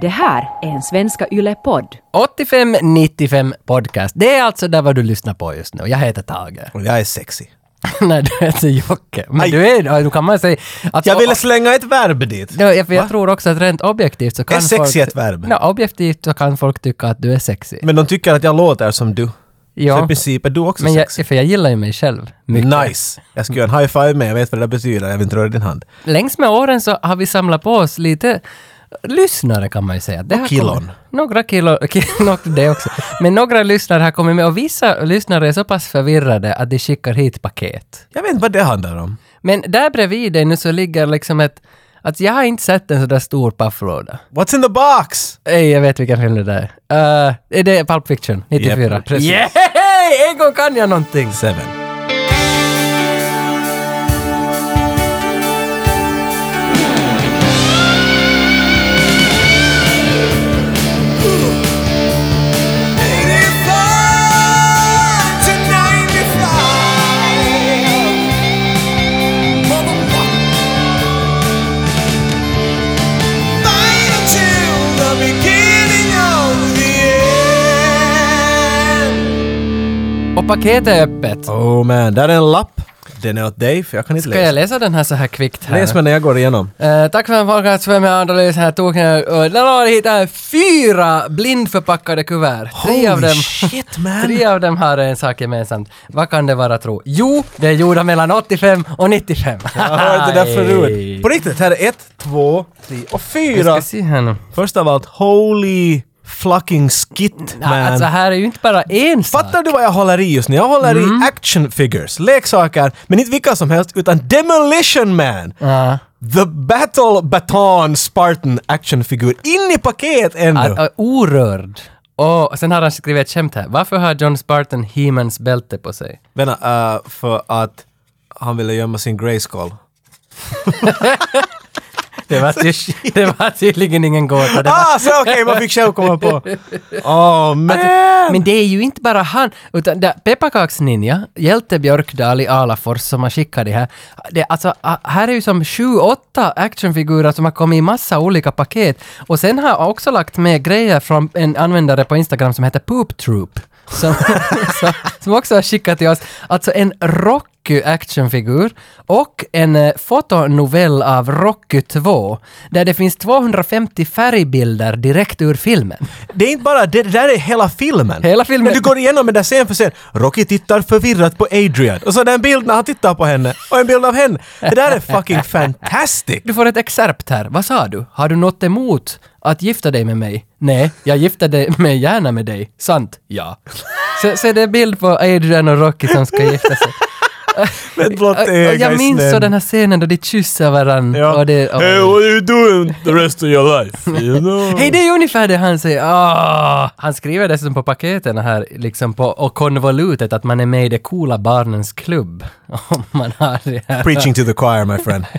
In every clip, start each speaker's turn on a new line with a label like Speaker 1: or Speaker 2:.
Speaker 1: Det här är en Svenska Yle-podd.
Speaker 2: 85-95 podcast. Det är alltså där vad du lyssnar på just nu. Jag heter Tage.
Speaker 3: Och jag är sexy.
Speaker 2: Nej, du heter Jocke. Men
Speaker 3: Aj.
Speaker 2: du är, ja, då kan man säga... Alltså,
Speaker 3: Jag ville slänga ett verb dit.
Speaker 2: Ja, jag, för jag
Speaker 3: Va?
Speaker 2: tror också att rent objektivt så kan
Speaker 3: Är sexy
Speaker 2: folk...
Speaker 3: ett verb?
Speaker 2: Ja, objektivt så kan folk tycka att du är sexy.
Speaker 3: Men de tycker att jag låter som du. Så i princip är du också
Speaker 2: men jag,
Speaker 3: sexy.
Speaker 2: för jag gillar ju mig själv mycket.
Speaker 3: Nice! Jag ska göra en high five med, jag vet vad det där betyder, jag vill inte röra din hand.
Speaker 2: Längs med åren så har vi samlat på oss lite lyssnare kan man ju säga. Det har
Speaker 3: killon.
Speaker 2: kommit- Några kilo, kilo, det också. Men några lyssnare har kommit med och vissa lyssnare är så pass förvirrade att de skickar hit paket.
Speaker 3: Jag vet inte vad det handlar om.
Speaker 2: Men där bredvid dig nu så ligger liksom ett... Att jag har inte sett en sådär stor pafflåda.
Speaker 3: What's in the box?
Speaker 2: Nej, jag vet vilken film det där är. Eh, är det Pulp Fiction, 94?
Speaker 3: Japp, precis.
Speaker 2: Yeah! En gång kan jag någonting!
Speaker 3: Seven.
Speaker 2: Och paketet är öppet.
Speaker 3: Oh man, där är en lapp. Den är åt dig, för jag kan inte
Speaker 2: Ska jag
Speaker 3: läsa.
Speaker 2: läsa den här så här kvickt här?
Speaker 3: Läs med när jag går igenom.
Speaker 2: Eh, tack för en podcast för mig, Andreas här tog jag och där har jag hittat fyra blindförpackade kuvert. Tre av
Speaker 3: Holy
Speaker 2: dem...
Speaker 3: shit, man.
Speaker 2: Tre av dem har en sak gemensamt. Vad kan det vara tro? Jo, det är gjorda mellan 85 och 95.
Speaker 3: Jag har hört det där
Speaker 2: Aj.
Speaker 3: förut. På riktigt, här är ett, två, tre och
Speaker 2: Vi
Speaker 3: fyra.
Speaker 2: ska se här nu.
Speaker 3: Först av allt, holy fucking skit
Speaker 2: Ja,
Speaker 3: man.
Speaker 2: alltså här är ju inte bara en sak.
Speaker 3: Fattar du vad jag håller i just nu? Jag håller
Speaker 2: Mm.
Speaker 3: i action figures, leksaker, men inte vilka som helst utan Demolition Man!
Speaker 2: Ja.
Speaker 3: The Battle Baton Spartan actionfigur in i paket ändå!
Speaker 2: Att- att- Orörd. Och sen har han skrivit ett skämt här. Varför har John Spartan He-Mans bälte på sig?
Speaker 3: Vänta, eh, för att han ville gömma sin grayskull.
Speaker 2: Det var, ty- det var tydligen ingen gåta. Det var-
Speaker 3: Ah, så okej, man fick själv komma på! Oh man!
Speaker 2: Ah, Men det är ju inte bara han, utan där Pepparkaks-Ninja, Hjälte Björkdal i Alafors som har skickat det här. Det, alltså, a- här är ju som sju, åtta actionfigurer som har kommit i massa olika paket. Och sen har jag också lagt med grejer från en användare på Instagram som heter Poop Troop. Som, som, som också har skickat till oss. Alltså en Rocky actionfigur och en eh, fotonovell av Rocky 2 där det finns 250 färgbilder direkt ur filmen.
Speaker 3: Det är inte bara det, det där är hela filmen.
Speaker 2: Hela filmen.
Speaker 3: När du går igenom den där scen för scen. Rocky tittar förvirrat på Adrian. Och så den bild när han tittar på henne. Och en bild av henne. Det där är fucking fantastic!
Speaker 2: Du får ett excerpt här. Vad sa du? Har du något emot att gifta dig med mig? Nej, jag gifter dig- mig gärna med dig. Sant? Ja. Så, så är det en bild på Adrian och Rocky som ska gifta sig.
Speaker 3: Med ett blått
Speaker 2: Och- och
Speaker 3: öga
Speaker 2: jag
Speaker 3: i
Speaker 2: minns
Speaker 3: snön.
Speaker 2: så den här scenen då de kysser varandra.
Speaker 3: Ja. oh.
Speaker 2: Och det, och-
Speaker 3: Hey, what are you doing the rest of your life? You know?
Speaker 2: Hej, det är ungefär det han säger. Ah! Han skriver dessutom på paketen här, liksom på, och konvolutet, att man är med i de coola barnens klubb. Om man har det här.
Speaker 3: Preaching to the choir, my friend.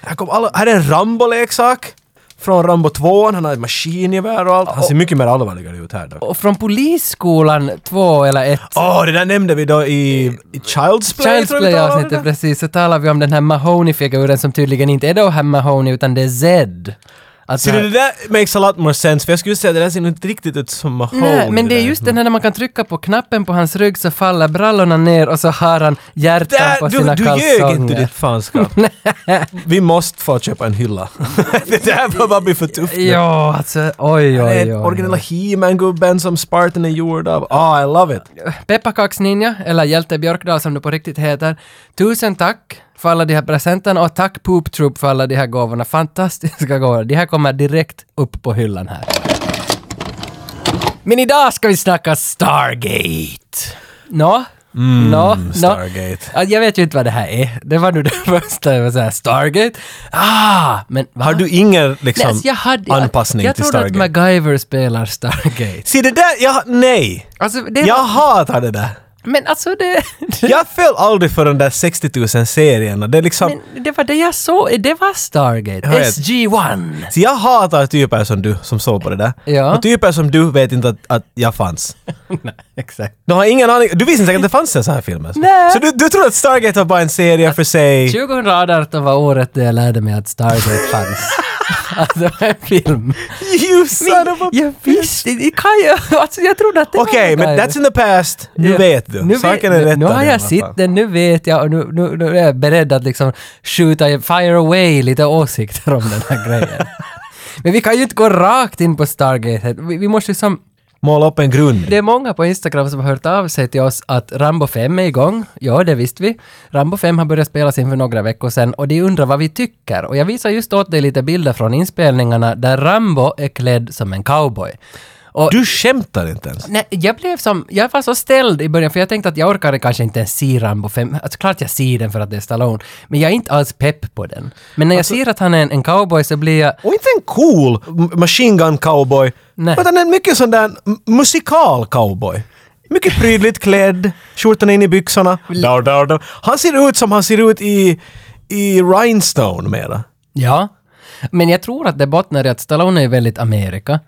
Speaker 3: Här, kom alla, här är en Rambo-leksak. Från Rambo 2. Han har ett maskingevär och allt. Han ser mycket mer allvarligare ut här då.
Speaker 2: Och från Polisskolan 2 eller 1
Speaker 3: Åh, oh, det där nämnde vi då i, i Child's Play.
Speaker 2: Child's
Speaker 3: tror jag vi talade om det
Speaker 2: Play-avsnittet,
Speaker 3: där.
Speaker 2: precis, så talar vi om den här Mahoney-figuren som tydligen inte är då här Mahoney utan det är Zed. Att
Speaker 3: Så
Speaker 2: det här-
Speaker 3: det, det där makes a lot more sense, för jag skulle säga att det där ser inte riktigt ut som Mahoney.
Speaker 2: Nej, men det är
Speaker 3: där.
Speaker 2: just den här när man kan trycka på knappen på hans rygg så faller brallorna ner och så har han hjärtan på
Speaker 3: där,
Speaker 2: sina
Speaker 3: du, du ljög
Speaker 2: kalsonger.
Speaker 3: inte ditt fanskap. Vi måste få köpa en hylla. det där får bara bli för tufft. nu.
Speaker 2: Ja, alltså oj,
Speaker 3: Det är
Speaker 2: oj,
Speaker 3: ett
Speaker 2: oj.
Speaker 3: originella
Speaker 2: oj.
Speaker 3: He-Man-gubben som Spartan är gjord av. Ah, I love it!
Speaker 2: Pepparkaksninja, eller Hjälte Björkdal som du på riktigt heter. Tusen tack för alla de här presenterna och tack Poop Troop för alla de här gåvorna. Fantastiska gåvor. De här kommer direkt upp på hyllan här. Men idag ska vi snacka Stargate. Nå? Nå? Nå?
Speaker 3: Mm, Stargate.
Speaker 2: Ja, Jag vet ju inte vad det här är. Det var nu det första jag var såhär, Stargate? Ah! Men va?
Speaker 3: Har du ingen
Speaker 2: Nej,
Speaker 3: liksom,
Speaker 2: alltså, jag hade,
Speaker 3: anpassning
Speaker 2: jag, jag
Speaker 3: till
Speaker 2: trodde
Speaker 3: Stargate?
Speaker 2: att MacGyver spelar Stargate.
Speaker 3: Se det där, jag, nej!
Speaker 2: Alltså, det
Speaker 3: Jag
Speaker 2: var,
Speaker 3: hatar det där.
Speaker 2: men alltså det...
Speaker 3: Jag föll aldrig för de där 60 000 serierna. Det är liksom...
Speaker 2: Men det var det jag såg, det var Stargate.
Speaker 3: Jag vet.
Speaker 2: SG-1.
Speaker 3: Så jag hatar typer som du som såg på det där.
Speaker 2: Ja.
Speaker 3: Och typer som du vet inte att, att jag fanns.
Speaker 2: Nej, exakt.
Speaker 3: Du har ingen aning. Du visste inte säkert att det fanns en sån här film. Alltså.
Speaker 2: Nej.
Speaker 3: Så du, du tror att Stargate var bara en serie för sig?
Speaker 2: 2018 var året då jag lärde mig att Stargate fanns. att det var en film.
Speaker 3: You son of a...
Speaker 2: Jag visste inte, kan jag, alltså jag trodde att det
Speaker 3: Okej,
Speaker 2: var
Speaker 3: men that's in the past. Nu
Speaker 2: Ja.
Speaker 3: vet du.
Speaker 2: Nu,
Speaker 3: Saken
Speaker 2: vet-
Speaker 3: är rätt.
Speaker 2: nu har jag sett den, nu vet jag och nu, nu, nu är jag beredd att liksom skjuta, fire away lite åsikter om den här grejen. Men vi kan ju inte gå rakt in på Stargate. Vi, vi måste liksom
Speaker 3: Måla upp en grund.
Speaker 2: det är många på Instagram som har hört av sig till oss att Rambo 5 är igång. Ja, det visste vi. Rambo 5 har börjat spelas in för några veckor sedan och de undrar vad vi tycker. Och jag visar just åt dig lite bilder från inspelningarna där Rambo är klädd som en cowboy. Och
Speaker 3: Du skämtar inte ens.
Speaker 2: Nej, jag blev som, jag var så ställd i början för jag tänkte att jag orkade kanske inte ens se Rambo 5. Alltså klart jag ser den för att det är Stallone, men jag är inte alls pepp på den. Men när jag ser att han är en, en cowboy så blir jag...
Speaker 3: Och inte en cool m- machine gun cowboy.
Speaker 2: Nej.
Speaker 3: Utan en mycket sån där m- musikal cowboy. Mycket prydligt klädd, skjortan in i byxorna. Dar, dar, dar. Han ser ut som han ser ut i, i Rhinestone mera.
Speaker 2: Ja. Men jag tror att det bottnar i att Stallone är väldigt Amerika.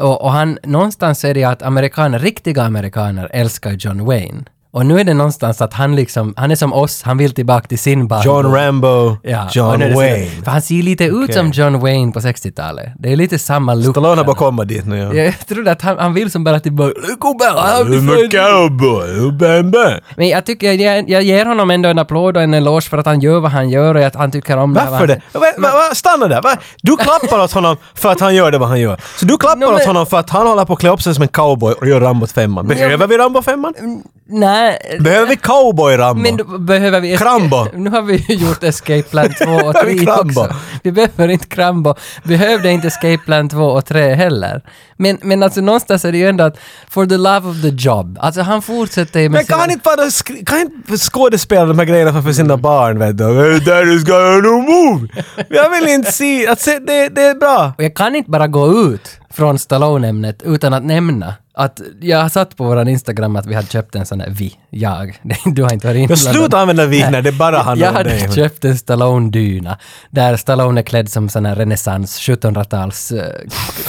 Speaker 2: Och, och han, någonstans är det att amerikaner, riktiga amerikaner älskar John Wayne. Och nu är det någonstans att han liksom, han är som oss, han vill tillbaka till sin barndom.
Speaker 3: John Rambo,
Speaker 2: Ja, och
Speaker 3: John
Speaker 2: nu är det så-
Speaker 3: Wayne.
Speaker 2: För han ser lite ut
Speaker 3: Okej.
Speaker 2: som John Wayne på 60-talet. Det är lite samma look.
Speaker 3: Stallone har bara kommit dit nu. Ja.
Speaker 2: Jag trodde att han, han vill som bara typ bara "Gubbe, han blir
Speaker 3: I'm a
Speaker 2: född."
Speaker 3: cowboy, bam, bam.
Speaker 2: Men jag tycker, jag, jag ger honom ändå en applåd och en eloge för att han gör vad han gör och att han tycker om
Speaker 3: Varför
Speaker 2: det.
Speaker 3: det? Va, va, va, stanna där! Va? Du klappar åt honom för att han gör det vad han gör. Så du klappar
Speaker 2: No, men-
Speaker 3: åt honom för att han håller på att klä upp sig som en cowboy och gör Rambo 5. Behöver vi Rambo 5?
Speaker 2: Mm, Nej,
Speaker 3: Behöver vi cowboy-Rambo?
Speaker 2: men då behöver vi...
Speaker 3: Krambo.
Speaker 2: Nu har vi ju gjort Escape Plan 2 och
Speaker 3: Vi
Speaker 2: 3
Speaker 3: Krambo.
Speaker 2: också. Vi behöver inte Krambo. Behövde inte Escape Plan 2 och 3 heller. Men, men alltså någonstans är det ju ändå att, for the love of the job. Alltså han fortsätter ju med
Speaker 3: Men kan han inte bara sk- kan han inte skådespela de här grejerna framför sina
Speaker 2: Mm.
Speaker 3: barn? Vet du? That is gonna no move! Jag vill inte se... Att se det, det är bra.
Speaker 2: Och jag kan inte bara gå ut från Stallone-ämnet utan att nämna att jag har satt på våran Instagram att vi hade köpt en sån där vi, jag. Du har inte varit
Speaker 3: Jag
Speaker 2: inblandad.
Speaker 3: slutar använda vik när det bara handlar
Speaker 2: Jag
Speaker 3: om dig.
Speaker 2: hade köpt en Stallone-dyna där Stallone är klädd som sån här renässans, 1700-tals eh,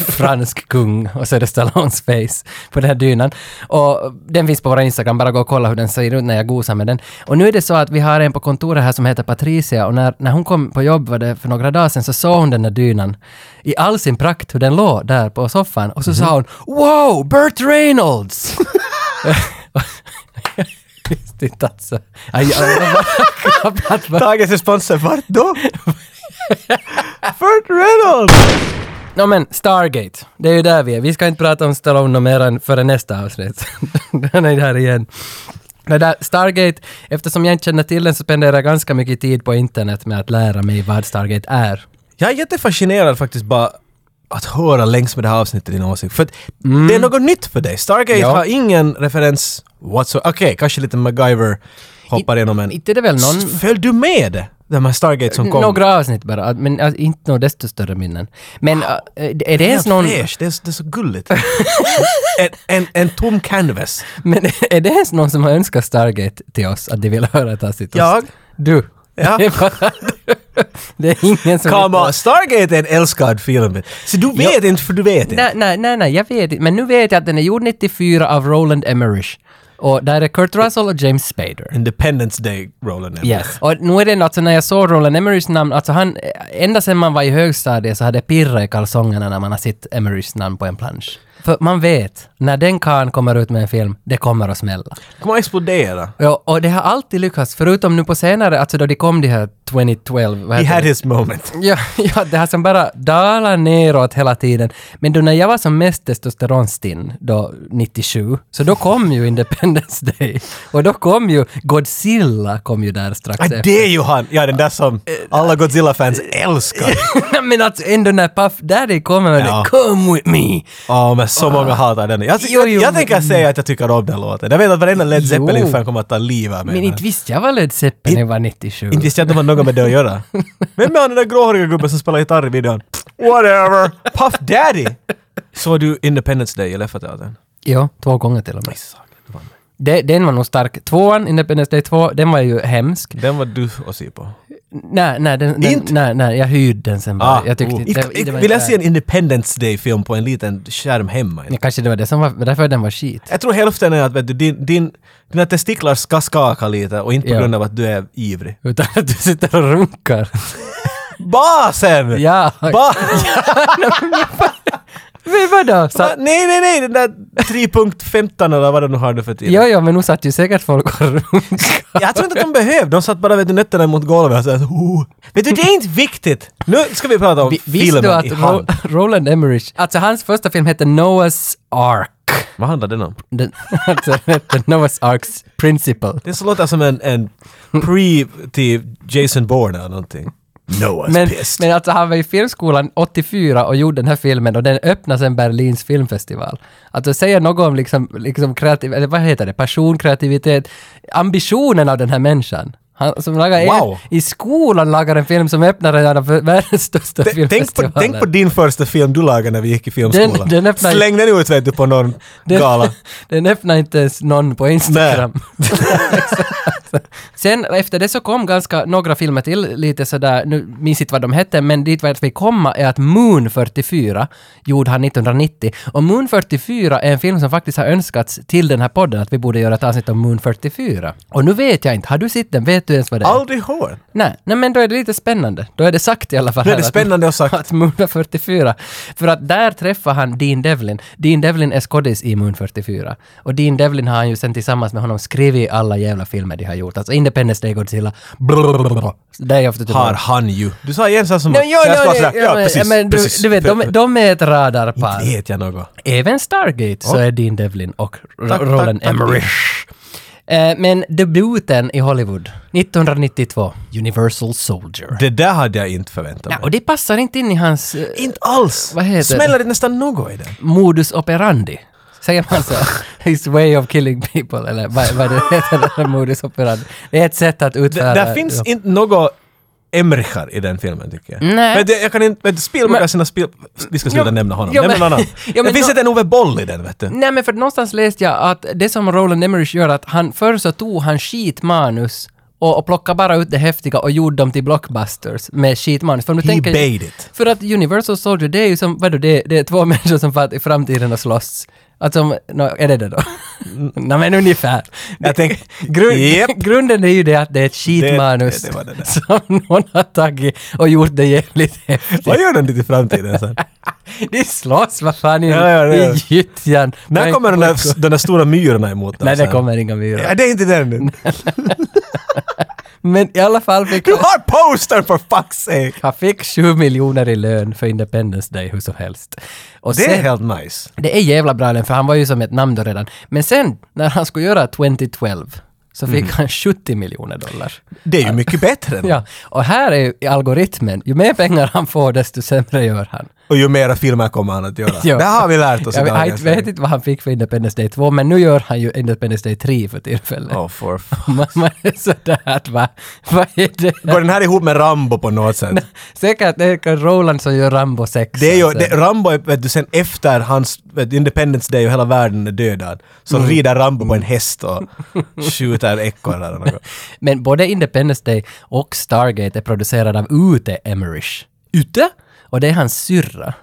Speaker 2: fransk kung och så är det Stallones face på den här dynan. Och den finns på vår Instagram, bara gå och kolla hur den ser ut när jag gosar med den. Och nu är det så att vi har en på kontoret här som heter Patricia och när, när hon kom på jobb var det för några dagar sedan så såg hon den där dynan i all sin prakt hur den låg där på soffan och så sa hon ”Wow, Burt Reynolds!” Visst inte alltså. Jag, jag, jag, jag, jag,
Speaker 3: Tages responser, vart då? Burt Reynolds!
Speaker 2: Nå men, Stargate. Det är ju där vi är. Vi ska inte prata om Stallone mer än före nästa avsnitt. Den är där igen. Det där Stargate, eftersom jag inte känner till den så spenderar jag ganska mycket tid på internet med att lära mig vad Stargate är.
Speaker 3: Jag är jättefascinerad faktiskt bara att höra längs med det här avsnittet din åsikt. För att det är något nytt för dig. Stargate
Speaker 2: Mm. Ja.
Speaker 3: har ingen referens whatsoever. Okej, kanske lite MacGyver hoppar igenom en...
Speaker 2: Inte är det väl någon...
Speaker 3: S- Föll du med de här Stargate som kom?
Speaker 2: Några avsnitt bara, men äh, inte några desto större minnen. Men äh, är det
Speaker 3: det är,
Speaker 2: ens
Speaker 3: så
Speaker 2: någon...
Speaker 3: fräsch, det, är, så- det är så gulligt. en, en, en tom canvas.
Speaker 2: Men är det ens någon som har önskat Stargate till oss, att de vill höra ett avsnitt?
Speaker 3: Jag?
Speaker 2: Du.
Speaker 3: Ja.
Speaker 2: Det är bara du. Det är ingen som...
Speaker 3: Come on, Stargate är en älskad film. Så du vet inte för du vet inte.
Speaker 2: Nej, nej, nej, nej, jag vet inte. Men nu vet jag att den är gjord 94 av Roland Emmerich. Och där är Kurt Russell och James Spader.
Speaker 3: Independence Day, Roland.
Speaker 2: Yes. Och nu är det nog, alltså när jag såg Roland Emmerichs namn, alltså han, eh, ända sedan man var i högstadiet så hade jag pirrat i kalsongerna när man har sett Emmerichs namn på en plansch. För man vet, när den karln kommer ut med en film, det kommer att smälla.
Speaker 3: Kommer att explodera.
Speaker 2: Ja, och det har alltid lyckats, förutom nu på senare, alltså då de kom de här 2012, vad
Speaker 3: He
Speaker 2: heter
Speaker 3: had
Speaker 2: det?
Speaker 3: his moment.
Speaker 2: Ja, ja, det har som bara dalar neråt hela tiden. Men då när jag var som mest testosteronstinn, då 97, så då kom ju Independence Day. Och då kom ju Godzilla kom ju där strax
Speaker 3: Ah,
Speaker 2: efter.
Speaker 3: det är ju han! Ja, den där som alla Godzilla-fans älskar.
Speaker 2: Men alltså ändå när Puff Daddy kommer med
Speaker 3: Ja.
Speaker 2: det, “Come with me”.
Speaker 3: Ja, men så många hatar den. Jag,
Speaker 2: Jo, jo,
Speaker 3: jag, jag tänker
Speaker 2: men-
Speaker 3: säga att jag tycker om den låten. Jag vet att varenda Led
Speaker 2: Jo.
Speaker 3: Zeppelin-fan kommer att ta livet av mig.
Speaker 2: Men inte visste jag vad Led Zeppelin var 97.
Speaker 3: Inte visste jag att de hade något med det att göra. Vem är han den där gråhåriga gubben som spelar gitarr i videon? Whatever! Puff Daddy! Såg du Independence Day i Leffateatern?
Speaker 2: Ja, två gånger till och med. Det, den var nog stark. Tvåan, Independence Day 2, den var ju hemsk.
Speaker 3: Den var du och se på.
Speaker 2: Nej, nej, den, den,
Speaker 3: Inte?
Speaker 2: nej, nej, jag hyrde den sen bara.
Speaker 3: Ah,
Speaker 2: jag tyckte
Speaker 3: oh.
Speaker 2: inte- det-
Speaker 3: Ik-
Speaker 2: det var
Speaker 3: ik- Vill jag
Speaker 2: inte-
Speaker 3: se en Independence Day-film på en liten skärm hemma?
Speaker 2: Ja, kanske det var det som var, därför den var skit.
Speaker 3: Jag tror hälften är att vet du, din, din, dina testiklar ska skaka lite och inte på
Speaker 2: Ja.
Speaker 3: grund av att du är ivrig.
Speaker 2: Utan att du sitter och runkar.
Speaker 3: Basen!
Speaker 2: Ja.
Speaker 3: Ba-
Speaker 2: Men vadå?
Speaker 3: Va?
Speaker 2: Så,
Speaker 3: Nej, nej, nej, den där 3.15 eller vad det nu har du för tid.
Speaker 2: jo, jo, men nu satt ju säkert folk och runkade.
Speaker 3: Jag tror inte att de behövde, de satt bara vet du, nötterna mot golvet och såhär oh. Vet du, det är inte viktigt! Nu ska vi prata om
Speaker 2: Vi- Visste
Speaker 3: filmen
Speaker 2: du
Speaker 3: i
Speaker 2: att
Speaker 3: hand.
Speaker 2: Ro- Roland Emmerich, alltså hans första film hette Noah's Ark.
Speaker 3: Vad handlar den om?
Speaker 2: Den, alltså den hette Noahs Arks Principle.
Speaker 3: Det så låter som en, en pre till Jason Bourne eller någonting. Noah's
Speaker 2: Men,
Speaker 3: pissed.
Speaker 2: men alltså han var i filmskolan 84 och gjorde den här filmen och den öppnade sen Berlins filmfestival. Alltså säger något om liksom, liksom kreativ, eller vad heter det, passion, kreativitet, ambitionen av den här människan. Han som lagar
Speaker 3: Wow.
Speaker 2: en, i skolan lagar en film som öppnar en av världens största
Speaker 3: T- tänk, på,
Speaker 2: filmfestivaler.
Speaker 3: tänk på din första film du lagade när vi gick i filmskolan.
Speaker 2: Den- den öppnar-
Speaker 3: Släng den ut vet du på någon gala.
Speaker 2: Den öppnar inte ens någon på Instagram. Sen efter det så kom ganska några filmer till, lite sådär, nu minns inte vad de hette, men dit vart vi komma är att Moon 44 gjorde han 1990. Och Moon 44 är en film som faktiskt har önskats till den här podden, att vi borde göra ett avsnitt om Moon 44. Och nu vet jag inte, har du sett den? Vet du ens vad det är?
Speaker 3: Aldrig hört.
Speaker 2: Nej, nej, men då är det lite spännande. Då är det sagt i alla fall.
Speaker 3: Nu är det
Speaker 2: här att-
Speaker 3: spännande och sagt.
Speaker 2: att Moon var 44. För att där träffar han Dean Devlin. Dean Devlin är skådis i Moon 44. Och Dean Devlin har han ju sen tillsammans med honom skrivit alla jävla filmer de har gjort. Alltså Independence Day, Godzilla, blablabla, Day of the
Speaker 3: Har
Speaker 2: Tomorrow.
Speaker 3: han ju. Du sa igen såhär som...
Speaker 2: Nej, jo,
Speaker 3: jag ska
Speaker 2: jo,
Speaker 3: vara sådär,
Speaker 2: jo,
Speaker 3: ja,
Speaker 2: men-
Speaker 3: precis,
Speaker 2: men du,
Speaker 3: precis.
Speaker 2: du vet, de, de är ett radarpar.
Speaker 3: Inte vet jag något.
Speaker 2: Även Stargate så
Speaker 3: Ja.
Speaker 2: är Dean Devlin och R-
Speaker 3: Tack,
Speaker 2: Roland
Speaker 3: tack, tack.
Speaker 2: Emmerich. Eh, Men debuten i Hollywood, 1992, Universal Soldier.
Speaker 3: Det där hade jag inte förväntat mig.
Speaker 2: Ja, och det passar inte in i hans eh,
Speaker 3: Inte alls!
Speaker 2: Vad heter
Speaker 3: Smäller det nästan något i den?
Speaker 2: modus operandi. Säger man så? His way of killing people, eller vad, vad det heter, det där modus operandi. Det är ett sätt att
Speaker 3: Det,
Speaker 2: utföra...
Speaker 3: där finns inte något Emrichar i den filmen tycker jag.
Speaker 2: Nej.
Speaker 3: Men det, jag kan inte... Men Spielberg
Speaker 2: Men-
Speaker 3: har sina spel... Vi ska sluta
Speaker 2: Jo,
Speaker 3: nämna honom.
Speaker 2: jo,
Speaker 3: Nämn någon
Speaker 2: men-
Speaker 3: annan.
Speaker 2: jo,
Speaker 3: det
Speaker 2: men Mm.
Speaker 3: finns
Speaker 2: nå-
Speaker 3: inte en Ove Boll i den vet du.
Speaker 2: Nej men för någonstans läste jag att det som Roland Emmerich gör att han förr så tog han skitmanus och, och plockade bara ut det häftiga och gjorde dem till blockbusters med skitmanus. För om du
Speaker 3: He
Speaker 2: tänker,
Speaker 3: bade it.
Speaker 2: För att Universal Soldier det är ju som, vadå, det, det är två människor som far i framtiden och slåss. Att som, nå, är det det då? Nej men ungefär.
Speaker 3: Mm. Jag tänker...
Speaker 2: Grund,
Speaker 3: Japp.
Speaker 2: grunden är ju det att det är ett skitmanus
Speaker 3: Det- det var det där.
Speaker 2: som någon har tagit och gjort det jävligt häftigt.
Speaker 3: Vad gör den dit i framtiden sen?
Speaker 2: De slåss vad fan i,
Speaker 3: Ja, ja, det gör
Speaker 2: i gyttjan.
Speaker 3: När
Speaker 2: Men-
Speaker 3: kommer de där, de där stora myrorna emot dem?
Speaker 2: Nej, det
Speaker 3: sen?
Speaker 2: kommer inga myror.
Speaker 3: Alltså. Ja, det är inte den.
Speaker 2: Men i alla fall fick
Speaker 3: Du har poster för fuck's sake!
Speaker 2: han fick 7 miljoner i lön för Independence Day hur som helst. Och
Speaker 3: Det är
Speaker 2: sen,
Speaker 3: helt nice.
Speaker 2: det är jävla bra lön för han var ju som ett namn då redan. Men sen när han skulle göra 2012 så fick
Speaker 3: Mm.
Speaker 2: han 70 miljoner dollar.
Speaker 3: Det är ju mycket bättre. än-
Speaker 2: Ja, och här är ju algoritmen. Ju mer pengar han får desto sämre gör han.
Speaker 3: Och ju mera filmer kommer han att göra.
Speaker 2: Ja.
Speaker 3: Det har vi lärt oss
Speaker 2: Jag
Speaker 3: i
Speaker 2: vet, jag
Speaker 3: dagens
Speaker 2: vet
Speaker 3: läge.
Speaker 2: inte vad han fick för Independence Day 2 men nu gör han ju Independence Day 3 för tillfället.
Speaker 3: Oh, for f-
Speaker 2: Man, man är sådär att va, vad är det?
Speaker 3: Går den här ihop med Rambo på något sätt?
Speaker 2: Säkert det är Roland som gör Rambo 6.
Speaker 3: Det är ju, det, Rambo är, vet du, sen efter hans vet, du, Independence Day och hela världen är dödad, så
Speaker 2: Mm.
Speaker 3: rider Rambo på en häst och skjuter ekorrar eller något.
Speaker 2: Men både Independence Day och Stargate är producerad av Ute Emmerich. Ute? Och det är hans syrra.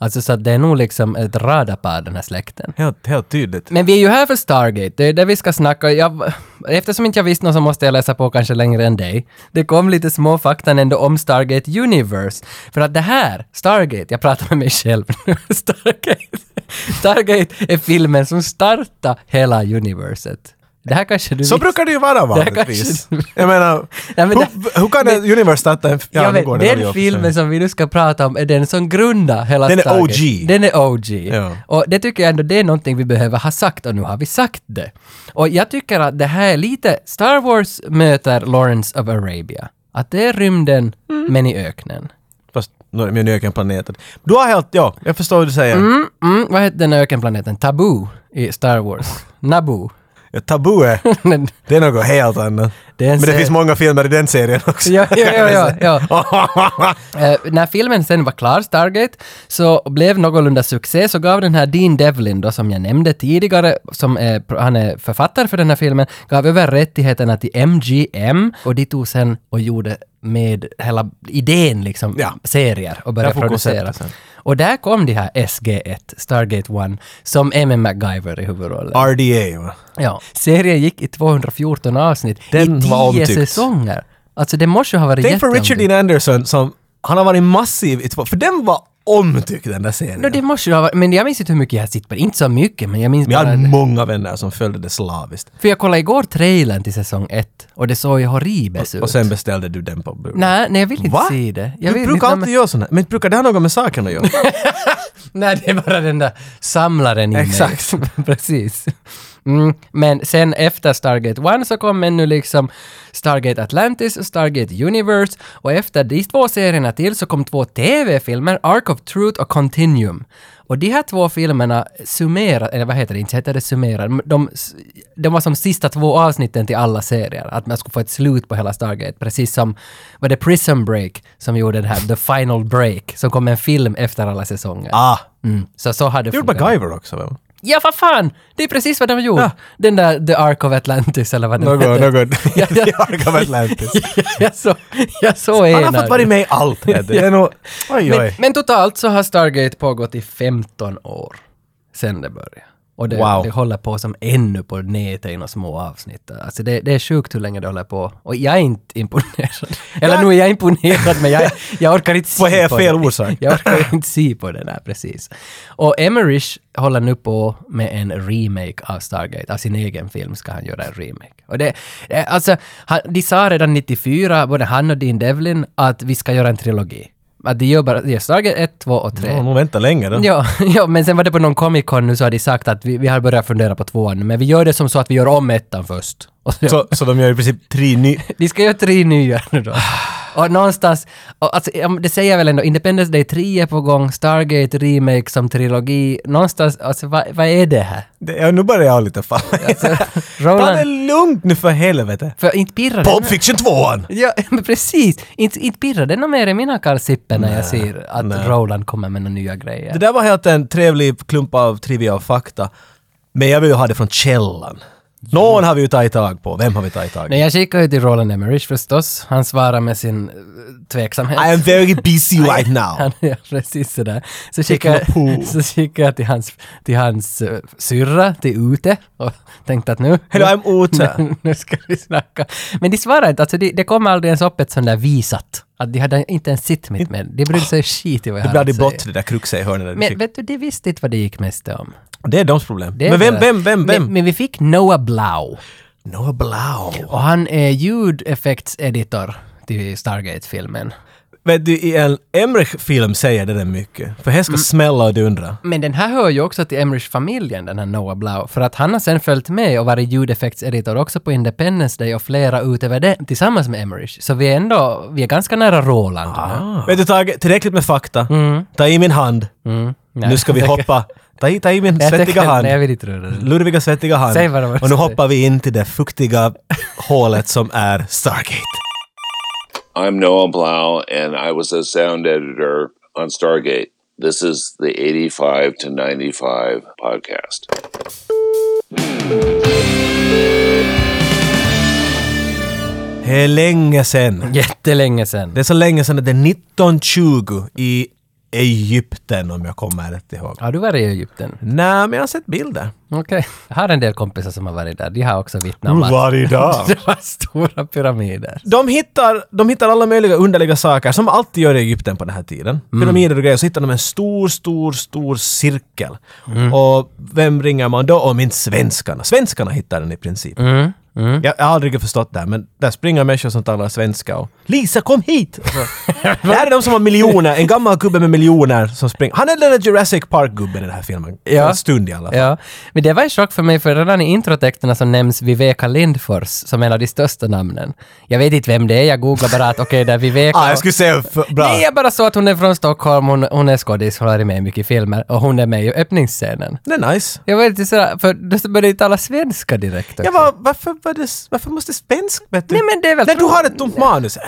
Speaker 2: Alltså så att det är nog liksom ett radarpar den här släkten.
Speaker 3: Helt, helt tydligt.
Speaker 2: Men vi är ju här för Stargate, det är det vi ska snacka jag, Eftersom inte jag visste något så måste jag läsa på kanske längre än dig. Det kom lite små faktan ändå om Stargate Universe. För att det här, Stargate, jag pratar med mig själv nu, Stargate. Stargate är filmen som startar hela universet. Det här kanske du
Speaker 3: Så
Speaker 2: visste.
Speaker 3: brukar det ju vara
Speaker 2: kanske-
Speaker 3: vanligtvis. Jag menar,
Speaker 2: Nej, men
Speaker 3: hur, hur kan en universe starta en...
Speaker 2: jag
Speaker 3: nu
Speaker 2: vet,
Speaker 3: går det väl i
Speaker 2: den
Speaker 3: och för sig.
Speaker 2: filmen som vi nu ska prata om är den som grundar hela
Speaker 3: Den är
Speaker 2: Stargate.
Speaker 3: OG.
Speaker 2: Den är OG.
Speaker 3: Ja.
Speaker 2: Och det tycker jag ändå det är någonting vi behöver ha sagt och nu har vi sagt det. Och jag tycker att det här är lite Star Wars möter Lawrence of Arabia. Att det är rymden men i öknen.
Speaker 3: Fast nu är min ökenplaneten. Du har helt... Ja, jag förstår vad du säger.
Speaker 2: Mm, mm, vad heter den ökenplaneten? Tabu i Star Wars. Naboo.
Speaker 3: Ja, tabu är...
Speaker 2: Men-
Speaker 3: Det är något helt annat.
Speaker 2: Det är en
Speaker 3: Men det
Speaker 2: serie.
Speaker 3: finns många filmer i den serien också.
Speaker 2: ja, ja, ja, ja, ja. Eh, när filmen sen var klar, Stargate, så blev någorlunda succé, så gav den här Dean Devlin då, som jag nämnde tidigare, som är, pro- han är författare för den här filmen, gav över rättigheterna till MGM och de tog sen och gjorde med hela idén liksom,
Speaker 3: Ja.
Speaker 2: serier och
Speaker 3: Där
Speaker 2: började
Speaker 3: får
Speaker 2: producera.
Speaker 3: konceptet sen.
Speaker 2: Och där kom de här SG-1, Stargate 1, som är med MacGyver i huvudrollen.
Speaker 3: RDA. va?
Speaker 2: Ja. Serien gick i 214 avsnitt,
Speaker 3: Den
Speaker 2: i
Speaker 3: var
Speaker 2: 10
Speaker 3: omtyckt.
Speaker 2: säsonger. Alltså det måste ju ha varit
Speaker 3: Tänk för Richard E.
Speaker 2: jätteomtyckt.
Speaker 3: Dean Anderson som Han har varit massiv i två... För den var omtyckt den där serien.
Speaker 2: No, det måste ju ha varit, men jag minns inte hur mycket jag har sett på det. Inte så mycket, men jag minns
Speaker 3: Men jag
Speaker 2: bara...
Speaker 3: har många vänner som följde det slaviskt.
Speaker 2: För jag kollade igår trailern till säsong ett och det såg ju horribelt ut.
Speaker 3: Och sen beställde du den på Blu-ray.
Speaker 2: Nej, nej jag vill inte
Speaker 3: Va?
Speaker 2: se det. Jag
Speaker 3: du
Speaker 2: vill
Speaker 3: brukar
Speaker 2: inte,
Speaker 3: alltid göra sådana. Men brukar det ha något med saken att göra?
Speaker 2: Nej, det är bara den där samlaren i mig.
Speaker 3: Exakt.
Speaker 2: Precis. Mm. Men sen efter Stargate One så kom ännu liksom Stargate Atlantis och Stargate Universe och efter de två serierna till så kom två TV-filmer, Ark of Truth och Continuum. Och de här två filmerna summerar, eller vad heter det, inte heter det summerar, de, de var som sista två avsnitten till alla serier, att man skulle få ett slut på hela Stargate, precis som var det Prison Break som gjorde den här The Final Break, som kom en film efter alla säsonger.
Speaker 3: ah!
Speaker 2: Mm. Så så hade
Speaker 3: Du gjorde MacGyver också väl?
Speaker 2: Ja, vad fan! Det är precis vad de gjorde. Den där The Ark of Atlantis eller vad den
Speaker 3: Något,
Speaker 2: hette.
Speaker 3: något.
Speaker 2: Ja, ja.
Speaker 3: I Ark of Atlantis.
Speaker 2: jag såg jag så
Speaker 3: Han har fått vara med i allt. vet du. Det är nog... Oj,
Speaker 2: Men,
Speaker 3: oj.
Speaker 2: men totalt så har Stargate pågått i 15 år sen det började. Och det,
Speaker 3: Wow.
Speaker 2: det håller på som ännu på nätet i några små avsnitt. Alltså det, det är sjukt hur länge det håller på. Och jag är inte imponerad. Eller nu är jag imponerad men jag, jag orkar inte
Speaker 3: På he-
Speaker 2: se på
Speaker 3: fel
Speaker 2: det.
Speaker 3: orsak.
Speaker 2: Jag orkar inte se på det där precis. Och Emmerich håller nu på med en remake av Stargate. Av sin egen film ska han göra en remake. Och det, eh, alltså, han, de sa redan 94, både han och Dean Devlin, att vi ska göra en trilogi. Att de gör bara, de gör Stargate 1, 2 och 3.
Speaker 3: Man nog vänta länge då.
Speaker 2: Ja, ja, men sen var det på någon Comic Con nu så har de sagt att vi, vi har börjat fundera på tvåan, men vi gör det som så att vi gör om ettan först. Och så,
Speaker 3: Så, så de gör i princip tre ny...
Speaker 2: de ska göra tre nya nu då. Och någonstans, och alltså, ja, men det säger väl ändå, Independence Day 3 är på gång, Stargate Remake som trilogi, någonstans, alltså vad, vad är det här?
Speaker 3: Det- Ja, nu börjar jag lite falla. Ta det
Speaker 2: Roland,
Speaker 3: lugnt nu för helvete.
Speaker 2: för inte pirrar det
Speaker 3: Pulp Fiction 2!
Speaker 2: Ja, men precis! Inte, inte pirrar det nog mer i mina kalsipper när jag ser att Roland kommer med några nya grejer.
Speaker 3: Det där var helt en trevlig klump av trivia och fakta. Men jag vill ju ha det från källan. Någon har vi ju tagit tag på. Vem har vi tagit tag
Speaker 2: Nej,
Speaker 3: i?
Speaker 2: jag kikar ju till Roland Emmerich förstås. Han svarar med sin eh, tveksamhet.
Speaker 3: I am very busy right now.
Speaker 2: Han är precis sådär. Så
Speaker 3: Take
Speaker 2: kikar,
Speaker 3: my poo.
Speaker 2: jag- så kikar jag till hans, till hans eh, syrra, till Ute och tänkte att nu...
Speaker 3: Hello, I'm Ute.
Speaker 2: nu, nu ska vi snacka. Men de svarar inte, alltså det, det kommer aldrig ens upp ett sånt där visat. Att de hade inte ens sett mitt med. De brydde sig skit i vad jag
Speaker 3: Det blir
Speaker 2: hade
Speaker 3: aldrig
Speaker 2: att
Speaker 3: blått
Speaker 2: säga.
Speaker 3: det där kruxet i hörnet. där du
Speaker 2: Men
Speaker 3: fick.
Speaker 2: vet du, det visste inte vad det gick mest om.
Speaker 3: Det är deras problem.
Speaker 2: Det är
Speaker 3: Men vem,
Speaker 2: det.
Speaker 3: vem, vem,
Speaker 2: Men,
Speaker 3: vem?
Speaker 2: men vi fick Noah Blau.
Speaker 3: Noah Blau.
Speaker 2: Och han är ljudeffektseditor till Stargate-filmen.
Speaker 3: Vet du, i en Emmerich-film säger det där mycket. För här ska
Speaker 2: Mm.
Speaker 3: smälla och dundra.
Speaker 2: Men den här hör ju också till Emmerich-familjen, den här Noah Blau, för att han har sen följt med och varit ljudeffektseditor också på Independence Day och flera utöver det tillsammans med Emmerich. Så vi är ändå, vi är ganska nära Roland.
Speaker 3: Vet du Tage, tillräckligt med fakta. Ta i min hand.
Speaker 2: Nej,
Speaker 3: nu ska vi
Speaker 2: Mm. jag tänker-
Speaker 3: hoppa. Ta i, ta i min
Speaker 2: Jag
Speaker 3: svettiga
Speaker 2: tänker-
Speaker 3: hand.
Speaker 2: Nej, jag vill inte röra det.
Speaker 3: Lurviga svettiga hand.
Speaker 2: Säg vad det var.
Speaker 3: och nu hoppar vi in till det fuktiga hålet som är Stargate.
Speaker 4: I'm Noah Blau, and I was a sound editor on Stargate. This is the 85 to 95 podcast.
Speaker 3: Det är länge sen.
Speaker 2: Jättelänge sen.
Speaker 3: Det är så länge sen att det är 1920 i Egypten om jag kommer rätt ihåg.
Speaker 2: Har du varit i Egypten?
Speaker 3: Nej, men jag har sett bilder.
Speaker 2: Okej. Jag har en del kompisar som har varit där. De har också vittnat
Speaker 3: Mm,
Speaker 2: om att
Speaker 3: Varje dag.
Speaker 2: det var stora pyramider.
Speaker 3: De hittar, de hittar alla möjliga underliga saker som alltid gör i Egypten på den här tiden. Pyramider och grejer. Så hittar de en stor, stor, stor cirkel. Och vem ringer man då om inte svenskarna? Svenskarna hittar den i princip. Jag, jag har aldrig riktigt förstått det här, men där springer människor som talar svenska och “Lisa, kom hit!” Och så- Det här är de som har miljoner, en gammal gubbe med miljoner som springer. Han är den där Jurassic Park-gubben i den här filmen. För
Speaker 2: Ja.
Speaker 3: en stund i alla fall.
Speaker 2: Ja, men det var en chock för mig för redan i introtexterna så nämns Viveka Lindfors som en av de största namnen. Jag vet inte vem det är, jag googlar bara att okej, där Viveka...
Speaker 3: Ah, jag skulle säga för, bra.
Speaker 2: Nej, jag bara så att hon är från Stockholm, hon, hon är skådis, hon har varit med i mycket filmer och hon är med i öppningsscenen.
Speaker 3: Det är nice.
Speaker 2: Jag var inte sådär, för då började jag tala svenska direkt också.
Speaker 3: Jag var, varför, var det, varför måste svensk vet du?
Speaker 2: Nej, men det är väl
Speaker 3: När du
Speaker 2: tro-
Speaker 3: har ett tomt manus,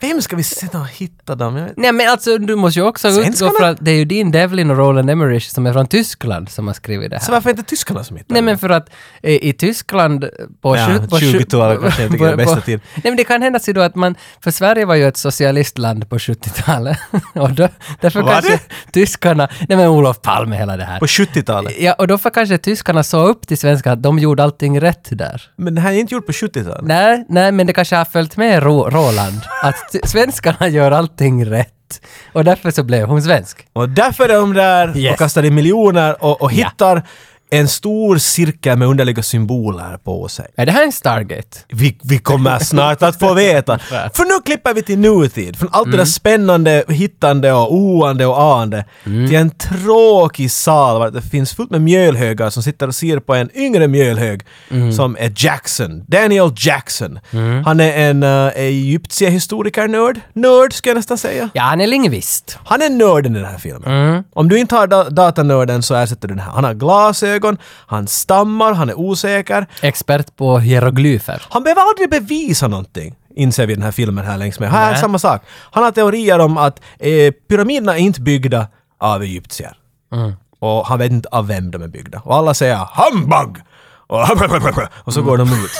Speaker 3: vem ska vi sitta och hitta dem? Jag vet-
Speaker 2: Nej men alltså du måste ju också
Speaker 3: Svenskarna?
Speaker 2: utgå från att det är ju din Devlin och Roland Emmerich som är från Tyskland som har skrivit det här.
Speaker 3: Så varför är inte tyskarna som hittar
Speaker 2: Nej
Speaker 3: dem?
Speaker 2: men för att eh, i, i Tyskland på...
Speaker 3: Ja,
Speaker 2: sju- på sju-
Speaker 3: 20-talet kanske inte är den bästa tiden.
Speaker 2: Nej men det kan hända sig då att man, för Sverige var ju ett socialistland på 70-talet. Och då, därför
Speaker 3: Var
Speaker 2: kanske tyskarna, nej men Olof Palme hela det här.
Speaker 3: På 70-talet?
Speaker 2: Ja, och då får kanske tyskarna sa upp till svenskarna att de gjorde allting rätt där.
Speaker 3: Men det här är inte gjort på 70-talet.
Speaker 2: Nej, nej, men det kanske har följt med Ro- Roland. Att t- svenskarna gör allting rätt. rätt. Och därför så blev hon svensk.
Speaker 3: Och därför är de där
Speaker 2: Yes.
Speaker 3: och kastar in miljoner och, och hittar en stor cirkel med underliga symboler på sig.
Speaker 2: Är det här en Stargate?
Speaker 3: Vi, vi kommer snart att få veta. För nu klipper vi till nutid. Från allt det där spännande, hittande och oande och aande till en tråkig sal där det finns fullt med mjölhögar som sitter och ser på en yngre mjölhög som är Jackson. Daniel Jackson. Han är en uh, egyptiehistoriker-nörd. Nörd, ska jag nästan säga.
Speaker 2: Ja, han är lingvist.
Speaker 3: Han är nörden i den här filmen. Om du inte har da- datanörden så ersätter du den här. Han har glasögon, han stammar, han är osäker.
Speaker 2: Expert på hieroglyfer.
Speaker 3: Han behöver aldrig bevisa någonting, inser vi i den här filmen här längs med. Här är samma sak. Han har teorier om att eh, pyramiderna är inte byggda av egyptier.
Speaker 2: Mm.
Speaker 3: Och han vet inte av vem de är byggda. Och alla säger “humbug!” och, och så går de ut.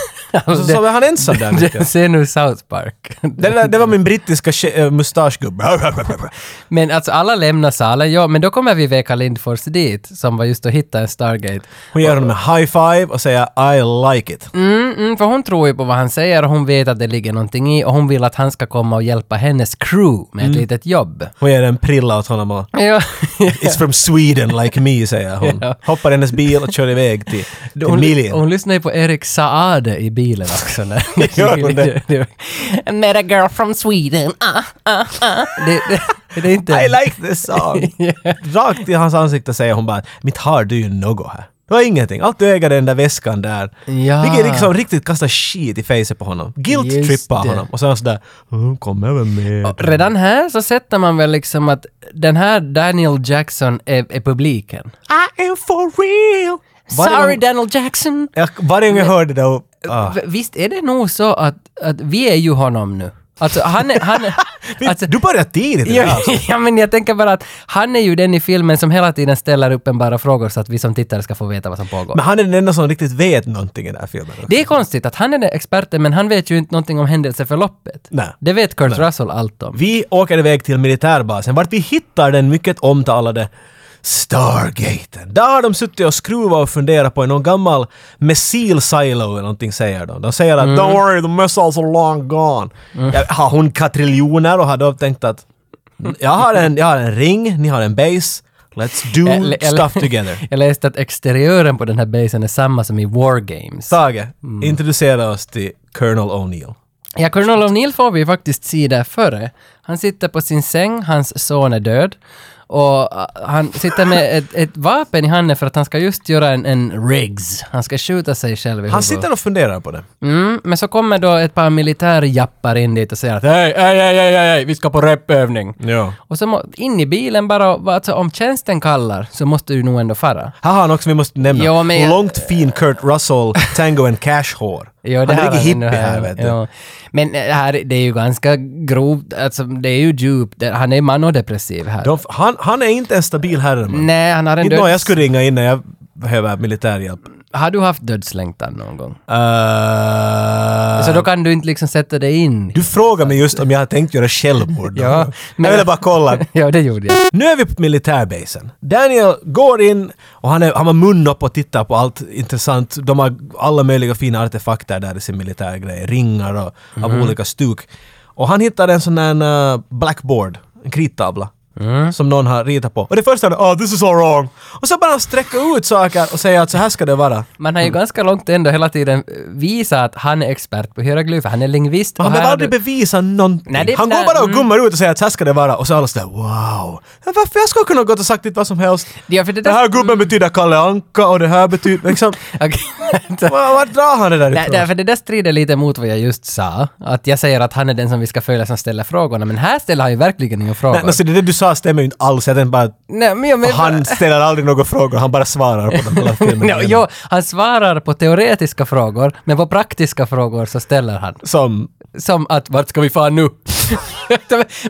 Speaker 3: Och så, så är han ensam där. mycket.
Speaker 2: Se nu South Park.
Speaker 3: Det, där- det var min brittiska tje- eh, mustaschgubbe.
Speaker 2: Men alltså alla lämnar salen, ja, men då kommer vi Veka Lindfors dit, som var just att hitta en Stargate.
Speaker 3: Hon gör honom en high five och säger “I like it”.
Speaker 2: Mm, mm, för hon tror ju på vad han säger och hon vet att det ligger någonting i och hon vill att han ska komma och hjälpa hennes crew med ett litet jobb.
Speaker 3: Hon ger en prilla åt honom och
Speaker 2: Ja,
Speaker 3: “It's from Sweden like me” säger hon. Hoppar i hennes bil och kör iväg till, till
Speaker 2: hon,
Speaker 3: Miljen.
Speaker 2: hon lyssnar ju på Erik Saade i bilen också. När,
Speaker 3: Gör hon det?
Speaker 2: Met a girl from Sweden, ah, ah, ah. Det, det, det är inte...
Speaker 3: I like this song! Rakt i hans ansikte säger hon bara “Mitt har du ju något här?” Du har ingenting. Allt du äger är den där väskan där.
Speaker 2: Ja.
Speaker 3: Vilket liksom riktigt kastar shit i facet på honom.
Speaker 2: Just
Speaker 3: Guilt-trippar
Speaker 2: det.
Speaker 3: honom. Och sen sådär "Mm, “Kom över med”.
Speaker 2: Redan här så sätter man väl liksom att den här Daniel Jackson är, är publiken.
Speaker 3: I am for real! Varje
Speaker 2: Sorry
Speaker 3: gång-
Speaker 2: Daniel Jackson!
Speaker 3: Jag, varje gång jag hörde det och... Ah.
Speaker 2: V- Visst är det nog så att, att vi är ju honom nu? Alltså han är... Han är alltså,
Speaker 3: du börjar tidigt idag,
Speaker 2: ja,
Speaker 3: alltså.
Speaker 2: ja men jag tänker bara att han är ju den i filmen som hela tiden ställer uppenbara frågor så att vi som tittare ska få veta vad som pågår.
Speaker 3: Men han är den enda som riktigt vet någonting i den här filmen.
Speaker 2: Det är konstigt att han är den experten men han vet ju inte någonting om händelseförloppet.
Speaker 3: Nej.
Speaker 2: Det vet Kurt Russell allt om.
Speaker 3: Vi åker iväg till militärbasen vart vi hittar den mycket omtalade Stargaten. Där har de suttit och skruvat och funderat på någon gammal missil silo eller någonting säger de. De säger att “Don't worry, the missiles are long gone”.
Speaker 2: Mm.
Speaker 3: Ja, har hon katriljoner och har då tänkt att jag har, en, jag har en ring, ni har en base, let's do
Speaker 2: Eller- eller-
Speaker 3: stuff together.
Speaker 2: Jag läste att exteriören på den här basen är samma som i War Games.
Speaker 3: Tage,
Speaker 2: Mm.
Speaker 3: introducera oss till Colonel O'Neill.
Speaker 2: Ja, Colonel O'Neill får vi ju faktiskt se där före. Han sitter på sin säng, hans son är död. Och äh, han sitter med ett, ett vapen i handen för att han ska just göra en, en rigs. Han ska skjuta sig själv i
Speaker 3: Han
Speaker 2: huvudet.
Speaker 3: sitter och funderar på det.
Speaker 2: mm, men så kommer då ett par militärjappar in dit och säger att hej, hej, hej, hej, hej, vi ska på repövning.
Speaker 3: Ja.
Speaker 2: Och så må, in i bilen bara, och- alltså om tjänsten kallar så måste du nog ändå fara.
Speaker 3: Här har han också, vi måste nämna,
Speaker 2: Ja, men jag-
Speaker 3: långt fin Kurt Russell, Tango and Cash-hår.
Speaker 2: Ja,
Speaker 3: han
Speaker 2: det
Speaker 3: är
Speaker 2: har
Speaker 3: riktigt
Speaker 2: ändå
Speaker 3: hippie här, vet du.
Speaker 2: Ja. Men eh, här, det är ju ganska grovt, alltså det är ju djupt, Det- han är manodepressiv här.
Speaker 3: De, han, han är inte en stabil herre. man.
Speaker 2: Nej, han har en
Speaker 3: Inte någon jag
Speaker 2: döds...
Speaker 3: skulle ringa in när jag behöver militärhjälp.
Speaker 2: Har du haft dödslängtan någon gång?
Speaker 3: Eh,
Speaker 2: Så då kan du inte liksom sätta dig in.
Speaker 3: du frågar mig just om jag har tänkt göra självmord.
Speaker 2: Ja,
Speaker 3: jag
Speaker 2: men-
Speaker 3: ville bara kolla.
Speaker 2: ja, det gjorde jag.
Speaker 3: Nu är vi på militärbasen. Daniel går in och han, är, han har mun upp och tittar på allt intressant. De har alla möjliga fina artefakter där i sin militärgrej. Ringar och av olika stuk. Och han hittar en sån där eh, blackboard, en krittavla. Som någon har ritat på. Och det första han är oh, “this is all wrong”. Och så bara sträcka ut saker och säga att så här ska det vara.
Speaker 2: Man har ju
Speaker 3: Mm.
Speaker 2: ganska långt ändå hela tiden visat att han är expert på hieroglyfer, han är lingvist.
Speaker 3: Han
Speaker 2: och här
Speaker 3: behöver
Speaker 2: har
Speaker 3: aldrig
Speaker 2: du-
Speaker 3: bevisa någonting.
Speaker 2: Nej, det är
Speaker 3: han går
Speaker 2: där-
Speaker 3: bara och
Speaker 2: mm.
Speaker 3: gummar ut och säger att så här ska det vara. Och så alla sådär “wow”. Men Varför jag skulle kunna gått och sagt lite vad som helst.
Speaker 2: Ja, för det mm.
Speaker 3: Den här
Speaker 2: där...
Speaker 3: gubben betyder Kalle Anka och det här betyder liksom...
Speaker 2: Okej.
Speaker 3: Var, var drar han det där
Speaker 2: Nej,
Speaker 3: ifrån?
Speaker 2: därför det där strider lite mot vad jag just sa. Att jag säger att han är den som vi ska följa som ställer frågorna, men här ställer han ju verkligen inga frågor.
Speaker 3: Nej, alltså, det du sa stämmer ju inte alls. Jag tänkte bara att
Speaker 2: Nej, men jag menar...
Speaker 3: han ställer aldrig några frågor, han bara svarar på dem alla filmerna.
Speaker 2: No, jo, han svarar på teoretiska frågor, men på praktiska frågor så ställer han.
Speaker 3: Som...
Speaker 2: Som att vart ska vi fan nu?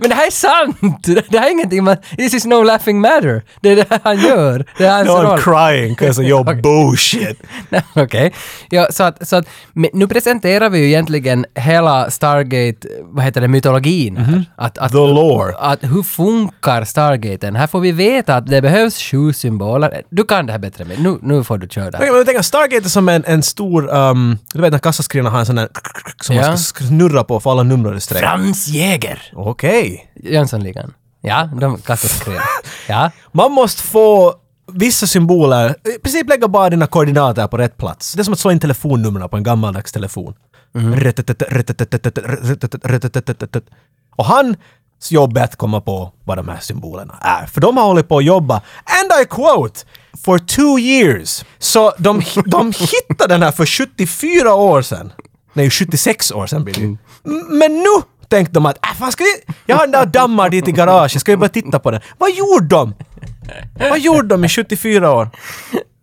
Speaker 2: Men det här är sant! Det här är ingenting man... This is no laughing matter. Det är det här han gör. Det är hans
Speaker 3: No, I'm
Speaker 2: roll.
Speaker 3: crying because of your bullshit.
Speaker 2: Nej, Okej. Ja, så att, så att, men nu presenterar vi ju egentligen hela Stargate, vad heter det, mytologin här. Att, att,
Speaker 3: Mhm. The lore.
Speaker 2: Att, hur funkar Stargaten? Här får vi veta att det behövs sju symboler. Du kan det här bättre, men nu, nu får du köra.
Speaker 3: Okej, men tänk att Stargate är som en, en stor... Um, du vet när kassaskrinet har en sån där... Som
Speaker 2: Ja.
Speaker 3: man ska snurra på för alla nummer i sträck.
Speaker 2: Franz Jäger!
Speaker 3: Okej.
Speaker 2: Jönssonligan. Ja, de kassaskrev. Ja.
Speaker 3: Man måste få vissa symboler, i princip lägga bara dina koordinater på rätt plats. Det är som att slå in telefonnumren på en gammaldags telefon. Retetetet, retetetet, retetetet, retetetet. Och han jobb är att komma på vad de här symbolerna är. För de har hållit på att jobba, and I quote, for two years. Så de, de hittade den här för 74 år sedan. Nej, 76 år sedan blir det ju. M- Men nu tänkte de att, äh, fan ska vi... Jag har den där dammar dit i garaget, ska vi bara titta på den? Vad gjorde de? Vad gjorde de i 74 år?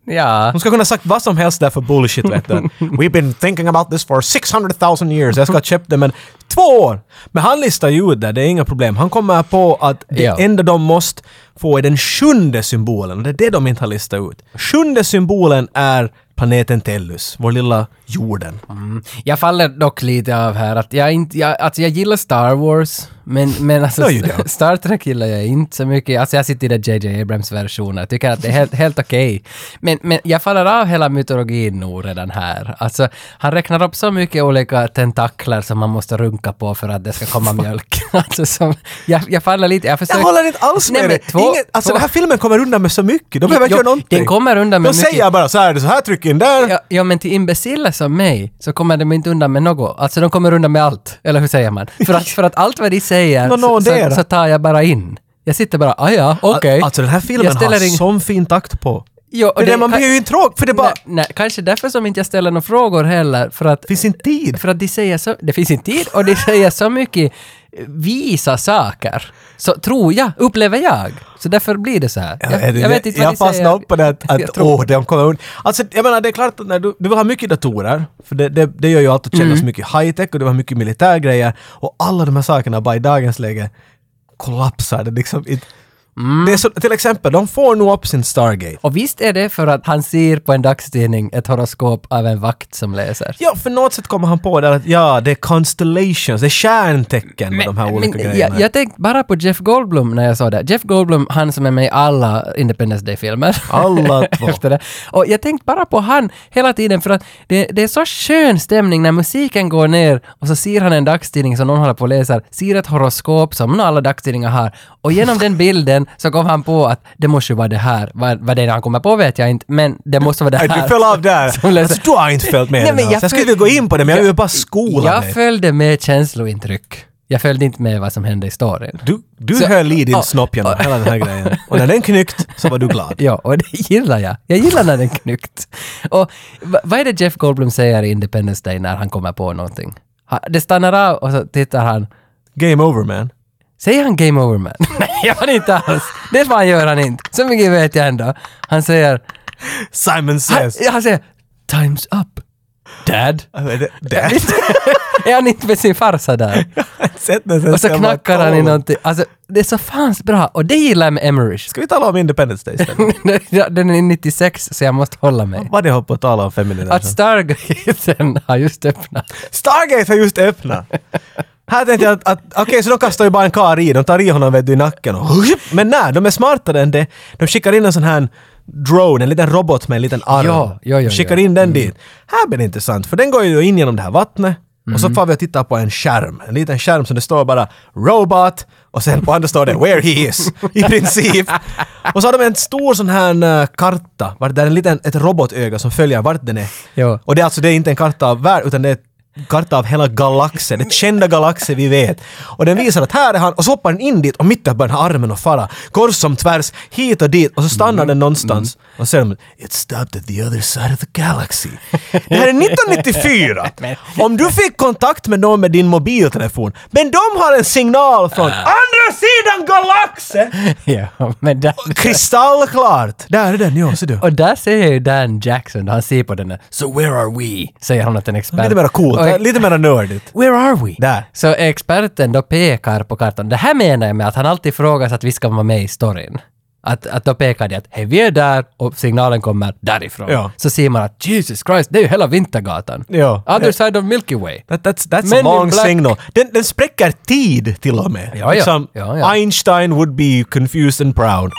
Speaker 2: Ja.
Speaker 3: De ska kunna ha sagt vad som helst där för bullshit vet du. We've been thinking about this for 600,000 years. Jag ska ha köpt det men två år! Men han listar ju ut det, det är inga problem. Han kommer på att det
Speaker 2: Ja.
Speaker 3: enda de måste få är den sjunde symbolen. Och det är det de inte har listat ut. Sjunde symbolen är planeten Tellus, vår lilla jorden.
Speaker 2: Jag faller dock lite av här att jag inte, jag, alltså jag gillar Star Wars, men, men alltså
Speaker 3: Ja, ju det.
Speaker 2: Star Trek gillar jag inte så mycket. Alltså jag sitter i den JJ Abrams-versionen, jag tycker att det är helt, helt okej. Men, men jag faller av hela mytologin nog redan här. Alltså han räknar upp så mycket olika tentakler som man måste runka på för att det ska komma mjölk. Alltså som, jag, jag faller lite, jag försöker...
Speaker 3: Jag håller inte alls med
Speaker 2: Nej, men
Speaker 3: dig! Inget- alltså
Speaker 2: två-
Speaker 3: den här filmen kommer undan med så mycket. De behöver inte
Speaker 2: Jo,
Speaker 3: göra någonting.
Speaker 2: den kommer undan med
Speaker 3: de
Speaker 2: mycket.
Speaker 3: säger bara så här, så här tryck in där.
Speaker 2: Ja, ja, men till imbeciller som mig så kommer de inte undan med något. Alltså de kommer undan med allt. Eller hur säger man? För att, för att allt vad de säger
Speaker 3: Nå, nå,
Speaker 2: så,
Speaker 3: det är det.
Speaker 2: så, så tar jag bara in. Jag sitter bara, ah ja, okej.
Speaker 3: Alltså den här filmen
Speaker 2: Jag ställer
Speaker 3: har
Speaker 2: ing-
Speaker 3: sån fin takt på.
Speaker 2: Jo, och
Speaker 3: det, är det, man
Speaker 2: kan-
Speaker 3: blir ju inte tråkig för det är bara...
Speaker 2: Nej, nej, kanske därför som inte jag ställer några frågor heller. För att,
Speaker 3: finns inte tid.
Speaker 2: för att de säger så... Det finns inte tid och de säger så mycket visa saker. Så tror jag, upplever jag. Så därför blir det så här. Jag,
Speaker 3: är det-
Speaker 2: jag vet inte vad
Speaker 3: jag
Speaker 2: de säger.
Speaker 3: fastnade upp på det att,
Speaker 2: Jag
Speaker 3: att
Speaker 2: tror-
Speaker 3: åh, de kommer undan. Alltså, jag menar, det är klart att när du, du vill ha mycket datorer, för det, det, det gör ju allt att kännas
Speaker 2: Mm.
Speaker 3: mycket high-tech och du vill ha mycket militärgrejer och alla de här sakerna bara i dagens läge kollapsar. Det liksom inte...
Speaker 2: Mm.
Speaker 3: Det är så, till exempel, de får nog upp sin Stargate.
Speaker 2: Och visst är det för att han ser på en dagstidning ett horoskop av en vakt som läser.
Speaker 3: Ja, för något sätt kommer han på där att ja, det är constellations, det är stjärntecken med de här olika grejerna.
Speaker 2: jag, jag tänkte bara på Jeff Goldblum när jag sa det. Jeff Goldblum, han som är med i alla Independence Day-filmer.
Speaker 3: Alla två.
Speaker 2: Efter det. Och jag tänkte bara på han hela tiden för att det, det är så skön stämning när musiken går ner och så ser han en dagstidning som någon håller på och läser, ser ett horoskop som alla dagstidningar har och genom den bilden så kom han på att det måste ju vara det här. Vad, vad det är han kommer på vet jag inte, men det måste vara det
Speaker 3: Nej,
Speaker 2: här.
Speaker 3: du föll av där.
Speaker 2: Som läser-
Speaker 3: Alltså, du har inte följt med
Speaker 2: Nej,
Speaker 3: den
Speaker 2: men
Speaker 3: alls.
Speaker 2: jag
Speaker 3: Jag skulle
Speaker 2: föl-
Speaker 3: vilja gå in på det, men jag
Speaker 2: Jag-
Speaker 3: vill bara skola
Speaker 2: Jag
Speaker 3: dig.
Speaker 2: följde med känslointryck. Jag följde inte med vad som hände i storyn.
Speaker 3: Du, du
Speaker 2: Så-
Speaker 3: höll i din
Speaker 2: Ja.
Speaker 3: snopp genom hela den här grejen. Och när den knyckt så var du glad.
Speaker 2: Ja, och det gillar jag. Jag gillar när den knyckt. Och va- vad är det Jeff Goldblum säger i Independence Day när han kommer på någonting? Ha- Det stannar av och så tittar han.
Speaker 3: Game over man.
Speaker 2: Säger han Game Over Man? Nej, gör han inte alls. Det fan gör han inte. Så mycket vet jag ändå. Han säger...
Speaker 3: Simon
Speaker 2: Han,
Speaker 3: says.
Speaker 2: han säger Time's up. Dad?
Speaker 3: Är det- det-
Speaker 2: är han inte med sin farsa där?
Speaker 3: Sätt den sen
Speaker 2: Och så
Speaker 3: ska jag bara
Speaker 2: knackar han i
Speaker 3: kolla.
Speaker 2: någonting. Alltså, det är så fans bra. Och det gillar jag med Emmerich.
Speaker 3: Ska vi tala om Independence Day istället?
Speaker 2: Ja, Den är 96, så jag måste hålla mig.
Speaker 3: Vad det höll på att tala om feminism.
Speaker 2: Att Stargaten har just öppnat.
Speaker 3: Stargate har just öppnat! Här tänkte jag att, att okej, så de kastar ju bara en kar i, de tar i honom vet du, i nacken och Men nej, de är smartare än det. De skickar in en sån här drone, en liten robot med en liten arm.
Speaker 2: Ja, ja, ja, Mm.
Speaker 3: de skickar
Speaker 2: ja.
Speaker 3: in den dit. Här blir det intressant, för den går ju in genom det här vattnet och
Speaker 2: Mm.
Speaker 3: så får vi och tittar på en skärm. En liten skärm som det står bara “Robot” och sen på andra står det “Where he is” i princip. Och så har de en stor sån här eh, karta, var det är en liten, ett robotöga som följer vart den är.
Speaker 2: Ja.
Speaker 3: Och det är alltså det är inte en karta av världen utan det är en karta av hela galaxen, det är kända galaxer vi vet. Och den visar att här är han och så hoppar den in dit och mitt där börjar den ha armen och fara kors som tvärs, hit och dit och så stannar
Speaker 2: Mm.
Speaker 3: den någonstans och sen “It stopped at the other side of the galaxy”. Det här är 1994! Om du fick kontakt med någon med din mobiltelefon, men de har en signal från
Speaker 2: Ah.
Speaker 3: andra sidan galaxen!
Speaker 2: Ja, men där,
Speaker 3: Kristallklart! Där är den, ja, ser du.
Speaker 2: och där säger ju Dan Jackson, han ser på den där “So where are we?” säger han åt en expert.
Speaker 3: Lite mer coolt,
Speaker 2: Och-
Speaker 3: lite mer nördigt.
Speaker 2: “Where are we?”
Speaker 3: Där.
Speaker 2: Så experten då pekar på kartan. Det här menar jag med att han alltid frågar så att vi ska vara med i storyn. Att, att då pekar de att hej, vi är där och signalen kommer därifrån.
Speaker 3: Ja.
Speaker 2: Så ser man att Jesus Christ, det är ju hela Vintergatan.
Speaker 3: Ja.
Speaker 2: Other side of Milky Way.
Speaker 3: That, that's that's
Speaker 2: Men
Speaker 3: a long
Speaker 2: in black-
Speaker 3: signal. Den, den spräcker tid till och med. Liksom,
Speaker 2: Ja, ja. Ja, ja.
Speaker 3: Einstein would be confused and proud.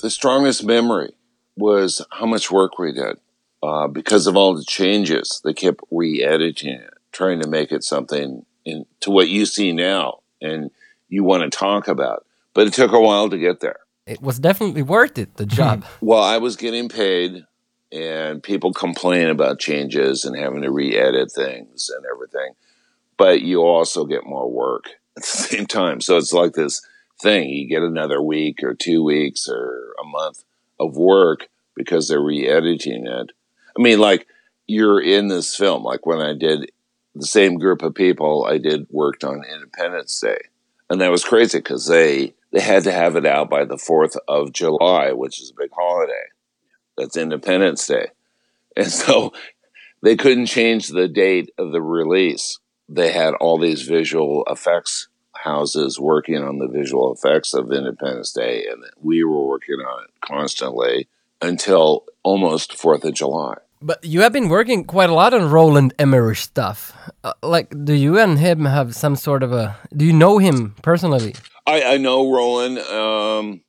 Speaker 4: The strongest memory was how much work we did uh, because of all the changes. They kept re editing it, trying to make it something in, to what you see now. And you want to talk about. But it took a while to get there.
Speaker 2: It was definitely worth it, the job.
Speaker 4: Well, I was getting paid, and people complain about changes and having to re edit things and everything. But you also get more work at the same time. So it's like this thing you get another week or two weeks or a month of work because they're re editing it. I mean, like you're in this film. Like when I did the same group of people I did worked on Independence Day and that was crazy because they they had to have it out by the fourth of July, which is a big holiday. That's Independence Day, and so they couldn't change the date of the release. They had all these visual effects houses working on the visual effects of Independence Day, and we were working on it constantly until almost Fourth of July.
Speaker 2: But you have been working quite a lot on Roland Emmerich stuff. Uh, like, do you and him have some sort of a? Do you know him personally?
Speaker 4: I, I know Roland. Um,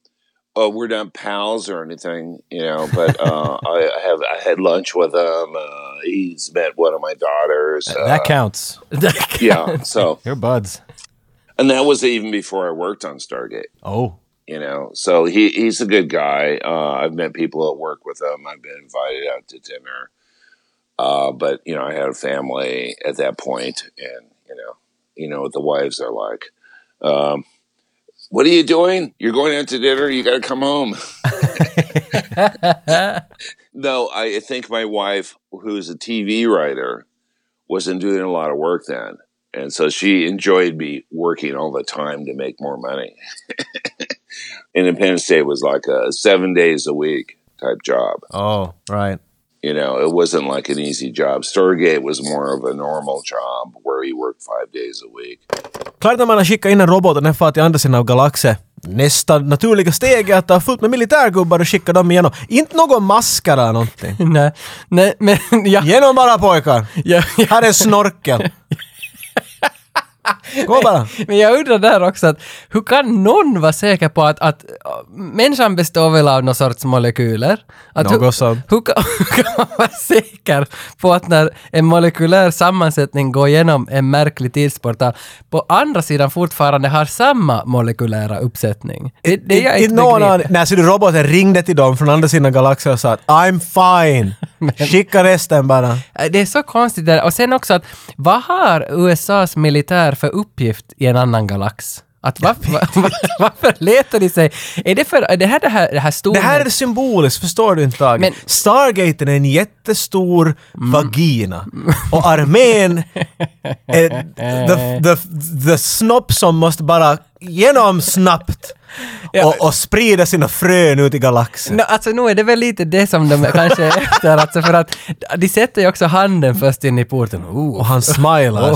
Speaker 4: uh, we're not pals or anything, you know, but uh, I, I have I had lunch with him. Uh, he's met one of my daughters. Uh,
Speaker 3: that counts.
Speaker 4: yeah, so
Speaker 3: You're buds.
Speaker 4: and that was even before I worked on Stargate.
Speaker 3: Oh.
Speaker 4: You know, so he he's a good guy. Uh, I've met people at work with him. I've been invited out to dinner, uh, but you know, I had a family at that point, and you know, you know what the wives are like. Um, what are you doing? You're going out to dinner. You got to come home. no, I think my wife, who's a TV writer, wasn't doing a lot of work then. And so she enjoyed me working all the time to make more money. Independence Day was like a seven days a week type job.
Speaker 3: Oh, right.
Speaker 4: You know, it wasn't like an easy job. Stargate was more of a normal job where you worked five days a week.
Speaker 3: Klart när man har skickat in en robot och den far till andra sidan av galaxen. Nästa naturliga steg är att ta fullt med militärgubbar och skicka dem igenom. Inte någon masker eller någonting.
Speaker 2: nej, nej, men ja,
Speaker 3: Genom bara pojkar!
Speaker 2: ja, ja.
Speaker 3: Här är snorkel. Gå bara.
Speaker 2: Men jag undrar där också att hur kan någon vara säker på att, att äh, människan består väl av någon sorts molekyler? Att
Speaker 3: Något
Speaker 2: hur,
Speaker 3: sånt.
Speaker 2: Hur kan, hur kan man vara säker på att när en molekylär sammansättning går igenom en märklig tidsportal på andra sidan fortfarande har samma molekylära uppsättning? Det, det jag
Speaker 3: Inte
Speaker 2: inte
Speaker 3: någon
Speaker 2: begriper.
Speaker 3: aning. Nej, så du roboten ringde till dem från andra sidan galaxen och sa att I'm fine. Skicka resten bara.
Speaker 2: Äh, Det är så konstigt där. Och sen också att vad har USAs militär för uppgift i en annan galax? Att var, var, var, varför letar de sig? Är det för, är det här det här, det här stora...
Speaker 3: Det här är symboliskt, förstår du inte Tage?
Speaker 2: Men- Mm.
Speaker 3: Stargaten är en jättestor vagina. Och armén är the, the, the snopp som måste bara genom snabbt och, och sprida sina frön ut i galaxen.
Speaker 2: Nå, alltså nu är det väl lite det som de kanske är efter, alltså för att de sätter ju också handen först in i porten. Oh.
Speaker 3: Och han smilar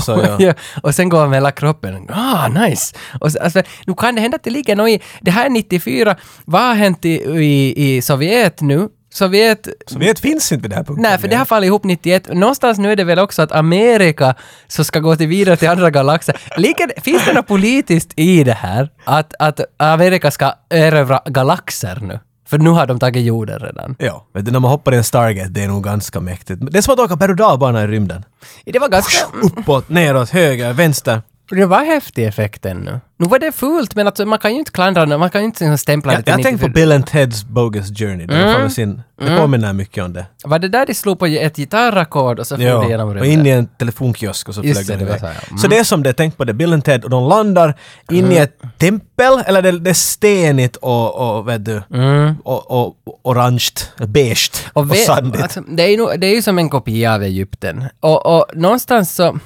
Speaker 3: så ja.
Speaker 2: Ja, och sen går han med hela kroppen. Ah, nice! Och, så- alltså, nu kan det hända att det ligger något i... Det här är 94. Vad har hänt i, i, i Sovjet nu? Sovjet
Speaker 3: Så vet finns inte vid det här punkten.
Speaker 2: Nej, för det har fallit ihop 91. Någonstans nu är det väl också att Amerika som ska gå till vidare till andra galaxer. Ligger, finns det något politiskt i det här? Att, att Amerika ska erövra galaxer nu? För nu har de tagit jorden redan.
Speaker 3: Ja, vet du när man hoppar i en Stargate, det är nog ganska mäktigt. Det är som att åka berg och dalbana i rymden.
Speaker 2: Det var ganska...
Speaker 3: Mm. Uppåt, neråt, höger, vänster.
Speaker 2: Det var häftig effekt ännu. Nu var det fult, men alltså, man kan ju inte klandra någon, man kan ju inte liksom stämpla
Speaker 3: Jag,
Speaker 2: det till
Speaker 3: jag tänkte på
Speaker 2: 94.
Speaker 3: Bill and Ted's Bogus Journey. Det,
Speaker 2: Mm.
Speaker 3: var fan med sin, det påminner mycket om det.
Speaker 2: Var det där de slog på ett gitarrackord och så for det genom
Speaker 3: och in
Speaker 2: rymden?
Speaker 3: i en telefonkiosk och så
Speaker 2: Just
Speaker 3: flög
Speaker 2: det, det
Speaker 3: den
Speaker 2: var
Speaker 3: iväg.
Speaker 2: så, ja. Mm.
Speaker 3: Så det är som det, tänk på det, Bill and Ted, och de landar in i ett tempel, eller det, det är stenigt och, och vet du, och, och, och orange, beige och,
Speaker 2: Mm. ve-
Speaker 3: sandigt.
Speaker 2: alltså, det, är ju, det är ju som en kopia av Egypten. Och, och någonstans så...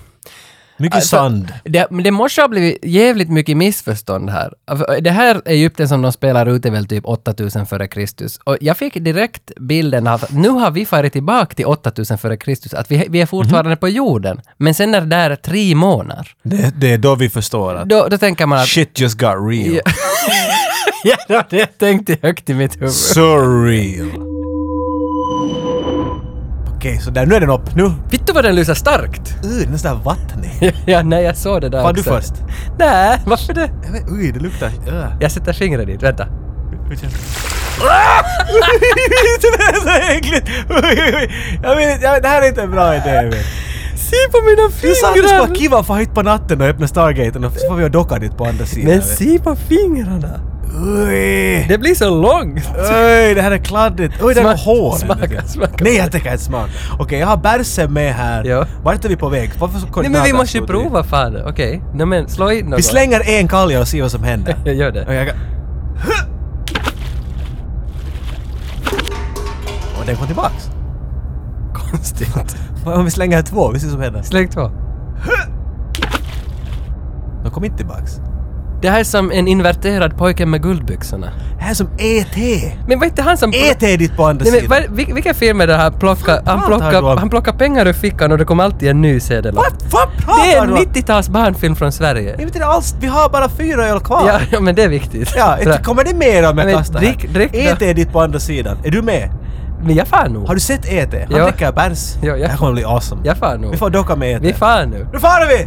Speaker 3: mycket
Speaker 2: alltså-
Speaker 3: sand.
Speaker 2: Det, men det måste ha blivit jävligt mycket missförstånd här. För Det här Egypten som de spelar ut är väl typ 8000 före Kristus. Och jag fick direkt bilden av att nu har vi farit tillbaka till 8000 före Kristus, att vi, vi är fortfarande på jorden. Men sen är det där tre månader.
Speaker 3: Det, det är då vi förstår att
Speaker 2: Då, då tänker man att...
Speaker 3: shit just got real.
Speaker 2: ja, det var det jag tänkte högt i mitt huvud.
Speaker 3: So real. Okej, så där, nu är den upp. Nu,
Speaker 2: Vittu vad den lyser starkt!
Speaker 3: uh, den är sådär vattnig.
Speaker 2: ja, nej, jag såg det där
Speaker 3: Var du
Speaker 2: också.
Speaker 3: först?
Speaker 2: Nej, varför det?
Speaker 3: Jag vet, Oj, det luktar... Uh.
Speaker 2: Jag sätter fingret dit, vänta.
Speaker 3: det är så äckligt! Oj, oj, oj. Jag vet, inte, jag vet, det här är inte en bra idé. Emil.
Speaker 2: se på mina
Speaker 3: Du sa att du skulle
Speaker 2: fingrar!
Speaker 3: kiva för hit på natten och öppna Stargaten och så får vi ha dockan dit på andra sidan.
Speaker 2: Men se på fingrarna!
Speaker 3: Oj!
Speaker 2: Det blir så långt!
Speaker 3: Oj, det här är kladdigt. Oj, det här var
Speaker 2: Smak-
Speaker 3: hål.
Speaker 2: smaka, smaka.
Speaker 3: Nej, jag tänker inte smaka. Okej, jag har bärsen med här.
Speaker 2: Ja.
Speaker 3: Vart är vi på väg? Varför så
Speaker 2: Nej men vi måste ju prova fan. Okej, Nå, men slå in något.
Speaker 3: Vi slänger en kalja och ser vad som händer.
Speaker 2: Jag gör det.
Speaker 3: Och jag... Och den kom tillbaks.
Speaker 2: Konstigt.
Speaker 3: Vad Om vi slänger två, vi ser vad som händer.
Speaker 2: Släng två.
Speaker 3: De kom inte tillbaks.
Speaker 2: Det här är som en inverterad pojke med guldbyxorna.
Speaker 3: Det här är som E E.T.
Speaker 2: Men var inte han som...
Speaker 3: E.T. är ditt på andra
Speaker 2: Nej, men,
Speaker 3: sidan.
Speaker 2: vad- vil, vilken film är det här? Plocka, han,
Speaker 3: pratar du om?
Speaker 2: plockar, han plockar pengar ur fickan och det kom alltid en ny sedel.
Speaker 3: Vad vad pratar
Speaker 2: Det är en
Speaker 3: du om?
Speaker 2: 90-tals barnfilm från Sverige.
Speaker 3: Det är inte alls, vi har bara fyra öl kvar.
Speaker 2: Ja, ja, men det är viktigt.
Speaker 3: Ja,
Speaker 2: Så-
Speaker 3: inte kommer det mer om jag
Speaker 2: Men
Speaker 3: kastar
Speaker 2: drick-
Speaker 3: här?
Speaker 2: drick då.
Speaker 3: E.T. är ditt på andra sidan. Är du med?
Speaker 2: men jag far nog.
Speaker 3: Har du sett E.T.? Han
Speaker 2: Ja.
Speaker 3: dricker bärs.
Speaker 2: Ja, jag-
Speaker 3: Det här kommer bli awesome.
Speaker 2: Jag far nog.
Speaker 3: Vi får docka med E E.T.
Speaker 2: Vi far nu.
Speaker 3: Nu far vi!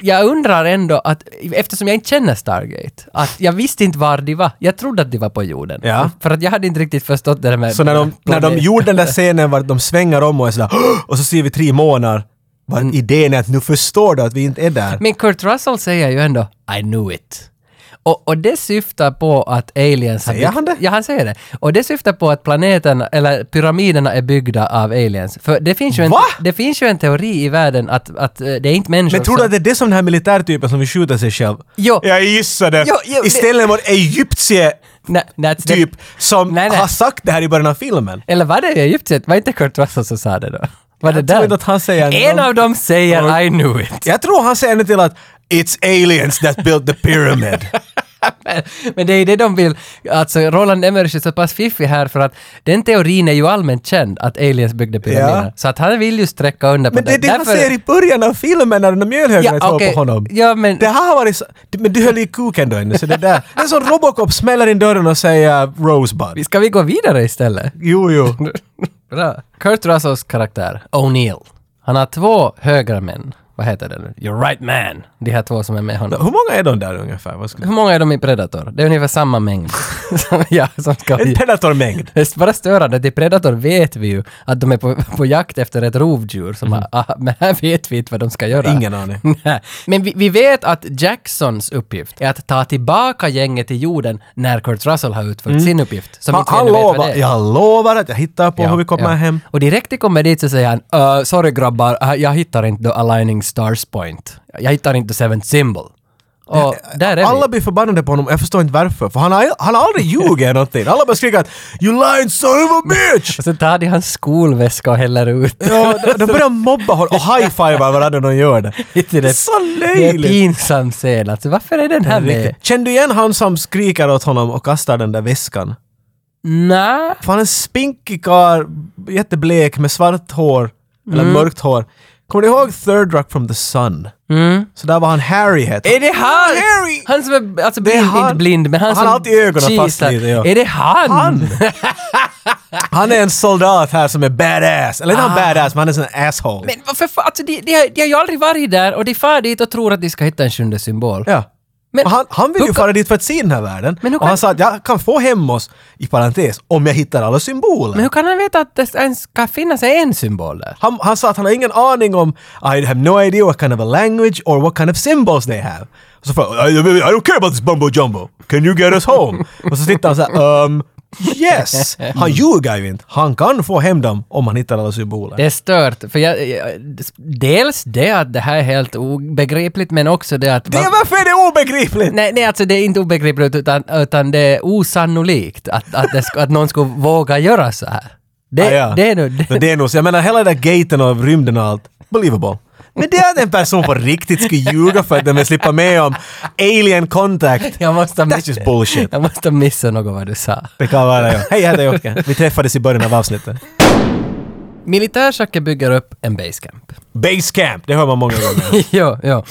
Speaker 2: Jag undrar ändå att, eftersom jag inte känner Stargate, att jag visste inte var de var. Jag trodde att de var på jorden.
Speaker 3: Ja.
Speaker 2: För att jag hade inte riktigt förstått det där med...
Speaker 3: Så när de, när de
Speaker 2: planet.
Speaker 3: gjorde den där scenen var de svänger om och är sådär "Åh!" och så ser vi tre månader. Var idén är att nu förstår du att vi inte är där.
Speaker 2: Mm. Men Kurt Russell säger ju ändå I knew it. Och, och det syftar på att aliens... har
Speaker 3: Säger
Speaker 2: byggt-
Speaker 3: han det?
Speaker 2: Ja, han säger det. Och det syftar på att planeterna, eller pyramiderna är byggda av aliens. För det finns ju en,
Speaker 3: Va?
Speaker 2: det finns ju en teori i världen att, att eh, det är inte människor
Speaker 3: Men tror du
Speaker 2: som-
Speaker 3: att det är det som den här militärtypen som vill skjuta sig själv?
Speaker 2: Jo.
Speaker 3: Jag gissade!
Speaker 2: Jo, jo, det-
Speaker 3: Istället var det egyptier
Speaker 2: Nej, nej, det-
Speaker 3: typ som
Speaker 2: Nej, nej.
Speaker 3: har sagt det här i början av filmen.
Speaker 2: Eller var det i Egyptiet? Var inte Kurt Russell som sa det då? Var det
Speaker 3: Jag tror
Speaker 2: där?
Speaker 3: inte att han säger
Speaker 2: en
Speaker 3: någon-
Speaker 2: av dem säger
Speaker 3: Or-
Speaker 2: I knew it.
Speaker 3: Jag tror han säger något till att It's aliens that built the pyramid.
Speaker 2: Men- Men det är det de vill. Alltså Roland Emmerich är så pass fiffig här för att den teorin är ju allmänt känd att aliens byggde pyramiderna.
Speaker 3: Ja.
Speaker 2: Så att han vill ju sträcka under på
Speaker 3: Men det är det han säger i början av filmen när de där mjölhögarna
Speaker 2: Ja,
Speaker 3: tror
Speaker 2: okej.
Speaker 3: på honom.
Speaker 2: Ja, men-
Speaker 3: Det här har varit så... Men du höll i kuken då ännu, så det där... Det är som Robocop smäller in dörren och säger Rosebud.
Speaker 2: Ska vi gå vidare istället?
Speaker 3: Jo, jo.
Speaker 2: Bra. Kurt Russells karaktär, O'Neill. Han har två högra män. Vad heter det nu? You're right man. De här två som är med honom.
Speaker 3: Hur många är de där ungefär? Vad skulle...
Speaker 2: Hur många är de i Predator? Det är ungefär samma mängd. som, ja, som ska
Speaker 3: En predatormängd.
Speaker 2: Det är bara störande, till Predator vet vi ju att de är på, på jakt efter ett rovdjur som har, ah, men här vet vi inte vad de ska göra.
Speaker 3: Mhm. Ingen aning.
Speaker 2: Nej. men vi, vi vet att Jacksons uppgift är att ta tillbaka gänget till jorden när Kurt Russell har utfört sin uppgift. Som
Speaker 3: Han,
Speaker 2: inte vi
Speaker 3: Mm. han
Speaker 2: ännu vet vad
Speaker 3: lovar,
Speaker 2: det är.
Speaker 3: jag lovar att jag hittar på
Speaker 2: Ja,
Speaker 3: hur vi kommer
Speaker 2: ja.
Speaker 3: hem.
Speaker 2: Och direkt de kommer dit så säger han "Uh, “Sorry grabbar, uh, jag hittar inte the aligning stars point. Jag hittar inte the seventh symbol”. Och där är
Speaker 3: Alla
Speaker 2: vi.
Speaker 3: blir förbannade på honom, jag förstår inte varför. För han har, han har aldrig ljugit eller någonting. Alla bara skriker att “You lying son of a bitch!”
Speaker 2: Och så tar de hans skolväska och häller ut.
Speaker 3: Ja, de, de börjar mobba honom och high-fivar varandra när de gör det.
Speaker 2: Det
Speaker 3: Det är
Speaker 2: är-
Speaker 3: så
Speaker 2: Det är
Speaker 3: löjligt!
Speaker 2: pinsam scen alltså. Varför är den här med?
Speaker 3: Känner du igen han som skriker åt honom och kastar den där väskan?
Speaker 2: Nej.
Speaker 3: För han är en spinkig karl, jätteblek med svart hår, eller
Speaker 2: Mm.
Speaker 3: mörkt hår. Kommer du ihåg Third Rock from the Sun? Så där var han Harry hette
Speaker 2: Mm. Är det han?
Speaker 3: Harry!
Speaker 2: Han som är alltså
Speaker 3: Det är
Speaker 2: blind,
Speaker 3: han.
Speaker 2: inte blind, men han,
Speaker 3: Han
Speaker 2: som...
Speaker 3: har alltid ögonen fast
Speaker 2: Jesus.
Speaker 3: lite, ja.
Speaker 2: Är det han?
Speaker 3: Han! han är en soldat här som är badass. Eller inte han badass, men han är en sån här asshole.
Speaker 2: Ah. Men varför fa- alltså de, de, har- de har ju aldrig varit där och de far dit och tror att de ska hitta en sjunde symbol.
Speaker 3: Ja.
Speaker 2: Men-
Speaker 3: och han, han vill
Speaker 2: hur
Speaker 3: ju
Speaker 2: kan-
Speaker 3: fara dit för att se den här världen.
Speaker 2: Men hur
Speaker 3: och han
Speaker 2: kan-
Speaker 3: sa att jag kan få hem oss, i parentes, om jag hittar alla symboler.
Speaker 2: Men hur kan han veta att det ens ska finnas en symbol där?
Speaker 3: Han, han sa att han har ingen aning om I have no idea what kind of a language or what kind of symbols they have. Och så frågade I, I don't care about this bumbo jumbo. Can you get us home? Och så tittar han så här, um, yes! Han ljuger ju inte. Han kan få hem dem om han hittar alla symboler.
Speaker 2: Det är stört, för jag, jag, dels det att det här är helt obegripligt, men också det att...
Speaker 3: Det är varför är det obegripligt?
Speaker 2: Nej, nej, alltså det är inte obegripligt utan, utan det är osannolikt att, att, det, sk- att någon skulle våga göra så här. Det,
Speaker 3: Ah, ja.
Speaker 2: det är nu... Det,
Speaker 3: Men det är nog så. Jag menar hela den där gaten och rymden och allt. Believable. Men det är att en person på riktigt ska ljuga för att den vill slippa med om alien contact.
Speaker 2: jag måste ha
Speaker 3: That's just bullshit.
Speaker 2: Jag måste ha missat något vad du sa.
Speaker 3: Det kan vara jag. Hej, jag heter Jocke. Vi träffades i början av avsnittet.
Speaker 2: Militärschacket bygger upp en basecamp.
Speaker 3: Base camp, det hör man många gånger.
Speaker 2: jo, jo.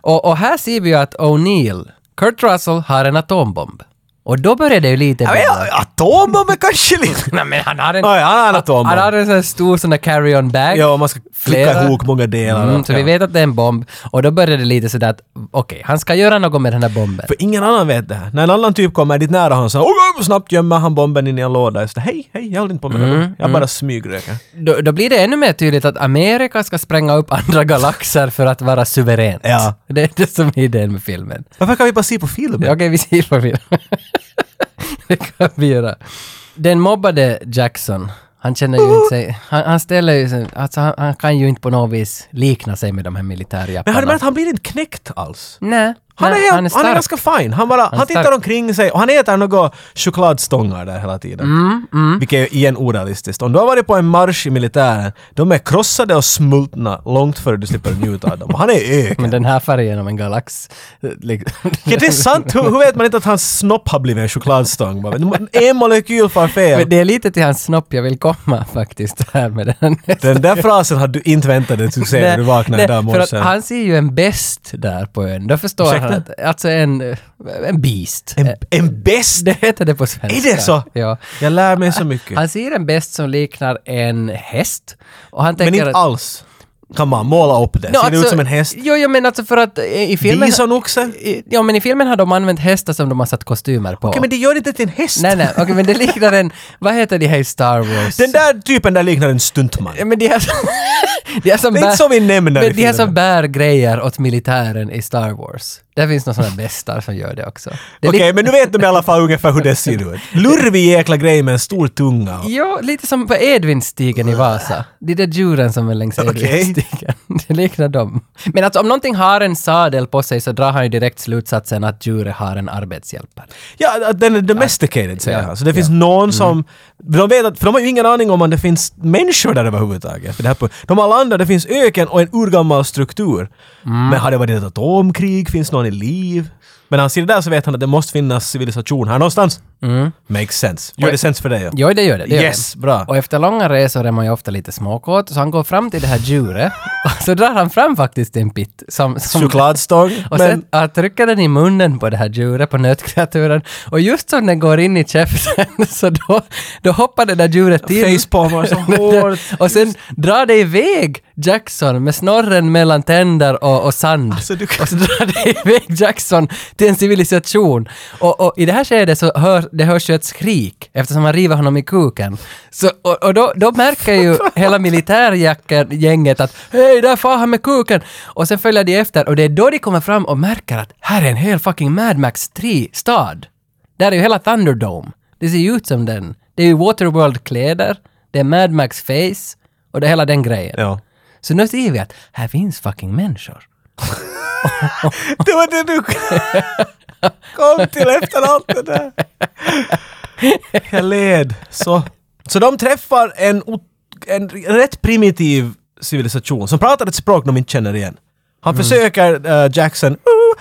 Speaker 2: Och, och här ser vi ju att O'Neill, Kurt Russell, har en atombomb. Och då börjar det ju lite...
Speaker 3: Ja,
Speaker 2: bubbla.
Speaker 3: men, atombomben kanske lite...
Speaker 2: Nej men han har en...
Speaker 3: Nej, han har en atombomb.
Speaker 2: Han har en sån här stor sån där carry-on bag.
Speaker 3: Ja, man ska
Speaker 2: Flera.
Speaker 3: klicka ihop många delar.
Speaker 2: Mm, så vi
Speaker 3: Ja.
Speaker 2: vet att det är en bomb. Och då börjar det lite sådär att okej, han ska göra något med den här bomben.
Speaker 3: För ingen annan vet det här. När en annan typ kommer dit nära han så här, "Åh, snabbt gömmer han bomben in i en låda. Jag säger, hej, hej, jag håller inte på med
Speaker 2: Mm,
Speaker 3: det. Jag bara smygröker.
Speaker 2: Då, då blir det ännu mer tydligt att Amerika ska spränga upp andra galaxer för att vara suveränt.
Speaker 3: Ja.
Speaker 2: Det är det som är idén med filmen.
Speaker 3: Varför kan vi bara se på film?
Speaker 2: Ja, Okej, vi ser på film. det kan vi göra. Den mobbade Jackson, han känner ju inte sig... Han, han ställer ju sig... Alltså han, han kan ju inte på något vis likna sig med de här
Speaker 3: Men har
Speaker 2: militärjapparna.
Speaker 3: du märkt att han blir inte knäckt alls?
Speaker 2: Nej.
Speaker 3: Han är,
Speaker 2: nej,
Speaker 3: helt,
Speaker 2: han är stark.
Speaker 3: ganska fin. Han, bara, han,
Speaker 2: är
Speaker 3: tittar
Speaker 2: stark.
Speaker 3: omkring sig och han äter några chokladstångar där hela tiden.
Speaker 2: Mm,
Speaker 3: Vilket är igen orealistiskt. Om du har varit på en marsch i militären, de är krossade och smultna långt före du slipper njuta av dem. Och Han är öken.
Speaker 2: Men den här färgen genom en galax. liksom.
Speaker 3: Ja, det är sant! Hur, hur vet man inte att hans snopp har blivit en chokladstång? Bara, En molekyl far
Speaker 2: Men
Speaker 3: fel.
Speaker 2: det är lite till hans snopp jag vill komma faktiskt här med den.
Speaker 3: Den där frasen hade du inte väntat dig att du skulle säga när du vaknade
Speaker 2: Nej,
Speaker 3: idag
Speaker 2: för att
Speaker 3: morse.
Speaker 2: han ser ju en best där på ön. Då förstår
Speaker 3: Ursäkta?
Speaker 2: han att, alltså en, eh, en beast.
Speaker 3: En, en bäst!
Speaker 2: Det heter det på svenska.
Speaker 3: Är det så?
Speaker 2: Ja.
Speaker 3: Jag lär mig så mycket.
Speaker 2: Han ser en best som liknar en häst. Och han tänker
Speaker 3: Men inte
Speaker 2: att-
Speaker 3: alls. Kan man måla upp det?
Speaker 2: Nå,
Speaker 3: Ser det ut
Speaker 2: alltså,
Speaker 3: som en häst?
Speaker 2: Jo, jo, men alltså för att eh, i filmen...
Speaker 3: Bisonoxe?
Speaker 2: I- Ja, men i filmen har de använt hästar som de har satt kostymer på.
Speaker 3: Okej, men det gör det inte till en häst.
Speaker 2: Nej, nej, okej, men det liknar en... Vad heter de här i Star Wars?
Speaker 3: Den där typen där liknar en stuntman.
Speaker 2: Ja, men de här som... de här som
Speaker 3: Det är inte som vi nämner i
Speaker 2: Men de här
Speaker 3: filmen.
Speaker 2: som bär grejer åt militären i Star Wars. Där finns några sådana bestar som gör det också. Det är
Speaker 3: Okej,
Speaker 2: li-
Speaker 3: men nu vet de i alla fall ungefär hur det ser ut. Lurvig jäkla grej med en stor tunga.
Speaker 2: Ja, lite som på Edvinstigen i Vasa. Det är där djuren som är längs Edvinstigen. Det liknar dem. Men alltså om någonting har en sadel på sig så drar han ju direkt slutsatsen att djuret har en arbetshjälpare.
Speaker 3: Ja, att den är domesticated säger
Speaker 2: Ja. Mm.
Speaker 3: han. Så det finns någon som... De vet att, för de har ju ingen aning om om det finns människor där överhuvudtaget. För det här på, de har landat, det finns öken och en urgammal struktur.
Speaker 2: Mm.
Speaker 3: Men har det varit ett atomkrig? Finns någon i liv? Men när han ser det där så vet han att det måste finnas civilisation här någonstans.
Speaker 2: Mm.
Speaker 3: Makes sense. Gör det sense för dig? Ja.
Speaker 2: Jo, det gör det. det gör
Speaker 3: Yes,
Speaker 2: det.
Speaker 3: bra.
Speaker 2: Och efter långa resor är man ju ofta lite småkåt, så han går fram till det här djuret och så drar han fram faktiskt en bit som... som
Speaker 3: Chokladstång.
Speaker 2: Och
Speaker 3: men-
Speaker 2: sen ja, trycker den i munnen på det här djuret, på nötkreaturen. Och just som den går in i käften så då, då hoppar det där djuret till.
Speaker 3: Facepalmar så hårt.
Speaker 2: och sen drar det iväg Jackson med snorren mellan tänder och, och sand.
Speaker 3: Alltså, du kan-
Speaker 2: Och så drar det iväg Jackson till en civilisation. Och, och i det här skedet så hör, det hörs ju ett skrik eftersom man river honom i kuken. Så, och och då, då märker ju hela militärgänget att hej, där far han med kuken! Och sen följer de efter och det är då de kommer fram och märker att här är en hel fucking Mad Max 3-stad. Där är ju hela Thunderdome. Det ser ju ut som den. Det är ju Waterworld-kläder, det är Mad Max face och det är hela den grejen.
Speaker 3: Ja.
Speaker 2: Så nu ser vi att här finns fucking människor.
Speaker 3: Det var det du kom till efter allt det där. Jag led. Så, så de träffar en, o- en rätt primitiv civilisation som pratar ett språk de inte känner igen. Han försöker eh, Jackson uh,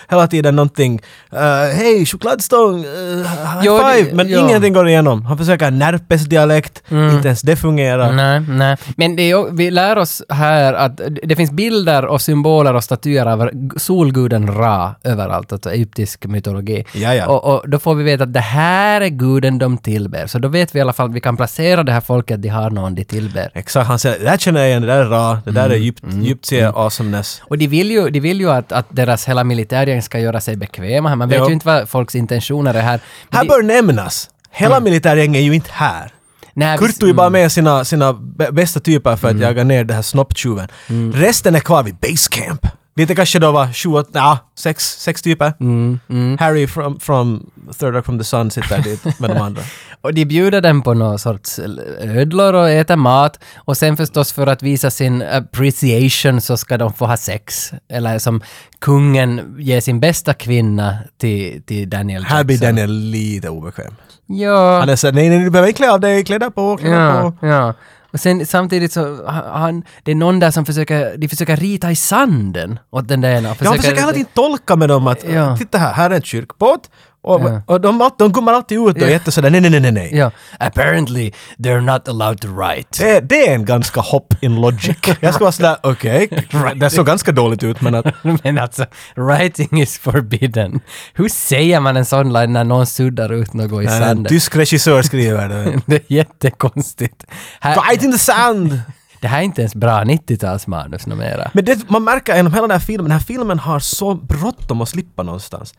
Speaker 3: hela tiden någonting. eh, Hej, chokladstång, uh, high
Speaker 2: Jo, det-
Speaker 3: five. Men
Speaker 2: ja.
Speaker 3: ingenting går igenom. Han försöker närpesdialekt. Inte ens det fungerar.
Speaker 2: Nej, nej. Men det är, ju- vi lär oss här att det finns bilder och symboler och statyer av solguden Ra överallt, alltså egyptisk mytologi.
Speaker 3: Ja, ja.
Speaker 2: Och, och då får vi veta att det här är guden de tillber. Så då vet vi i alla fall att vi kan placera det här folket, de har någon de tillber.
Speaker 3: Exakt, han säger det där känner jag igen, det där är ra, det där är djupt, djupt ser awesomeness.
Speaker 2: Och de vill ju, de vill ju att, att deras hela militärgäng ska göra sig bekväma här. Man vet
Speaker 3: Ja.
Speaker 2: ju inte vad folks intentioner är här. Men
Speaker 3: Här
Speaker 2: de-
Speaker 3: bör nämnas,
Speaker 2: Mm.
Speaker 3: hela militärgänget är ju inte här.
Speaker 2: nej, vi-
Speaker 3: Kurttu är bara med sina, sina bä- bästa typer
Speaker 2: Mm.
Speaker 3: för att jaga ner den här snopptjuven. Resten är kvar vid basecamp. Lite kanske då var sju, åt- ja, sex, sex typer.
Speaker 2: Mm,
Speaker 3: Harry from, from Third Rock from the Sun sitter dit med de andra.
Speaker 2: Och de bjuder den på någon sorts ödlor och äter mat. Och sen förstås för att visa sin appreciation så ska de få ha sex. Eller som kungen ger sin bästa kvinna till, till Daniel Jackson.
Speaker 3: Här blir Daniel lite obekväm.
Speaker 2: Ja.
Speaker 3: Han är såhär, nej, nej, du behöver inte klä av dig, klä dig på, klä dig
Speaker 2: Ja,
Speaker 3: på.
Speaker 2: ja. Och sen samtidigt så, ha- han, det är någon där som försöker, de försöker rita i sanden åt den där ena.
Speaker 3: Ja, han försöker hela tiden tolka med dem att
Speaker 2: Ja.
Speaker 3: titta här, här är en kyrkbåt Och,
Speaker 2: Ja.
Speaker 3: och de, all- de gummar alltid ut och är jätte sådär nej, nej, nej, nej, nej.
Speaker 2: Ja. Apparently they're not allowed to write.
Speaker 3: Det, det är en ganska hopp in logic. Jag ska vara sådär, okej, det såg ganska dåligt ut men att
Speaker 2: Men alltså, writing is forbidden. Hur säger man en sån line när någon suddar ut något i
Speaker 3: en
Speaker 2: sanden?
Speaker 3: tysk regissör skriver det.
Speaker 2: Det är jättekonstigt. Här,
Speaker 3: Right in the sand!
Speaker 2: det här är inte ens bra 90-talsmanus numera.
Speaker 3: Men det, man märker genom hela den här filmen, den här filmen har så bråttom att slippa någonstans.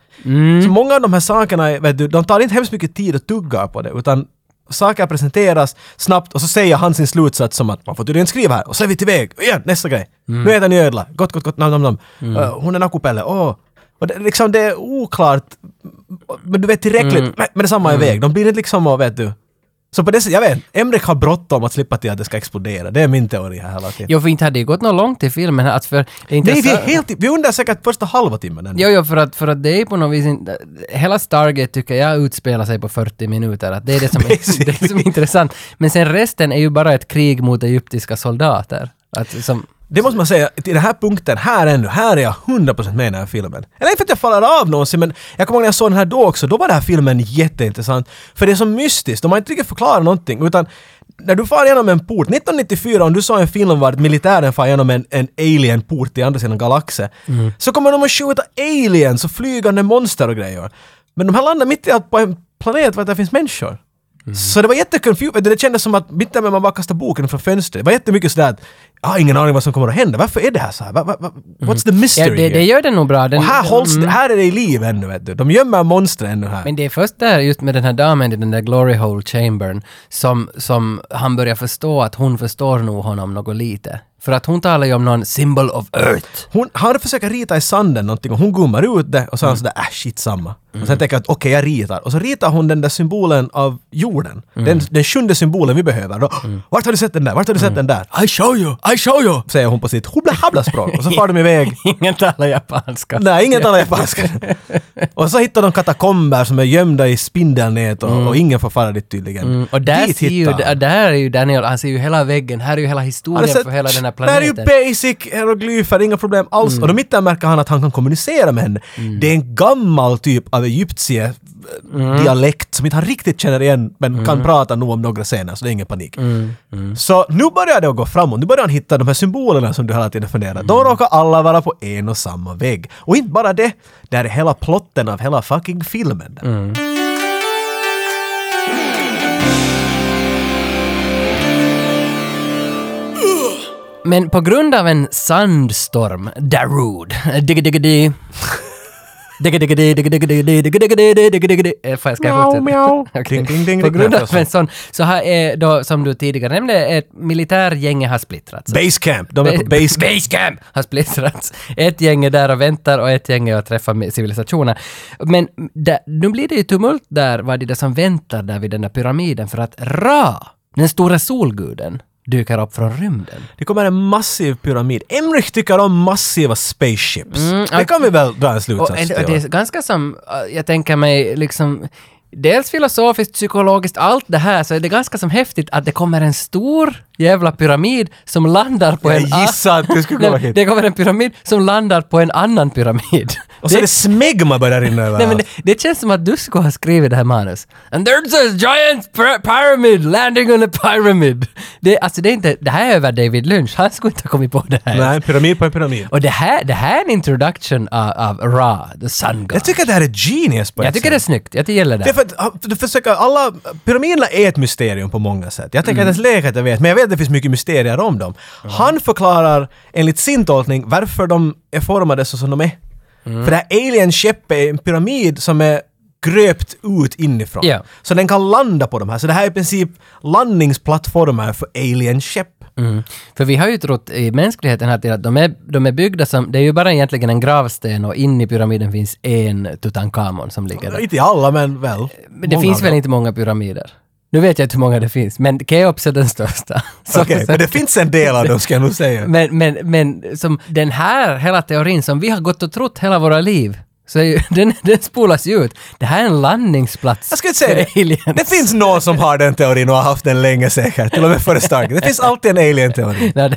Speaker 3: Så många av de här sakerna, är- vet du, de tar inte hemskt mycket tid att tugga på det, utan saker presenteras snabbt och så säger han sin slutsats som att man får tydligen skriva här och så är vi till väg. Och igen, nästa grej. Nu äter ni ödla. Gott, gott, gott, nam, nam, nam. Eh, hon är nakupelle, åh. Och det, liksom, det är oklart, men du vet tillräckligt, men, men det är samma väg. De blir inte liksom, och, vet du. Så på det sättet, jag vet, Emmerich har bråttom att slippa till att det ska explodera. Det är min teori här hela tiden.
Speaker 2: Jo, för inte hade det gått något långt i filmen. Att för, det är inte
Speaker 3: Nej, vi är
Speaker 2: så-
Speaker 3: helt... Vi undrar säkert första halva timmen ännu.
Speaker 2: Jo, jo, för att, för att det är på något vis inte... Hela Stargate tycker jag utspelar sig på 40 minuter. Att det är det som är,
Speaker 3: Basically.
Speaker 2: det som är intressant. Men sen resten är ju bara ett krig mot egyptiska soldater. Att, som,
Speaker 3: Det måste man säga, till den här punkten, här ännu, här är jag 100% med i den här filmen. Eller inte för att jag faller av någonsin, men jag kommer ihåg när jag såg den här då också, då var den här filmen jätteintressant. För det är så mystiskt, de har inte riktigt förklarat någonting, utan när du far genom en port, 1994 om du såg en film var militären far genom en, en alien-port i andra sidan galaxen, så kommer de att skjuta aliens och flygande monster och grejer. Men de här landar mitt i allt på en planet där det finns människor. Så det var jätteconfusing, det kändes som att mitt när man bara kastade boken från fönstret. Det var jättemycket sådär att jag har ingen aning vad som kommer att hända. Varför är det här så här? Va, va, va, what's the mystery
Speaker 2: ja, det, det
Speaker 3: here?
Speaker 2: gör det nog bra. Den,
Speaker 3: Och här, hålls, det- här är det i liv ännu vet du. De gömmer monster ännu här.
Speaker 2: Men det är först där, just med den här damen i den där glory hole chambern, som, som han börjar förstå att hon förstår nog honom något lite. För att hon talar ju om någon symbol of earth.
Speaker 3: Hon, han försöker rita i sanden någonting och hon gummar ut det och så är han sådär äh shit samma. Och sen tänker jag att okej jag ritar. Och så ritar hon den där symbolen av jorden. Den, den sjunde symbolen vi behöver. Då, Vart har du sett den där? Vart har du sett den där? Mm. I show you! I show you! Säger hon på sitt hubla habla språk och så far de iväg.
Speaker 2: Ingen talar japanska.
Speaker 3: Nej, ingen talar japanska. och så hittar de katakomber som är gömda i spindelnät och, och ingen får fara dit tydligen.
Speaker 2: Mm, och där,
Speaker 3: Dit
Speaker 2: ser ju,
Speaker 3: hittar han.
Speaker 2: där där är ju Daniel, han ser ju hela väggen, här är ju hela
Speaker 3: Han har
Speaker 2: historien
Speaker 3: sett-
Speaker 2: för hela den här
Speaker 3: där är ju
Speaker 2: planeten. Mm.
Speaker 3: basic hieroglyfer, inga problem alls. Och då mitt där märker han att han kan kommunicera med henne. Det är en gammal typ av egyptier
Speaker 2: Mm.
Speaker 3: eh, dialekt som inte han riktigt känner igen men kan prata nog om några scener så det är ingen panik.
Speaker 2: Mm.
Speaker 3: Så nu börjar det att gå framåt. Nu börjar han hitta de här symbolerna som du hela tiden funderar. De
Speaker 2: Mm.
Speaker 3: råkar alla vara på en och samma vägg. Och inte bara det, där är hela plotten av hela fucking filmen. där.
Speaker 2: Mm. Men på grund av en sandstorm, Darude, digga-digga-di, digga-digga-di, digga-digga-di, digga-digga-di, digga-digga-di. Eh, Får jag ska jag fortsätta? Okej.
Speaker 3: Ding, ding, ding,
Speaker 2: På
Speaker 3: ding.
Speaker 2: grund
Speaker 3: Nej,
Speaker 2: av en sån, så här är då, som du tidigare nämnde, ett militärgänge har splittrats.
Speaker 3: Basecamp! De är på
Speaker 2: Ba-
Speaker 3: basecamp.
Speaker 2: Basecamp har splittrats. Ett gäng är där och väntar och ett gäng är och träffar med civilisationer. Men där, nu blir det ju tumult där, vad det är som väntar där vid den där pyramiden, för att Ra, den stora solguden, dyker upp från rymden.
Speaker 3: Det kommer en massiv pyramid. Emmerich tycker om massiva spaceships. det kan vi väl dra en
Speaker 2: Mm, Och,
Speaker 3: slutsats
Speaker 2: och
Speaker 3: till.
Speaker 2: det är ganska som, äh, jag tänker mig, liksom, dels filosofiskt, psykologiskt, allt det här, så är det ganska som häftigt att det kommer en stor jävla pyramid som landar på
Speaker 3: Jag
Speaker 2: en... a-
Speaker 3: gissade att du skulle komma
Speaker 2: Nej,
Speaker 3: hit.
Speaker 2: Det kommer en pyramid som landar på en annan pyramid.
Speaker 3: Och så är det smegma börjar rinna
Speaker 2: Nej, men
Speaker 3: överallt.
Speaker 2: det, det känns som att du skulle ha skrivit det här manus. And there's a giant py- pyramid landing on a pyramid. Det, alltså det är inte, det här är över David Lynch, han skulle inte ha kommit på det här.
Speaker 3: Nej, pyramid på en pyramid.
Speaker 2: Och det här, det här är en introduction av, av Ra, the sun god.
Speaker 3: Jag tycker att det här är genius på
Speaker 2: Jag
Speaker 3: ett
Speaker 2: tycker det är
Speaker 3: sätt.
Speaker 2: snyggt, jag gillar det.
Speaker 3: Det är för att ha- du försöker, alla, pyramiderna är ett mysterium på många sätt. Jag
Speaker 2: Mm.
Speaker 3: tänker inte ens leka att jag vet, men jag vet att det finns mycket mysterier om dem. Han förklarar enligt sin tolkning varför de är formade så som de är.
Speaker 2: Mm.
Speaker 3: För det här alien-skeppet är en pyramid som är gröpt ut inifrån.
Speaker 2: Ja.
Speaker 3: Så den kan landa på de här. Så det här är i princip landningsplattformar för alien-skepp.
Speaker 2: Mm. För vi har ju trott i mänskligheten här till att de är, de är byggda som, det är ju bara egentligen en gravsten och in i pyramiden finns en Tutankhamon som ligger där.
Speaker 3: Inte i alla, men väl.
Speaker 2: Men det
Speaker 3: många
Speaker 2: finns
Speaker 3: av
Speaker 2: väl
Speaker 3: dem.
Speaker 2: inte många pyramider? Nu vet jag inte hur många det finns, men Keops är den största. Så-
Speaker 3: Okej,
Speaker 2: så-
Speaker 3: men det finns en del av dem ska jag nog säga.
Speaker 2: men, men, men som den här hela teorin som vi har gått och trott hela våra liv, så är ju, den, den spolas ju ut. Det här är en landningsplats
Speaker 3: Jag skulle inte säga
Speaker 2: för
Speaker 3: det.
Speaker 2: aliens.
Speaker 3: Det finns någon som har den teorin och har haft den länge säkert, till och med före Stark. Det finns alltid en alien-teori.
Speaker 2: Nej, det,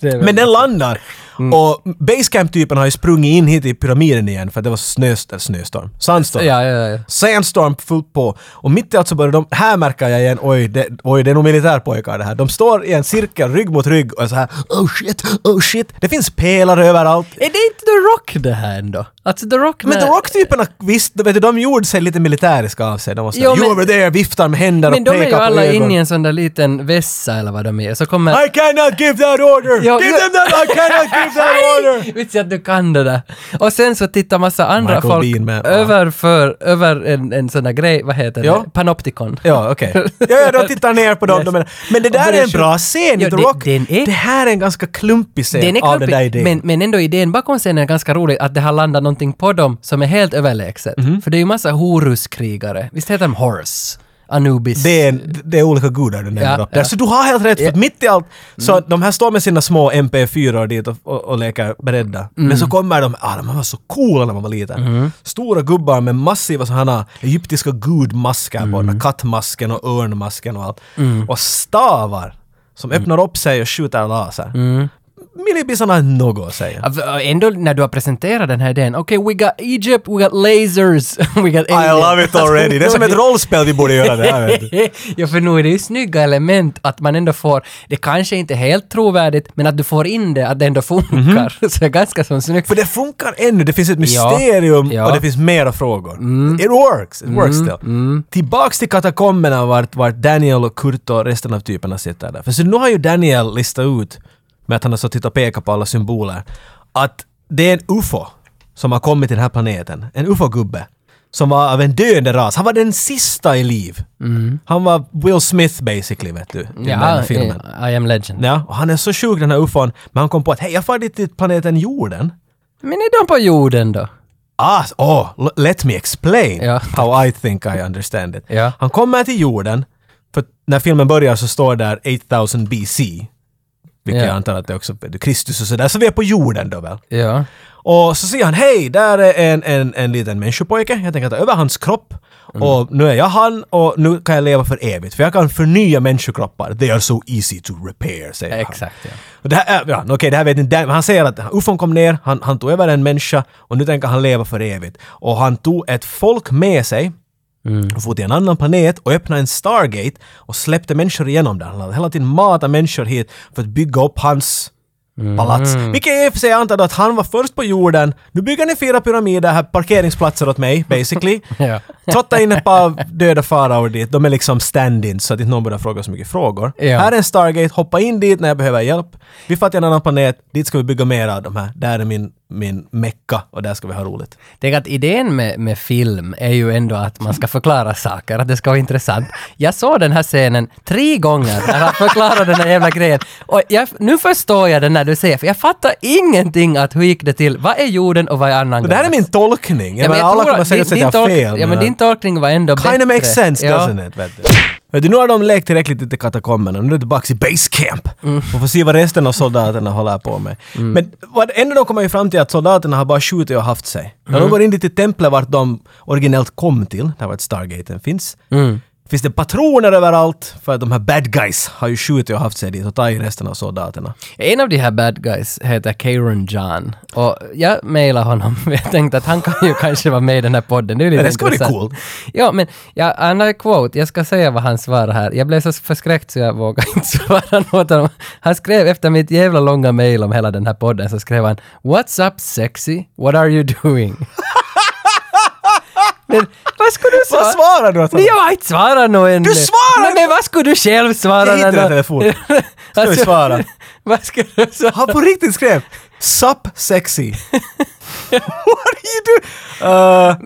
Speaker 2: det är väl-
Speaker 3: Men den landar.
Speaker 2: Mm.
Speaker 3: Och Basecamp-typen har ju sprungit in hit i pyramiden igen för att det var snö, eller snöstorm. Sandstorm.
Speaker 2: Ja, ja, ja.
Speaker 3: Sandstorm fullt på. Och mitt i allt så börjar de... Här märker jag igen, oj det, oj, det är nog militärpojkar det här. De står i en cirkel, rygg mot rygg och är så här oh shit, oh shit. Det finns pelare överallt.
Speaker 2: Är det inte The Rock det här ändå? Alltså The Rock
Speaker 3: Men
Speaker 2: när-
Speaker 3: The Rock-typerna, visst, vet du, de gjorde sig lite militäriska av sig. De var såhär,
Speaker 2: Jo, men-
Speaker 3: you over there, viftar med händer
Speaker 2: Men
Speaker 3: och
Speaker 2: de
Speaker 3: pekar
Speaker 2: är ju
Speaker 3: på
Speaker 2: alla
Speaker 3: ögon.
Speaker 2: inne i en sån där liten vässa eller vad de är. Så kommer...
Speaker 3: I cannot give that order!
Speaker 2: Ja,
Speaker 3: give
Speaker 2: ja.
Speaker 3: them that! I cannot give that order!
Speaker 2: Vits att du kan det där. Och sen så tittar massa andra
Speaker 3: Michael
Speaker 2: folk
Speaker 3: Bean med, ja.
Speaker 2: över, för, över en, en sån där grej, vad heter
Speaker 3: Ja.
Speaker 2: det? Panopticon.
Speaker 3: Ja, okej. Ja, ja, de tittar ner på dem.
Speaker 2: Yes.
Speaker 3: De är, men det
Speaker 2: Och
Speaker 3: där
Speaker 2: börjar
Speaker 3: är en bra scen
Speaker 2: Ja,
Speaker 3: i The
Speaker 2: det-
Speaker 3: Rock.
Speaker 2: den är-
Speaker 3: det här är en ganska klumpig scen
Speaker 2: Den är
Speaker 3: av den där
Speaker 2: klumpig,
Speaker 3: idén.
Speaker 2: men, men ändå idén bakom scenen är ganska rolig, att det har landat någonting på dem som är helt överlägset.
Speaker 3: Mhm.
Speaker 2: För det är ju massa horuskrigare. Visst heter de Horus? Anubis?
Speaker 3: det är, en- det är olika gudar du nämner
Speaker 2: Ja,
Speaker 3: upp där.
Speaker 2: ja. Mm.
Speaker 3: Så du har helt rätt, för att mitt i allt så att de här står med sina små MP4 dit och, och, och leker beredda. Men
Speaker 2: Mm.
Speaker 3: så kommer de, ah de här var så coola när man var liten. Stora gubbar med massiva sådana egyptiska gudmasker på,
Speaker 2: Mm.
Speaker 3: den här kattmasken och örnmasken och allt. Och stavar som
Speaker 2: Mm.
Speaker 3: öppnar upp sig och skjuter laser. Mm. Millibisarna har något att säga.
Speaker 2: Av- av- Ändå när du har presenterat den här idén, okej we got Egypt, we got lasers, we got
Speaker 3: I
Speaker 2: aliens.
Speaker 3: love it already! Det är som ett rollspel vi borde göra det här vet du.
Speaker 2: ja, för nu är det ju snygga element att man ändå får, det kanske inte är helt trovärdigt, men att du får in det, att det ändå funkar. Så det är ganska så snyggt.
Speaker 3: Mhm. För det funkar ännu, det finns ett mysterium
Speaker 2: Ja. Mm.
Speaker 3: och det finns mera frågor. It works, it works still. Tillbaks till katakomberna vart, vart Daniel och Kurt och resten av typerna sitter där. För så nu har ju Daniel listat ut, med att han har suttit och pekat på alla symboler, att det är en UFO som har kommit till den här planeten. En UFO-gubbe. Som var av en döende ras. Han var den sista i liv. Han var Will Smith basically, vet du. I den här
Speaker 2: Mm. Ja, eh.
Speaker 3: filmen.
Speaker 2: I, I am legend.
Speaker 3: Ja, och han är så sjuk den här ufon, men han kom på att hej, jag far dit till planeten jorden.
Speaker 2: Men är de på jorden då?
Speaker 3: Ah, oh, l- let me explain
Speaker 2: Ja.
Speaker 3: how I think I understand it.
Speaker 2: Ja.
Speaker 3: Han kommer till jorden, för när filmen börjar så står där 8000 BC. Vilket
Speaker 2: Ja.
Speaker 3: jag antar att det är också är Kristus och sådär, så vi är på jorden då väl.
Speaker 2: Ja.
Speaker 3: Och så säger han hej, där är en, en, en liten människopojke, jag tänker ta över hans kropp.
Speaker 2: Mm.
Speaker 3: Och nu är jag han och nu kan jag leva för evigt, för jag kan förnya människokroppar. They are so easy to repair, säger han.
Speaker 2: Exakt, ja.
Speaker 3: Och Det här, är- ja, okej, det här vet inte Dan, men han säger att ufon kom ner, han, han tog över en människa och nu tänker han leva för evigt. Och han tog ett folk med sig och for till en annan planet och öppnade en Stargate och släppte människor igenom där. Han hade hela tiden matat människor hit för att bygga upp hans palats. Vilket i och för sig antar att han var först på jorden. Nu bygger ni fyra pyramider här, parkeringsplatser åt mig basically.
Speaker 2: Ja.
Speaker 3: Trotta in ett par döda faraor dit. De är liksom stand-ins så att inte någon börjar fråga så mycket frågor.
Speaker 2: Ja.
Speaker 3: Här är en Stargate, hoppa in dit när jag behöver hjälp. Vi fattar en annan planet, dit ska vi bygga mer av de här. Där är min, min mecka och där ska vi ha roligt.
Speaker 2: Det är att idén med, med film är ju ändå att man ska förklara saker, att det ska vara intressant. Jag såg den här scenen tre gånger när han förklarade den här jävla grejen. Och jag, nu förstår jag den när du säger, för jag fattar ingenting att hur gick det till. Vad är jorden och vad är annan
Speaker 3: Det här är min tolkning. Jag menar,
Speaker 2: jag
Speaker 3: alla
Speaker 2: tror
Speaker 3: kommer
Speaker 2: att
Speaker 3: säkert
Speaker 2: din-
Speaker 3: säga
Speaker 2: din tolk-
Speaker 3: fel.
Speaker 2: Ja, men din tolkning var ändå
Speaker 3: Kinda
Speaker 2: bättre.
Speaker 3: makes sense,
Speaker 2: ja.
Speaker 3: doesn't it? Vet du? Vet du, nu har de lekt tillräckligt ute i katakomberna, nu är det tillbaka i base camp.
Speaker 2: Mm.
Speaker 3: Och får se vad resten av soldaterna håller på med. Men vad, ändå de kommer ju fram till att soldaterna har bara skjutit och haft sig. När
Speaker 2: Mm.
Speaker 3: de går in dit i templet vart de originellt kom till, där vart Stargaten finns,
Speaker 2: Mm.
Speaker 3: finns det patroner överallt för att de här bad guys har ju skjutit och haft sig dit och tagit resten av soldaterna.
Speaker 2: En av de här bad guys heter Kieran John och jag mejlade honom. Jag tänkte att han kan ju kanske vara med i den här podden. Det, är lite
Speaker 3: det skulle vara
Speaker 2: intressant.
Speaker 3: cool.
Speaker 2: Ja, men ja, han har en quote. Jag ska säga vad han svarar här. Jag blev så förskräckt så jag vågade inte svara något. om- Han skrev efter mitt jävla långa mejl om hela den här podden så skrev han “What's up sexy? What are you doing?” men, Vad skulle du svara?
Speaker 3: Vad svarar du att han-
Speaker 2: Nej, jag har inte svarat något ännu.
Speaker 3: Du svarar
Speaker 2: Nej, men vad skulle du själv svara?
Speaker 3: Jag hittade
Speaker 2: när du-
Speaker 3: telefonen. Ska vi svara?
Speaker 2: vad skulle du svara?
Speaker 3: Han på riktigt skrev “Sup sexy”. What are you doing?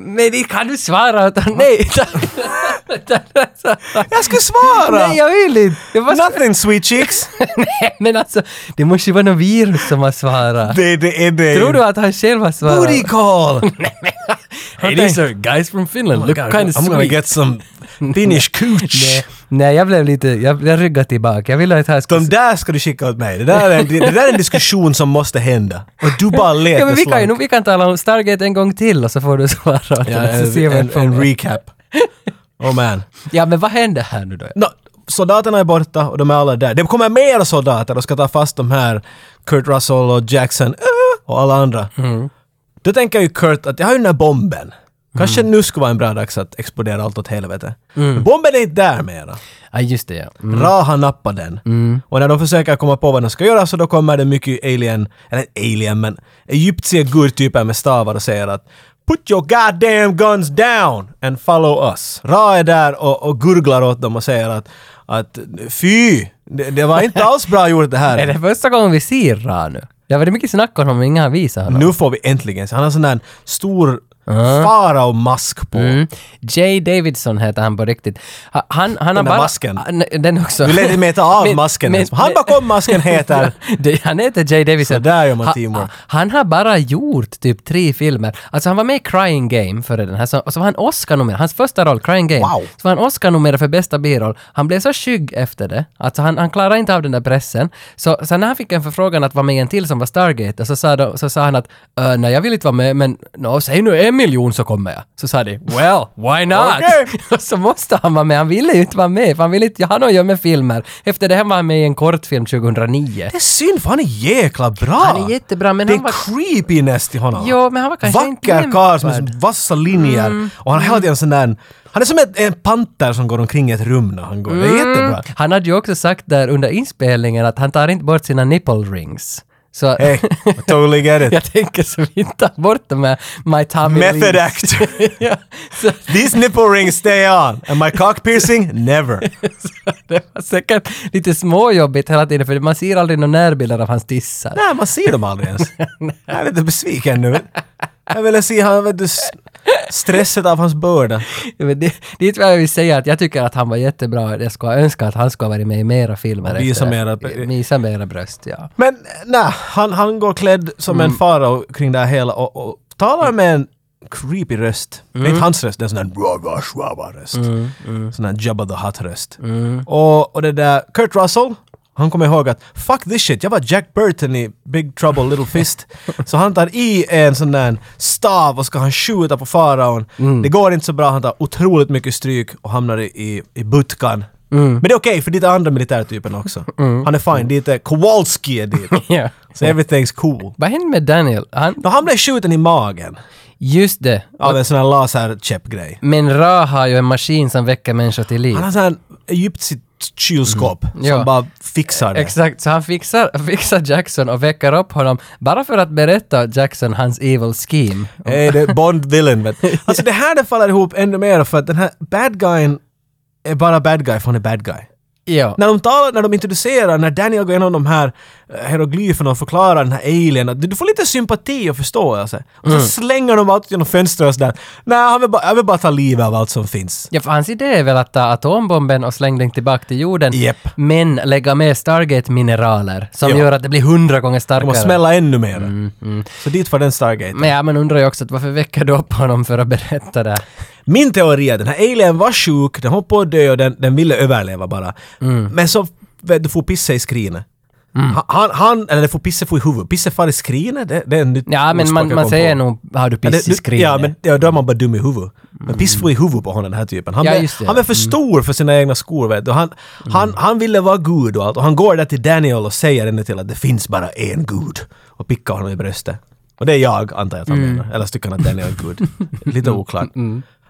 Speaker 3: Uh,
Speaker 2: Men Eh, det kan du svara åt honom? Nej! alltså-
Speaker 3: jag skulle svara!
Speaker 2: Nej, jag vill inte! Jag bara,
Speaker 3: Nothing sweet cheeks!
Speaker 2: nej, men alltså, det måste ju vara något virus som har svarat.
Speaker 3: Det, det är det.
Speaker 2: Tror du att han själv har svarat?
Speaker 3: Booty call!
Speaker 2: Hey, these are guys from Finland, look kind of
Speaker 3: Oh I'm gonna
Speaker 2: sweet.
Speaker 3: get some Finnish cooch.
Speaker 2: Nej, nej, jag blev lite... Jag, jag ryggade tillbaka. Jag ville att han skulle...
Speaker 3: De där ska du skicka åt mig. Det där, är en, det där är en diskussion som måste hända. Och du bara leker
Speaker 2: ja, men vi kan ju
Speaker 3: slank.
Speaker 2: nog- vi kan tala om Stargate en gång till och så får du svara åt honom.
Speaker 3: Ja,
Speaker 2: så ser vi
Speaker 3: en, en,
Speaker 2: en,
Speaker 3: en recap. Oh man.
Speaker 2: Ja, men vad händer här nu då?
Speaker 3: No, soldaterna är borta och de är alla där. Det kommer mer soldater och ska ta fast de här Kurt Russell och Jackson äh, och alla andra.
Speaker 2: Mm.
Speaker 3: Då tänker ju Kurt att jag har ju den här bomben. Kanske
Speaker 2: Mm.
Speaker 3: nu skulle vara en bra dags att explodera allt åt helvete. Men bomben är inte där mera.
Speaker 2: Ja, just det ja. Mm.
Speaker 3: Raha nappar den. Och när de försöker komma på vad de ska göra så då kommer det mycket alien, eller alien men egyptiska gurtyper med stavar och säger att Put your goddamn guns down and follow us. Ra är där och, och gurglar åt dem och säger att, att fy, det, det var inte alls bra gjort det här.
Speaker 2: Är det första gången vi ser Ra nu? Det har varit mycket snack om honom men ingen har visat honom.
Speaker 3: Nu får vi äntligen se. Han har sån där stor farao-mask på.
Speaker 2: Mm. Jay Davidson heter han på riktigt. Ha- Han, han har
Speaker 3: där
Speaker 2: bara...
Speaker 3: masken.
Speaker 2: Ah, nej, Den också.
Speaker 3: Vi lät mig ta av
Speaker 2: Men-
Speaker 3: masken.
Speaker 2: men-
Speaker 3: Han bakom masken heter...
Speaker 2: Det- han heter Jay Davison.
Speaker 3: Så där gör man
Speaker 2: Ha-
Speaker 3: teamwork.
Speaker 2: ha- Han, har bara gjort typ tre filmer. Alltså han var med i Crying Game före den här, så, och så var han Oscar-nominerad. Hans första roll, Crying Game,
Speaker 3: Wow.
Speaker 2: så var han Oscar-nominerad för bästa biroll. Han blev så skygg efter det. Alltså han, han klarade inte av den där pressen. Så, så när han fick en förfrågan att vara med i en till som var Stargate, så sa, de, så sa han att "Ö, nej jag vill inte vara med, men nå, säg nu en miljon så kommer jag. Så sa de “Well, why not?”
Speaker 3: Okej.
Speaker 2: Och så måste han vara med. Han ville ju inte vara med, för han ville inte ha något att göra med filmer. Efter det här var han med i en kortfilm 2009.
Speaker 3: Det är synd för han är jäkla bra.
Speaker 2: Han är jättebra, men
Speaker 3: det är
Speaker 2: han var-
Speaker 3: creepiness till honom.
Speaker 2: Jo, men han var kanske Mm. inte
Speaker 3: Vacker karl som har vassa linjer. Och han har hela tiden sån där... Han är som en, en panter som går omkring i ett rum när han går.
Speaker 2: Mm.
Speaker 3: Det är jättebra.
Speaker 2: Han hade ju också sagt där under inspelningen att han tar inte bort sina nipple rings. Så
Speaker 3: Hey, I totally get
Speaker 2: jag
Speaker 3: it.
Speaker 2: tänker så vi tar bort de här My Tommy
Speaker 3: Method
Speaker 2: Lees.
Speaker 3: actor.
Speaker 2: ja, så
Speaker 3: These nipple rings stay on. And my cock piercing, never.
Speaker 2: det var säkert lite småjobbigt hela tiden för man ser aldrig några närbilder av hans tissar.
Speaker 3: Nej, man ser dem aldrig ens. Jag är lite besviken nu. Jag ville se han, vet du, s- stresset av hans börda.
Speaker 2: Men det, det är vad jag vill säga att jag tycker att han var jättebra. Jag skulle önska att han skulle ha varit med i mera filmer.
Speaker 3: Visa
Speaker 2: efter det.
Speaker 3: mera-
Speaker 2: Visa mera bröst, ja.
Speaker 3: Men nej, han, han går klädd som en farao kring det här hela och, och talar med en creepy röst. Det är inte hans röst, det är en sån där raga schwaba röst. Sån där Jabba the Hutt röst.
Speaker 2: Mm.
Speaker 3: Och, och det där Kurt Russell, han kommer ihåg att fuck this shit, jag var Jack Burton i Big Trouble Little Fist. så han tar i en sån där stav och ska han skjuta på faraon.
Speaker 2: Mm.
Speaker 3: Det går inte så bra, han tar otroligt mycket stryk och hamnar i, i, i butkan.
Speaker 2: Mm.
Speaker 3: Men det är okej, för dit är andra militärtypen också. Han är fine, dit är Kowalski är dit.
Speaker 2: ja.
Speaker 3: Så everything's cool.
Speaker 2: Vad hände med Daniel? Han,
Speaker 3: Då han blev skjuten i magen
Speaker 2: just det.
Speaker 3: av en sån här laserkäppgrej.
Speaker 2: Men Ra har ju en maskin som väcker människor till liv.
Speaker 3: Han har sån här egyptiskt kylskåp
Speaker 2: Mm. Ja.
Speaker 3: som bara fixar det.
Speaker 2: Exakt, så han fixar, fixar Jackson och väcker upp honom bara för att berätta Jackson hans evil scheme.
Speaker 3: Hey, det är Bond villain. Men. Alltså det här det faller ihop ännu mer för att den här bad guyen är bara bad guy för han är bad guy.
Speaker 2: Ja.
Speaker 3: När de talar, när de introducerar, när Daniel går igenom de här eh, hieroglyferna och förklarar den här alien, att du du får lite sympati och förståelse. Och så slänger de allt genom fönstret och sådär. Nej, han vill bara, jag vill bara ta livet av allt som finns.
Speaker 2: Ja, för hans idé är väl att ta atombomben och slänga den tillbaka till jorden,
Speaker 3: Japp.
Speaker 2: men lägga med Stargate-mineraler som
Speaker 3: Ja.
Speaker 2: gör att det blir hundra gånger
Speaker 3: De måste
Speaker 2: starkare.
Speaker 3: smälla ännu mer. Så dit var den Stargate.
Speaker 2: Men ja, man undrar ju också att varför väcker du upp honom för att berätta det?
Speaker 3: Min teori är att den här alien var sjuk, den höll på att dö och den, den ville överleva bara.
Speaker 2: Mm.
Speaker 3: Men så vet du får pissa i skrinet. Ha- Han, han, eller det får pissa få i huvudet. Pissa far i skrinet, det, det är en nytt
Speaker 2: Ja, men
Speaker 3: ordspråk
Speaker 2: man,
Speaker 3: jag
Speaker 2: man
Speaker 3: kom
Speaker 2: säger
Speaker 3: på.
Speaker 2: nog har du
Speaker 3: Ja,
Speaker 2: piss i
Speaker 3: det-
Speaker 2: skrinet.
Speaker 3: Ja, men ja, då är man bara dum i huvudet. Men piss får i huvudet på honom den här typen. Han,
Speaker 2: Ja,
Speaker 3: blev-
Speaker 2: just det. Mm.
Speaker 3: han var för stor för sina egna skor vet du. Han, han, han ville vara gud och allt. Och han går där till Daniel och säger ännu till att det finns bara en gud. Och pickar honom i bröstet. Och det är jag, antar jag att han
Speaker 2: Mm.
Speaker 3: menar. Eller så tycker han att Daniel är gud. Lite oklart.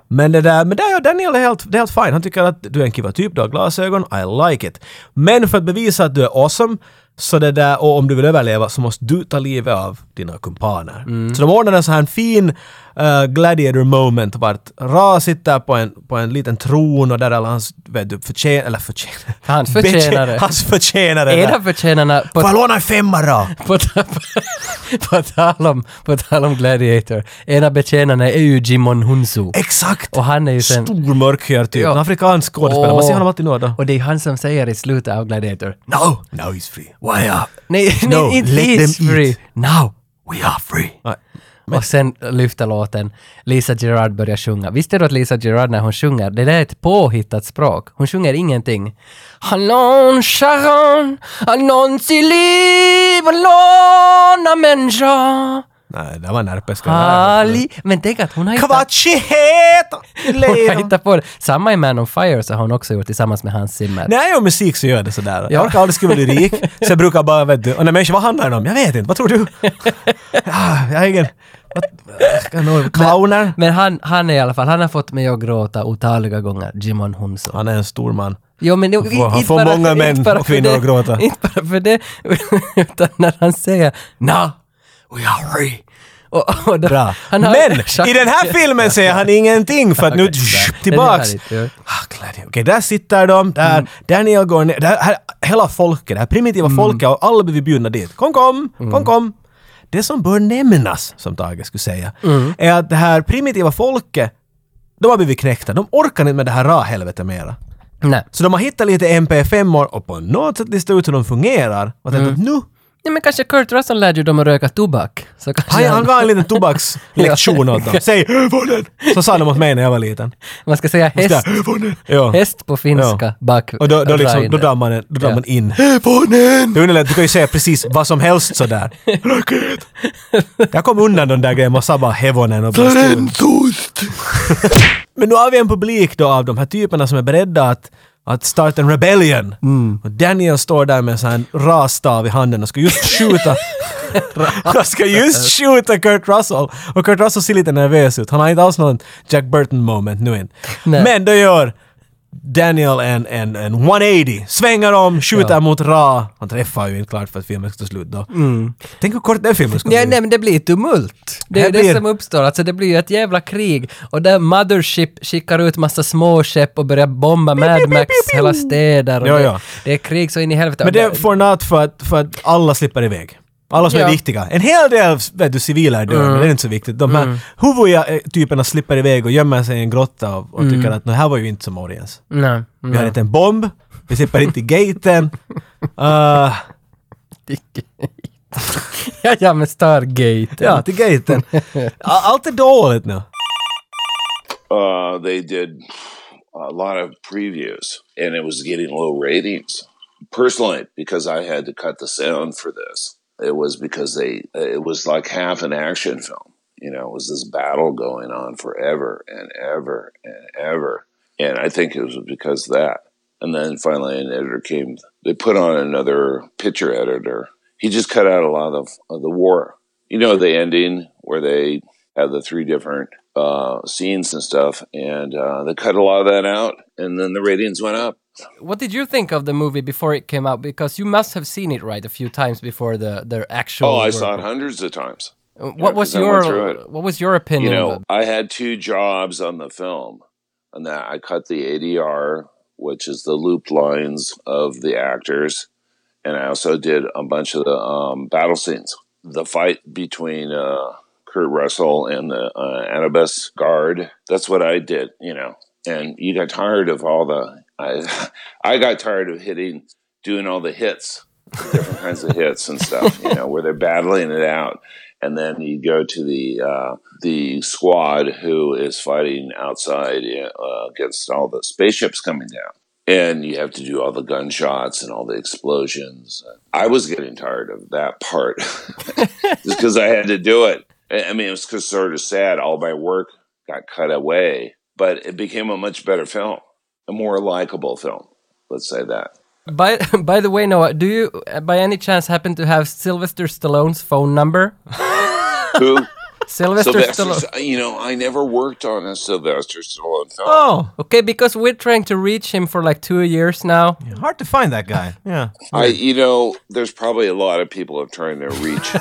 Speaker 3: Men det där, men där gör Daniel är helt, det är helt fine. Han tycker att du är en kiva typ, du har glasögon, I like it. Men för att bevisa att du är awesome, så det där, och om du vill överleva så måste du ta livet av dina kumpaner.
Speaker 2: Mm.
Speaker 3: Så de ordnar en sån här fin eh, gladiator moment vart Ra sitter på en, på en liten tron och där är alla hans, vet du, förtjän, eller förtjänare.
Speaker 2: Hans förtjänare.
Speaker 3: Hans förtjänare.
Speaker 2: Är
Speaker 3: där.
Speaker 2: det förtjänarna på
Speaker 3: Får jag låna en femma då?
Speaker 2: på, ta- på, tal om, på tal om Gladiator, en av betjänarna är ju Jimon Hunsu.
Speaker 3: Exakt!
Speaker 2: Och han är ju sen...
Speaker 3: Stor mörkhyad typ.
Speaker 2: Ja.
Speaker 3: En afrikansk skådespelare. Man ser honom alltid nu då.
Speaker 2: Och det är han som säger i slutet av Gladiator.
Speaker 3: No, now he's free. Why are...
Speaker 2: Nej,
Speaker 3: No,
Speaker 2: nej inte
Speaker 3: let
Speaker 2: is
Speaker 3: them eat.
Speaker 2: free. Now.
Speaker 3: We are free.
Speaker 2: Och sen lyfter låten. Lisa Gerard börjar sjunga. Visste du att Lisa Gerard när hon sjunger, det där är ett påhittat språk. Hon sjunger ingenting. Hallon Sharon, annons i liv, låna människa.
Speaker 3: Nej, det var en herpes.
Speaker 2: Ali! Men tänk att hon har hittat...
Speaker 3: Kvaciheta!
Speaker 2: Hon har hittat på det. Samma i Man on Fire så har hon också gjort tillsammans med Hans Zimmer.
Speaker 3: När jag gör musik så gör jag det sådär.
Speaker 2: Ja.
Speaker 3: Jag orkar aldrig skriva lyrik, så jag brukar bara, vet du, och när människor, vad handlar det om? Jag vet inte, vad tror du? ah, jag har ingen... Vad, jag har några clowner?
Speaker 2: Men han, han är i alla fall, han har fått mig att gråta otaliga gånger, Jimon Hunso.
Speaker 3: Han är en stor man.
Speaker 2: Jo, men han
Speaker 3: får- han får många män och kvinnor att gråta.
Speaker 2: Inte bara för det, utan när han säger ”Now we are free”. Och, och då,
Speaker 3: Bra.
Speaker 2: han har-
Speaker 3: Men i den här filmen säger han ingenting för att nu
Speaker 2: Okej, sådär.
Speaker 3: tillbaks.
Speaker 2: Den är härligt,
Speaker 3: Ah, Gladys. Okej, där sitter de, där Daniel går ner, där, här, hela folket, det här primitiva folket och alla blir bjudna dit. Kom, kom, kom, kom. Det som bör nämnas, som Tage skulle säga, är att det här primitiva folket, de har blivit knäckta. De orkar inte med det här rahelvetet mera.
Speaker 2: Nej.
Speaker 3: Så de har hittat lite MP5-or och på något sätt listat ut hur de fungerar. Och tänkt att nu,
Speaker 2: Nej, men kanske Kurt Russell lärde ju dem att röka tobak. Så kanske
Speaker 3: han, han gav en liten tobakslektion åt dem. Säg "Övonen!" Så sa de åt mig när jag var liten.
Speaker 2: man ska säga
Speaker 3: Ska
Speaker 2: häst,
Speaker 3: jag, "Övonen!" Ja.
Speaker 2: häst på finska,
Speaker 3: Ja.
Speaker 2: bak.
Speaker 3: Och då, då,
Speaker 2: dra
Speaker 3: liksom,
Speaker 2: in
Speaker 3: då
Speaker 2: det.
Speaker 3: drar man, en- då drar
Speaker 2: Ja.
Speaker 3: man in. Det underlättar, du kan ju säga precis vad som helst sådär. Raket! Jag kom undan den där grejen och sa bara hevonen och bara stod. Men nu har vi en publik då av de här typerna som är beredda att, att starta en rebellion.
Speaker 2: Mm.
Speaker 3: Och Daniel står där med en sån här rastav i handen och ska just skjuta han ska just skjuta Kurt Russell. Och Kurt Russell ser lite nervös ut. Han har inte alls någon Jack Burton moment nu än.
Speaker 2: Nej.
Speaker 3: Men då gör Daniel en, en, en 180. Svänger om, skjuter mot Ra. Han träffar ju inte klart för att filmen ska ta slut då. Tänk hur kort den filmen ska
Speaker 2: Mm. Nej,
Speaker 3: bli.
Speaker 2: nej, men det blir tumult. Det är
Speaker 3: Det
Speaker 2: ju det
Speaker 3: blir-
Speaker 2: som uppstår. Alltså det blir ju ett jävla krig. Och där Mothership skickar ut massa småskepp och börjar bomba Mad Max hela städer. Och
Speaker 3: Ja,
Speaker 2: det,
Speaker 3: ja.
Speaker 2: det är krig så in i helvete.
Speaker 3: Men
Speaker 2: Och
Speaker 3: det får natt för att, för att alla slipper iväg. Alla som
Speaker 2: Ja.
Speaker 3: är viktiga. En hel del vet du, civila är döda, men det är inte så viktigt. De här huvudiga eh, typerna slipper iväg och gömmer sig i en grotta och, och tycker att det här var ju inte som audience.
Speaker 2: Nej.
Speaker 3: Vi har inte en bomb, vi slipper inte i gaten. Uh,
Speaker 2: Ja, ja, men Stargate.
Speaker 3: ja, till gaten. A- Allt är dåligt nu.
Speaker 4: uh, they did a lot of previews and it was getting low ratings personally because i had to cut the sound for this it was because they it was like half an action film you know it was this battle going on forever and ever and ever and i think it was because of that and then finally an editor came they put on another picture editor he just cut out a lot of, of the war you know the ending where they have the three different uh, scenes and stuff, and uh, they cut a lot of that out, and then the ratings went up.
Speaker 2: What did you think of the movie before it came out? Because you must have seen it right a few times before the, the actual...
Speaker 4: Oh, I
Speaker 2: work.
Speaker 4: saw it hundreds of times.
Speaker 2: What was
Speaker 4: 'cause I went
Speaker 2: your
Speaker 4: through it.
Speaker 2: What was your
Speaker 4: You
Speaker 2: opinion?
Speaker 4: know, I had two jobs on the film, and that I cut the ADR, which is the looped lines of the actors, and I also did a bunch of the um, battle scenes. The fight between uh, Kurt Russell and the uh, Anubis guard. That's what I did, you know. And you got tired of all the. I, I got tired of hitting, doing all the hits, different kinds of hits and stuff, you know, where they're battling it out. And then you go to the uh, the squad who is fighting outside uh, against all the spaceships coming down, and you have to do all the gunshots and all the explosions. I was getting tired of that part just because I had to do it. I I mean, it was just sort of sad. All my work got cut away, but it became a much better film, a more likable film. Let's say that.
Speaker 2: By by the way, Noah, do you uh, by any chance happen to have Sylvester Stallone's phone number?
Speaker 4: Who?
Speaker 2: Sylvester
Speaker 4: Sylvester,
Speaker 2: Stallone.
Speaker 4: you know, I never worked on a Sylvester Stallone film.
Speaker 3: Oh,
Speaker 2: Okay, because we're trying to reach him for like two years now.
Speaker 3: hard to find that guy. Yeah.
Speaker 4: I, you know, there's probably a lot of people are trying to reach,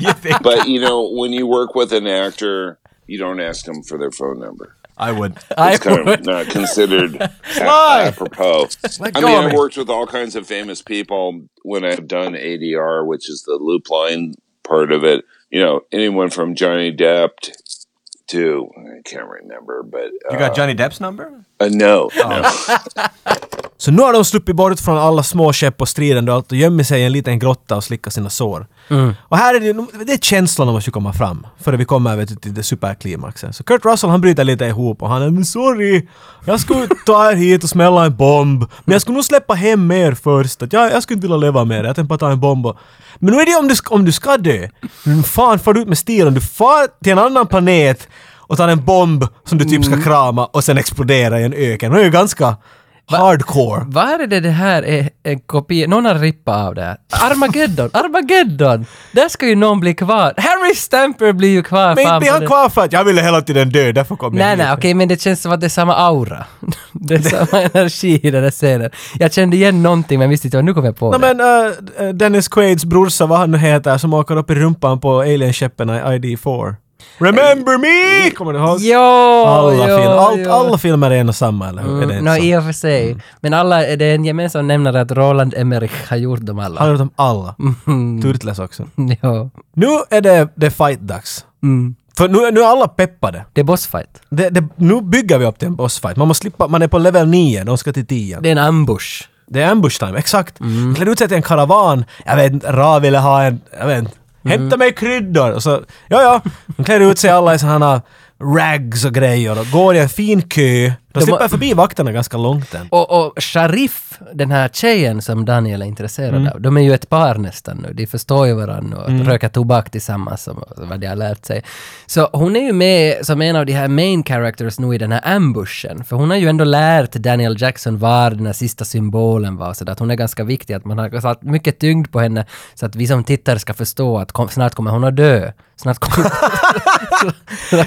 Speaker 3: You think?
Speaker 4: but you know, when you work with an actor, you don't ask them for their phone number.
Speaker 3: I would.
Speaker 2: I
Speaker 4: It's kind
Speaker 2: would-
Speaker 4: of not considered a- apropos. I
Speaker 3: go
Speaker 4: mean,
Speaker 3: of
Speaker 4: I've
Speaker 3: me.
Speaker 4: worked with all kinds of famous people when I've done ADR, which is the loop line part of it. You know, anyone from Johnny Depp t- to I can't remember, but uh,
Speaker 3: Oh. Johnny Depp's number?
Speaker 4: uh, no,
Speaker 3: Så nu har de sluppit bort från alla små skepp och stridande och allt och gömmer sig i en liten grotta och slickar sina sår. Och här är det, det är känslan de måste komma fram före vi kommer vet du, till det superklimaxen. Så Kurt Russell han bryter lite ihop och han är "Men “Sorry, jag skulle ta er hit och smälla en bomb, men jag skulle nog släppa hem er först. Att jag, jag skulle inte vilja leva med er, jag tänkte bara ta en bomb och... Men nu är det om du, sk- om du ska dö. Men fan far du ut med stilen, du far till en annan planet och tar en bomb som du
Speaker 2: Mm.
Speaker 3: typ ska krama och sen explodera i en öken. Det är ju ganska hardcore.
Speaker 2: Var är det det här är en kopia? Någon har rippat av det här. Armageddon! Armageddon! Där ska ju någon bli kvar. Harry Stamper blir ju kvar.
Speaker 3: Men
Speaker 2: fan
Speaker 3: inte blir
Speaker 2: vad
Speaker 3: han
Speaker 2: det-
Speaker 3: kvar för att jag ville hela tiden dö, därför kom jag
Speaker 2: Nej,
Speaker 3: hit.
Speaker 2: nej, okej, men det känns som att det är samma aura. Det är samma energi i den där scenen. Jag kände igen någonting, men visste inte vad nu kom jag på det.
Speaker 3: Nej men eh, Dennis Quaids brorsa, vad han nu heter, som åker upp i rumpan på alienskeppen i ID4. Remember me! Kommer du ihåg?
Speaker 2: Jo,
Speaker 3: alla,
Speaker 2: jo,
Speaker 3: film, allt,
Speaker 2: jo.
Speaker 3: alla filmer är en och samma, eller hur? är det
Speaker 2: Mm,
Speaker 3: inte
Speaker 2: no,
Speaker 3: så?
Speaker 2: i och för sig. Men alla, det är en gemensam nämnare att Roland Emmerich har gjort dem alla.
Speaker 3: Han har gjort dem alla.
Speaker 2: Mm.
Speaker 3: Turtles också.
Speaker 2: ja.
Speaker 3: Nu är det, det är fight-dags.
Speaker 2: Mm.
Speaker 3: För nu, nu är alla peppade.
Speaker 2: Det är bossfight.
Speaker 3: Det, det, nu bygger vi upp till en bossfight. Man måste slippa, man är på level 9, de ska till 10.
Speaker 2: Det är en ambush.
Speaker 3: Det är ambush time, exakt. Mm. Klädde ut sig till en karavan. Jag vet inte, Ra ville ha en... Jag vet inte. Hämta
Speaker 2: Mm.
Speaker 3: mig kryddor! Och så, ja, ja. De klär ut sig alla i sådana rags och grejer och går i en fin kö.
Speaker 2: De
Speaker 3: De slipper
Speaker 2: har-
Speaker 3: förbi vakterna ganska långt än.
Speaker 2: Och, och Sharif, den här tjejen som Daniel är intresserad av, de är ju ett par nästan nu. De förstår ju varandra och röker tobak tillsammans, som vad de har lärt sig. Så hon är ju med som en av de här main characters nu i den här ambushen. För hon har ju ändå lärt Daniel Jackson var den här sista symbolen var, så att hon är ganska viktig. Att man har satt mycket tyngd på henne, så att vi som tittar ska förstå att kom, snart kommer hon att dö. Snart kommer...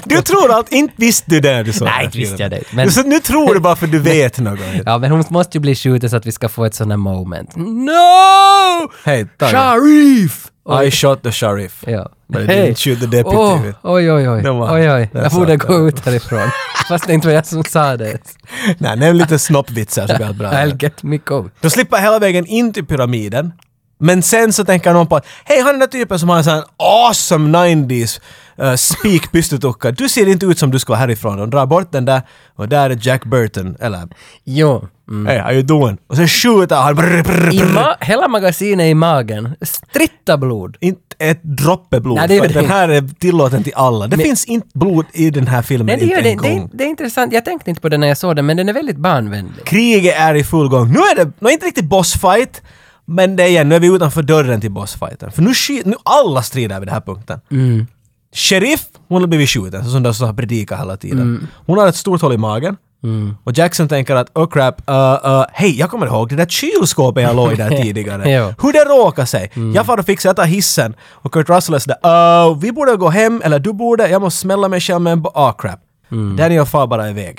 Speaker 3: Du tror att inte visste du det när du såg
Speaker 2: Nej,
Speaker 3: den här
Speaker 2: inte visste
Speaker 3: filmen.
Speaker 2: jag det, men-
Speaker 3: Så nu tror du bara för att du vet något.
Speaker 2: Ja, men hon måste ju bli skjuten så att vi ska få ett sånt här moment. No!
Speaker 3: Hej, Tage.
Speaker 2: Sharif!
Speaker 3: I shot the sheriff.
Speaker 2: Ja.
Speaker 3: But I didn't shoot the deputy.
Speaker 2: Åh, oj, oj, oj.
Speaker 3: Det var-
Speaker 2: oj, oj.
Speaker 3: där
Speaker 2: Jag
Speaker 3: sa
Speaker 2: borde
Speaker 3: jag
Speaker 2: gå
Speaker 3: det.
Speaker 2: ut härifrån. Fast det inte var jag som sa det.
Speaker 3: Nej, nämn lite snoppvitsar så blir allt bra.
Speaker 2: I'll get me go.
Speaker 3: De slipper hela vägen in till pyramiden. Men sen så tänker någon på att hej, han är den där typen som har en sån här awesome 90s uh, speak pystetucka. Du ser inte ut som du ska vara härifrån. De drar bort den där och där är Jack Burton, eller
Speaker 2: Jo. Mm.
Speaker 3: hey, how you doing? Och så skjuter han. Brr, brr,
Speaker 2: I
Speaker 3: brr.
Speaker 2: ma- hela magasinet i magen. Stritta blod.
Speaker 3: Inte ett droppe blod.
Speaker 2: Nej, det gör
Speaker 3: för att
Speaker 2: det
Speaker 3: den här är tillåten till alla. Det finns inte blod i den här filmen,
Speaker 2: Nej, det,
Speaker 3: inte
Speaker 2: gör
Speaker 3: en
Speaker 2: det,
Speaker 3: gång.
Speaker 2: det, det är intressant. Jag tänkte inte på den när jag såg den, men den är väldigt barnvänlig.
Speaker 3: Kriget är i full gång. Nu är det, nu är det inte riktigt bossfight, men det är igen, nu är vi utanför dörren till bossfighten. För nu, sky- nu alla strider vid den här punkten. Sheriff, hon har blivit skjuten, så som de så har predikat hela tiden. Hon har ett stort hål i magen. Och Jackson tänker att oh crap, uh, uh, hej jag kommer ihåg det där kylskåpet jag låg i där tidigare.
Speaker 2: Jo.
Speaker 3: Hur det råkar sig. Jag far och fixar, jag tar hissen. Och Kurt Russell är sådär, oh, vi borde gå hem, eller du borde, jag måste smälla mig själv med en bo- oh crap. Daniel far bara iväg.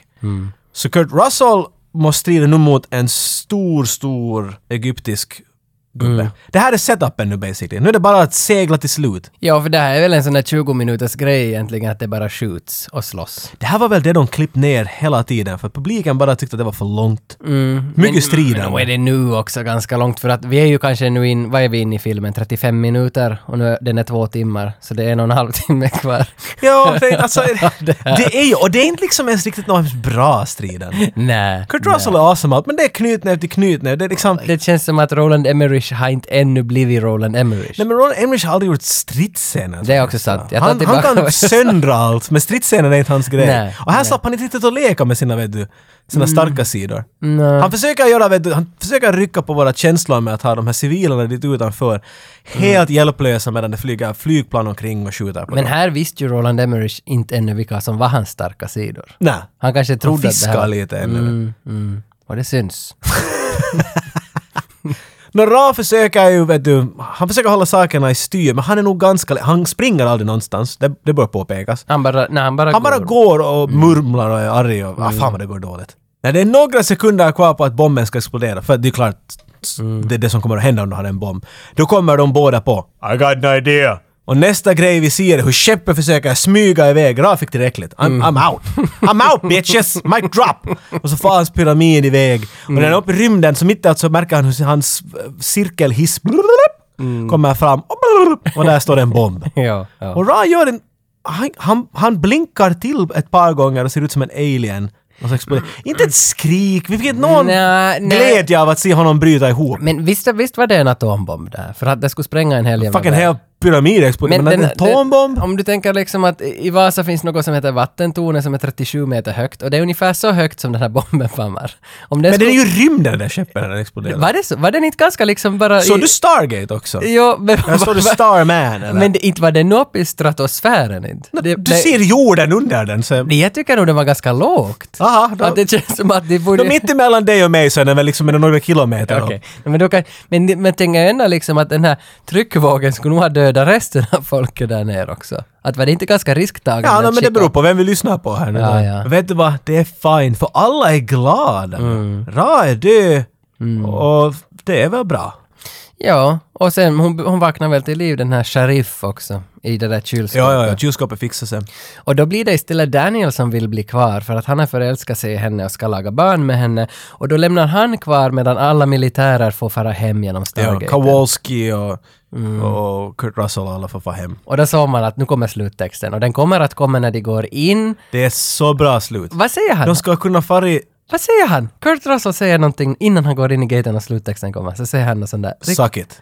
Speaker 3: Så Kurt Russell måste strida nu mot en stor, stor egyptisk gubbe. Det här är setupen nu basically. Nu är det bara att segla till slut.
Speaker 2: Ja, för det här är väl en sån där 20 minuters grej egentligen, att det bara skjuts och slåss.
Speaker 3: Det här var väl det de klippt ner hela tiden för publiken bara tyckte att det var för långt.
Speaker 2: Men-
Speaker 3: Mycket
Speaker 2: Mm. Men då är
Speaker 3: strider.
Speaker 2: det nu också ganska långt för att vi är ju kanske nu in, vad är vi inne i filmen, 35 minuter och nu är, den är två timmar så det är en och en halv timme kvar.
Speaker 3: Ja, det, alltså, det är ju, och det är inte liksom ens riktigt någon bra strider.
Speaker 2: Nej.
Speaker 3: Kurt Russell är awesome allt, men det är knutnäve till knutnäve. Det är liksom...
Speaker 2: Det känns som att Roland Emmerich har inte ännu blivit Roland Emmerich.
Speaker 3: Nej men Ron Emmerich har aldrig gjort stridsscener.
Speaker 2: Det är också sant. Jag tar
Speaker 3: Han, han
Speaker 2: tillbaka vad
Speaker 3: kan
Speaker 2: jag sa.
Speaker 3: söndra allt, men stridsscener är inte hans grej.
Speaker 2: Nej, Mm.
Speaker 3: och här slapp han inte riktigt att leka med sina, vet du, sina starka sidor.
Speaker 2: Nej.
Speaker 3: Han försöker göra, vet du, han försöker rycka på våra känslor med att ha de här civilerna dit utanför helt hjälplösa medan det flyger flygplan omkring och skjuter på
Speaker 2: Mm. Men
Speaker 3: dem.
Speaker 2: här visste ju Roland Emmerich inte ännu vilka som var hans starka sidor.
Speaker 3: Nej,
Speaker 2: Han kanske
Speaker 3: de
Speaker 2: trodde att det här
Speaker 3: viskar
Speaker 2: var...
Speaker 3: lite ännu.
Speaker 2: Mm, mm. Och det syns.
Speaker 3: Nå, Ra försöker ju, vet du, han försöker hålla sakerna i styr, men han är nog ganska, han springer aldrig någonstans, det, det bör påpekas.
Speaker 2: Han bara, nej, han bara
Speaker 3: Han bara går Mm. och murmlar och är arg och ah, fan vad det går dåligt. Nej, det är några sekunder kvar på att bomben ska explodera, för det är klart s- det är det som kommer att hända om du har en bomb. Då kommer de båda på I got an idea. Och nästa grej vi ser är hur skeppet försöker smyga iväg. Ra fick tillräckligt. I'm, I'm out. I'm out bitches! Mic drop! Och så far hans pyramid iväg. Och när han är uppe i rymden så mitt i allt så märker han hur hans eh, cirkelhiss kommer fram. Och där står det en bomb.
Speaker 2: Ja, ja.
Speaker 3: Och Ra gör en... Han, han, han blinkar till ett par gånger och ser ut som en alien. Någon slags polit- Inte ett skrik, vi fick inte någon
Speaker 2: Nej, nej.
Speaker 3: glädje av att se honom bryta ihop.
Speaker 2: Men visst, visst var det en atombomb där? För att det skulle spränga en hel jävla
Speaker 3: Fucking
Speaker 2: värld.
Speaker 3: hel pyramid exploderade. Men,
Speaker 2: den-
Speaker 3: en atombomb?
Speaker 2: Den, om du tänker liksom att i Vasa finns något som heter vattentornet som är 37 meter högt och det är ungefär så högt som den här bomben fammar. Om den
Speaker 3: Men den är
Speaker 2: skulle-
Speaker 3: ju rymden den där skeppet när den exploderade.
Speaker 2: Var det så? Var den inte ganska liksom bara...
Speaker 3: Såg
Speaker 2: i-
Speaker 3: du Stargate också?
Speaker 2: Jo, men...
Speaker 3: Eller såg du Starman eller?
Speaker 2: men det, inte var den upp i stratosfären inte? Det-
Speaker 3: du
Speaker 2: det-
Speaker 3: ser jorden under den. Så...
Speaker 2: det- Jag tycker nog den var ganska lågt.
Speaker 3: Aha, då-
Speaker 2: Att det känns som att det borde...
Speaker 3: Då mitt emellan dig och mig så är den väl liksom några kilometer upp.
Speaker 2: Okej. Men, då kan, men, men tänk jag ändå liksom att den här tryckvågen skulle nog ha dödat resten av folket där nere också. Att var det inte ganska risktagande
Speaker 3: Ja,
Speaker 2: att
Speaker 3: no, men det
Speaker 2: skicka-
Speaker 3: beror på vem vi lyssnar på här nu.
Speaker 2: Ja,
Speaker 3: då.
Speaker 2: ja.
Speaker 3: Vet du vad, det är fine, för alla är glada.
Speaker 2: Mm.
Speaker 3: Ra är död och det är väl bra.
Speaker 2: Ja, och sen hon, hon vaknar väl till liv den här sheriff också i det där kylskåpet.
Speaker 3: Ja, ja, ja, kylskåpet fixar sig.
Speaker 2: Och då blir det istället Daniel som vill bli kvar för att han har förälskat sig i henne och ska laga barn med henne. Och då lämnar han kvar medan alla militärer får fara hem genom
Speaker 3: Ja,
Speaker 2: Stargate.
Speaker 3: Kowalski och,
Speaker 2: Mm.
Speaker 3: och Kurt Russell alla får vara hem.
Speaker 2: och då såg man att nu kommer sluttexten och den kommer att komma när de går in.
Speaker 3: Det är så bra slut.
Speaker 2: Vad säger han?
Speaker 3: De ska kunna fara i
Speaker 2: Vad säger han? Kurt Russell säger någonting innan han går in i gaten och sluttexten kommer. Så säger han något sånt där.
Speaker 3: Suck it.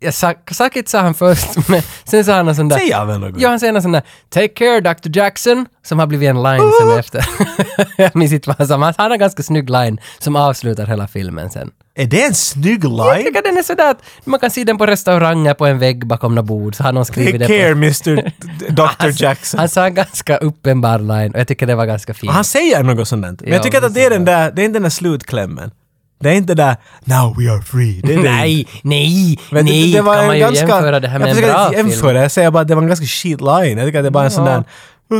Speaker 2: Ja, Suck suck it sa han först, men sen sa han något sånt där.
Speaker 3: Säger han väl något?
Speaker 2: Ja, han säger något sånt där “Take care Dr. Jackson” som har blivit en line
Speaker 3: Oh!
Speaker 2: sen efter. jag minns inte vad han sa, men han har en ganska snygg line som avslutar hela filmen sen.
Speaker 3: Är det en snygg
Speaker 2: Jag
Speaker 3: line?
Speaker 2: tycker den är sådär att man kan se den på restauranger på en vägg bakom något bord, så har någon skrivit
Speaker 3: Take
Speaker 2: det
Speaker 3: care
Speaker 2: på... Alltså,
Speaker 3: Mr. Dr. Jackson.
Speaker 2: Han sa en ganska uppenbar line och jag tycker det var ganska fint.
Speaker 3: Han säger något sånt där. Men
Speaker 2: Ja,
Speaker 3: jag tycker att
Speaker 2: precis.
Speaker 3: det är den där, det är inte den där slutklämmen. Det är inte där “Now we are free”. Det är det
Speaker 2: Nej, nej,
Speaker 3: Men
Speaker 2: nej,
Speaker 3: det, det var
Speaker 2: kan
Speaker 3: en
Speaker 2: man ju
Speaker 3: ganska,
Speaker 2: jämföra det här med
Speaker 3: jag
Speaker 2: en
Speaker 3: försöker
Speaker 2: bra
Speaker 3: inte jämföra,
Speaker 2: film.
Speaker 3: Jag säger bara att det var en ganska shit line. Jag tycker att det är bara en sån där...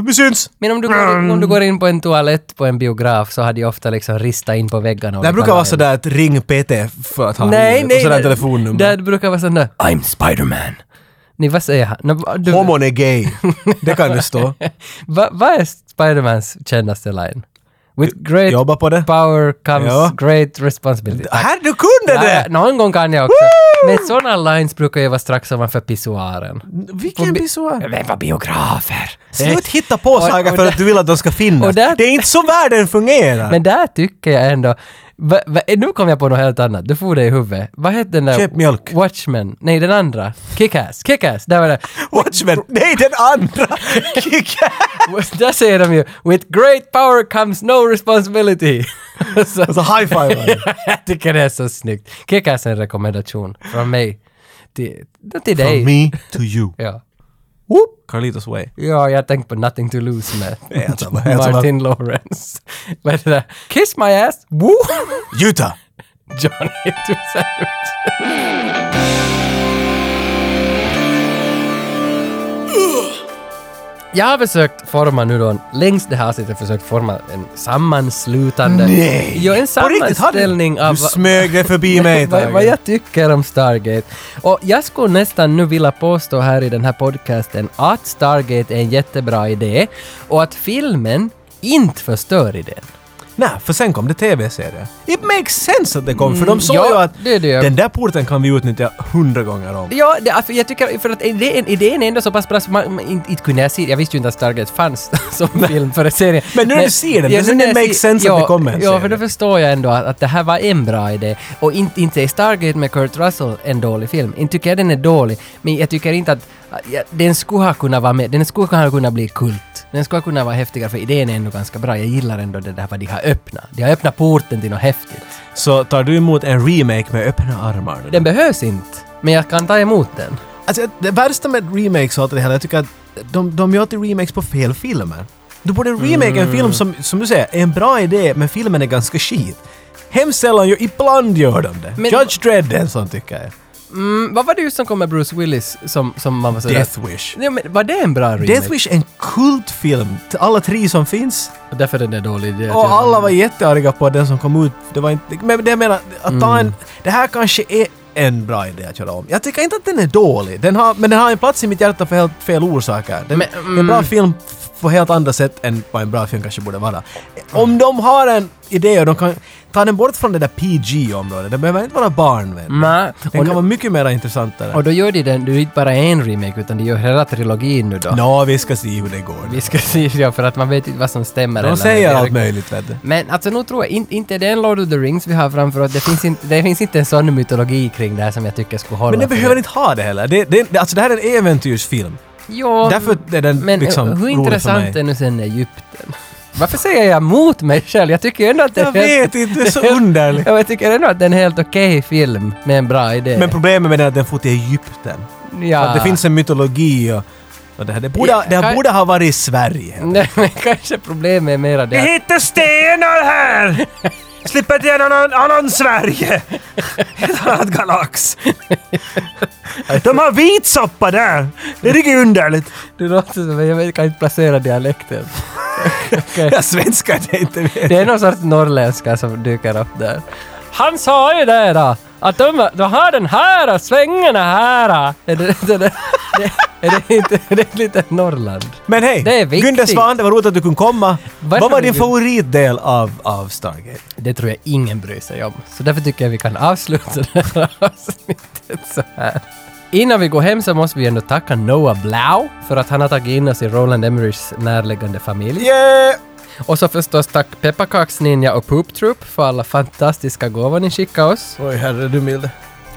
Speaker 3: Vi syns!
Speaker 2: Men om du, går, om du går in på en toalett på en biograf så hade jag ofta liksom ristat in på väggarna. och
Speaker 3: Det här brukar
Speaker 2: kallat
Speaker 3: vara
Speaker 2: en-
Speaker 3: sådär att ring PT för att ha
Speaker 2: Nej,
Speaker 3: roligt
Speaker 2: nej.
Speaker 3: och sådär
Speaker 2: det-
Speaker 3: telefonnummer.
Speaker 2: Det brukar vara sån där I'm Spiderman. Nej, vad säger han? Nå, va- du,
Speaker 3: Homon är gay. det kan det stå.
Speaker 2: va, vad är Spidermans kändaste line? With great
Speaker 3: Jobba på det.
Speaker 2: power comes
Speaker 3: Ja.
Speaker 2: great responsibility.
Speaker 3: Här, du kunde
Speaker 2: Ja,
Speaker 3: det!
Speaker 2: någon gång kan jag också. Men såna lines brukar ju vara strax ovanför pissoaren.
Speaker 3: Vilken bisarr.
Speaker 2: Men vad biografer!
Speaker 3: Slut hitta på
Speaker 2: och-
Speaker 3: saker
Speaker 2: och
Speaker 3: för
Speaker 2: där-
Speaker 3: att du vill att de ska
Speaker 2: och
Speaker 3: finnas.
Speaker 2: där-
Speaker 3: Det är inte så världen fungerar.
Speaker 2: Men där tycker jag ändå... Va, va, nu kom jag på något helt annat. Du får det i huvudet. Vad hette den där...
Speaker 3: Köp mjölk.
Speaker 2: Watchmen. Nej, den andra. Kick-Ass. Kick-Ass. Där var det.
Speaker 3: Watchmen! Nej, den andra! Kick-ass!
Speaker 2: där säger de ju “With great power comes no responsibility”. så,
Speaker 3: Alltså high-five!
Speaker 2: jag tycker det är så snyggt. Kick-Ass är en rekommendation från mig. Till, till dig.
Speaker 3: From me to you.
Speaker 2: Ja.
Speaker 3: Whoop. Carlitos way.
Speaker 2: ja, jag tänkte på “Nothing to lose” med
Speaker 3: Nej, alltså, alltså,
Speaker 2: Martin Lawrence. Vad heter det? “Kiss my ass”. Woo!
Speaker 3: Utah!
Speaker 2: Johnny du ser ut. Jag har försökt forma nu då, längs det här avsnittet försökt forma en sammanslutande...
Speaker 3: Nej!
Speaker 2: Jo, en
Speaker 3: På riktigt, har
Speaker 2: sammanställning
Speaker 3: du,
Speaker 2: av...
Speaker 3: du smög dig förbi mig
Speaker 2: vad,
Speaker 3: Tage.
Speaker 2: vad jag tycker om Stargate. Och jag skulle nästan nu vilja påstå här i den här podcasten att Stargate är en jättebra idé och att filmen inte förstör idén.
Speaker 3: Nej, för sen kom det tv-serier. It makes sense att det kom, för de såg
Speaker 2: Mm, ja,
Speaker 3: ju att
Speaker 2: det är det.
Speaker 3: den där porten kan vi utnyttja hundra gånger om.
Speaker 2: Ja, det, alltså, jag tycker för att idén, idén är ändå så pass bra så man, man, inte, inte kunde jag se Jag visste ju inte att Stargate fanns som film för en serie.
Speaker 3: Men nu när du ser den,
Speaker 2: nu
Speaker 3: det
Speaker 2: när jag
Speaker 3: makes
Speaker 2: ser-
Speaker 3: sense att
Speaker 2: ja,
Speaker 3: det kommer en
Speaker 2: Ja, för
Speaker 3: serie.
Speaker 2: då förstår jag ändå att, att det här var en bra idé. Och inte, inte är Stargate med Kurt Russell en dålig film. Inte tycker jag den är dålig, men jag tycker inte att att jag- den skulle ha kunnat vara med, den skulle ha kunnat bli kult. Den skulle ha kunnat vara häftigare för idén är ändå ganska bra. Jag gillar ändå det där vad de har öppnat. De har öppnat porten till något häftigt.
Speaker 3: Så tar du emot en remake med öppna armar? nu?
Speaker 2: Den behövs inte, men jag kan ta emot den.
Speaker 3: Alltså, det värsta med remakes och allt det hela, jag tycker att de, de gör alltid remakes på fel filmer. Du borde remake en
Speaker 2: Mm.
Speaker 3: film som, som du säger, är en bra idé, men filmen är ganska skit. Hemskt sällan, gör- ibland gör de det.
Speaker 2: Men-
Speaker 3: Judge Dredd är en sån tycker jag.
Speaker 2: Mm, vad var det just som kom med Bruce Willis som, som man var sådär...
Speaker 3: Death Wish.
Speaker 2: Nej, men var det en bra remake?
Speaker 3: Death Wish är en kultfilm, till alla tre som finns.
Speaker 2: Och Därför är den där dålig idé.
Speaker 3: Och alla var jättearga på att den som kom ut. Det var inte, men det jag menar,
Speaker 2: Mm.
Speaker 3: att ta en, det här kanske är en bra idé att köra om. Jag tycker inte att den är dålig, den har, men den har en plats i mitt hjärta för helt fel orsaker. Den,
Speaker 2: Men, mm.
Speaker 3: det är en bra film f- på helt andra sätt än vad en bra film kanske borde vara.
Speaker 2: Mm.
Speaker 3: Om de har en idé och de kan ta den bort från det där PG-området, den behöver inte vara barnvän.
Speaker 2: Nej.
Speaker 3: Den
Speaker 2: Mm. Och,
Speaker 3: kan vara mycket mer intressantare.
Speaker 2: och då gör de den, det är inte bara en remake utan de gör hela trilogin nu då.
Speaker 3: Nå, vi ska se hur det går.
Speaker 2: Vi ska se, ja, för att man vet inte vad som stämmer.
Speaker 3: De
Speaker 2: eller
Speaker 3: säger
Speaker 2: inte.
Speaker 3: allt möjligt, vet du.
Speaker 2: Men alltså nog tror jag in, inte det är en Lord of the Rings vi har framför oss. Det finns, inte det finns inte en sån mytologi kring det här som jag tycker skulle hålla.
Speaker 3: Men den
Speaker 2: för
Speaker 3: behöver inte ha det heller. Det, det, alltså det här är en äventyrsfilm.
Speaker 2: Jo,
Speaker 3: Därför är den
Speaker 2: men eh,
Speaker 3: liksom
Speaker 2: hur
Speaker 3: rolig
Speaker 2: intressant
Speaker 3: för
Speaker 2: är nu sen Egypten? Varför säger jag emot mig själv? Jag tycker ändå att det
Speaker 3: Jag vet inte, det är så underligt.
Speaker 2: Ja, men jag tycker ändå att det är en helt okej film med en bra idé.
Speaker 3: Men problemet med den är att den får till Egypten.
Speaker 2: ja.
Speaker 3: Att det finns en mytologi och, och det här. Det borde,
Speaker 2: Ja,
Speaker 3: det här
Speaker 2: kan-
Speaker 3: borde ha varit i Sverige.
Speaker 2: Nej, men kanske problemet är mera det att...
Speaker 3: hittar stenar här! Slipper inte någon annan Sverige! Ett annat galax! De har vit soppa där! Det är riktigt underligt.
Speaker 2: Du låter som... Jag vet- kan inte placera dialekten. Okej.
Speaker 3: Jag svenskar det inte vet.
Speaker 2: Det är någon sorts norrländska som dyker upp där. Han sa ju det då! Att de, de har den här svängarna här! Är det, det, det, det, är det inte... Är det lite Norrland?
Speaker 3: Men hej!
Speaker 2: Det är viktigt.
Speaker 3: Gunde Svan, det var roligt att du kunde komma.
Speaker 2: Varför
Speaker 3: Vad var
Speaker 2: är
Speaker 3: din
Speaker 2: du-
Speaker 3: favoritdel av, av Stargate?
Speaker 2: Det tror jag ingen bryr sig om. Så därför tycker jag vi kan avsluta det här avsnittet så här. Innan vi går hem så måste vi ändå tacka Noah Blau för att han har tagit in oss i Roland Emmerichs närliggande familj.
Speaker 3: Yeah!
Speaker 2: Och så förstås tack Pepparkaksninja och Poop Troop för alla fantastiska gåvor ni skickade oss.
Speaker 3: Oj, herre du milde.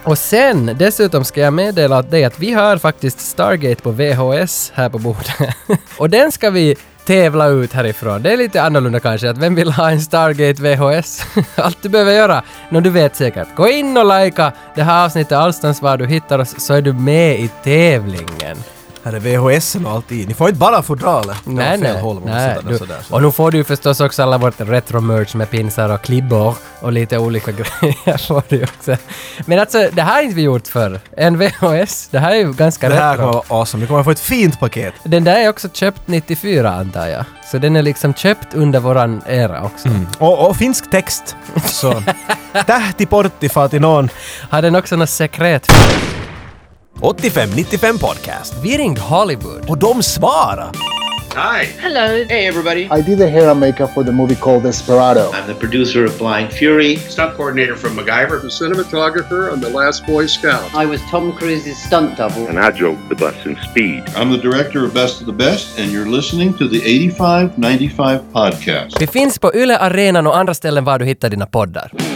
Speaker 2: Och sen, dessutom ska jag meddela att dig att vi har faktiskt Stargate på VHS här på bordet. och den ska vi tävla ut härifrån. Det är lite annorlunda kanske, att vem vill ha en Stargate VHS? Allt du behöver göra, nå du vet säkert, gå in och likea det här avsnittet allstans var du hittar oss så är du med i tävlingen.
Speaker 3: Här är VHS och allt i. Ni får inte bara fodralet. Det var
Speaker 2: Nej,
Speaker 3: fel
Speaker 2: nej.
Speaker 3: håll, man
Speaker 2: nej
Speaker 3: måste sätta den
Speaker 2: du,
Speaker 3: sådär, så.
Speaker 2: och nu får du ju förstås också alla vårt retro-merch med pinsar och klibbor och lite olika grejer får du ju också. Men alltså, det här har inte vi gjort förr. En VHS, det här är ju ganska
Speaker 3: Det här
Speaker 2: retro.
Speaker 3: kommer vara awesome. Vi kommer få ett fint paket.
Speaker 2: Den där är också köpt 94 antar jag. Så den är liksom köpt under våran era också.
Speaker 3: Och, och finsk text. Så. Tähti portti faati noin.
Speaker 2: Har den också något sekret?
Speaker 3: 85-95 podcast.
Speaker 2: Vi ringde Hollywood.
Speaker 3: Och de svarar.
Speaker 5: Hi,
Speaker 6: Hello. Hey, everybody.
Speaker 7: I did the hair and makeup for the movie called Desperado.
Speaker 5: I'm the producer of Blind Fury, stunt coordinator from MacGyver.
Speaker 8: the cinematographer on The Last Boy Scout.
Speaker 6: I was Tom Cruise's stunt double.
Speaker 9: and I drove the bus in speed.
Speaker 10: I'm the director of Best of the Best, and you're listening to the 85 95 podcast.
Speaker 2: Vi finns på Yle Arenan och andra ställen var du hittar dina poddar.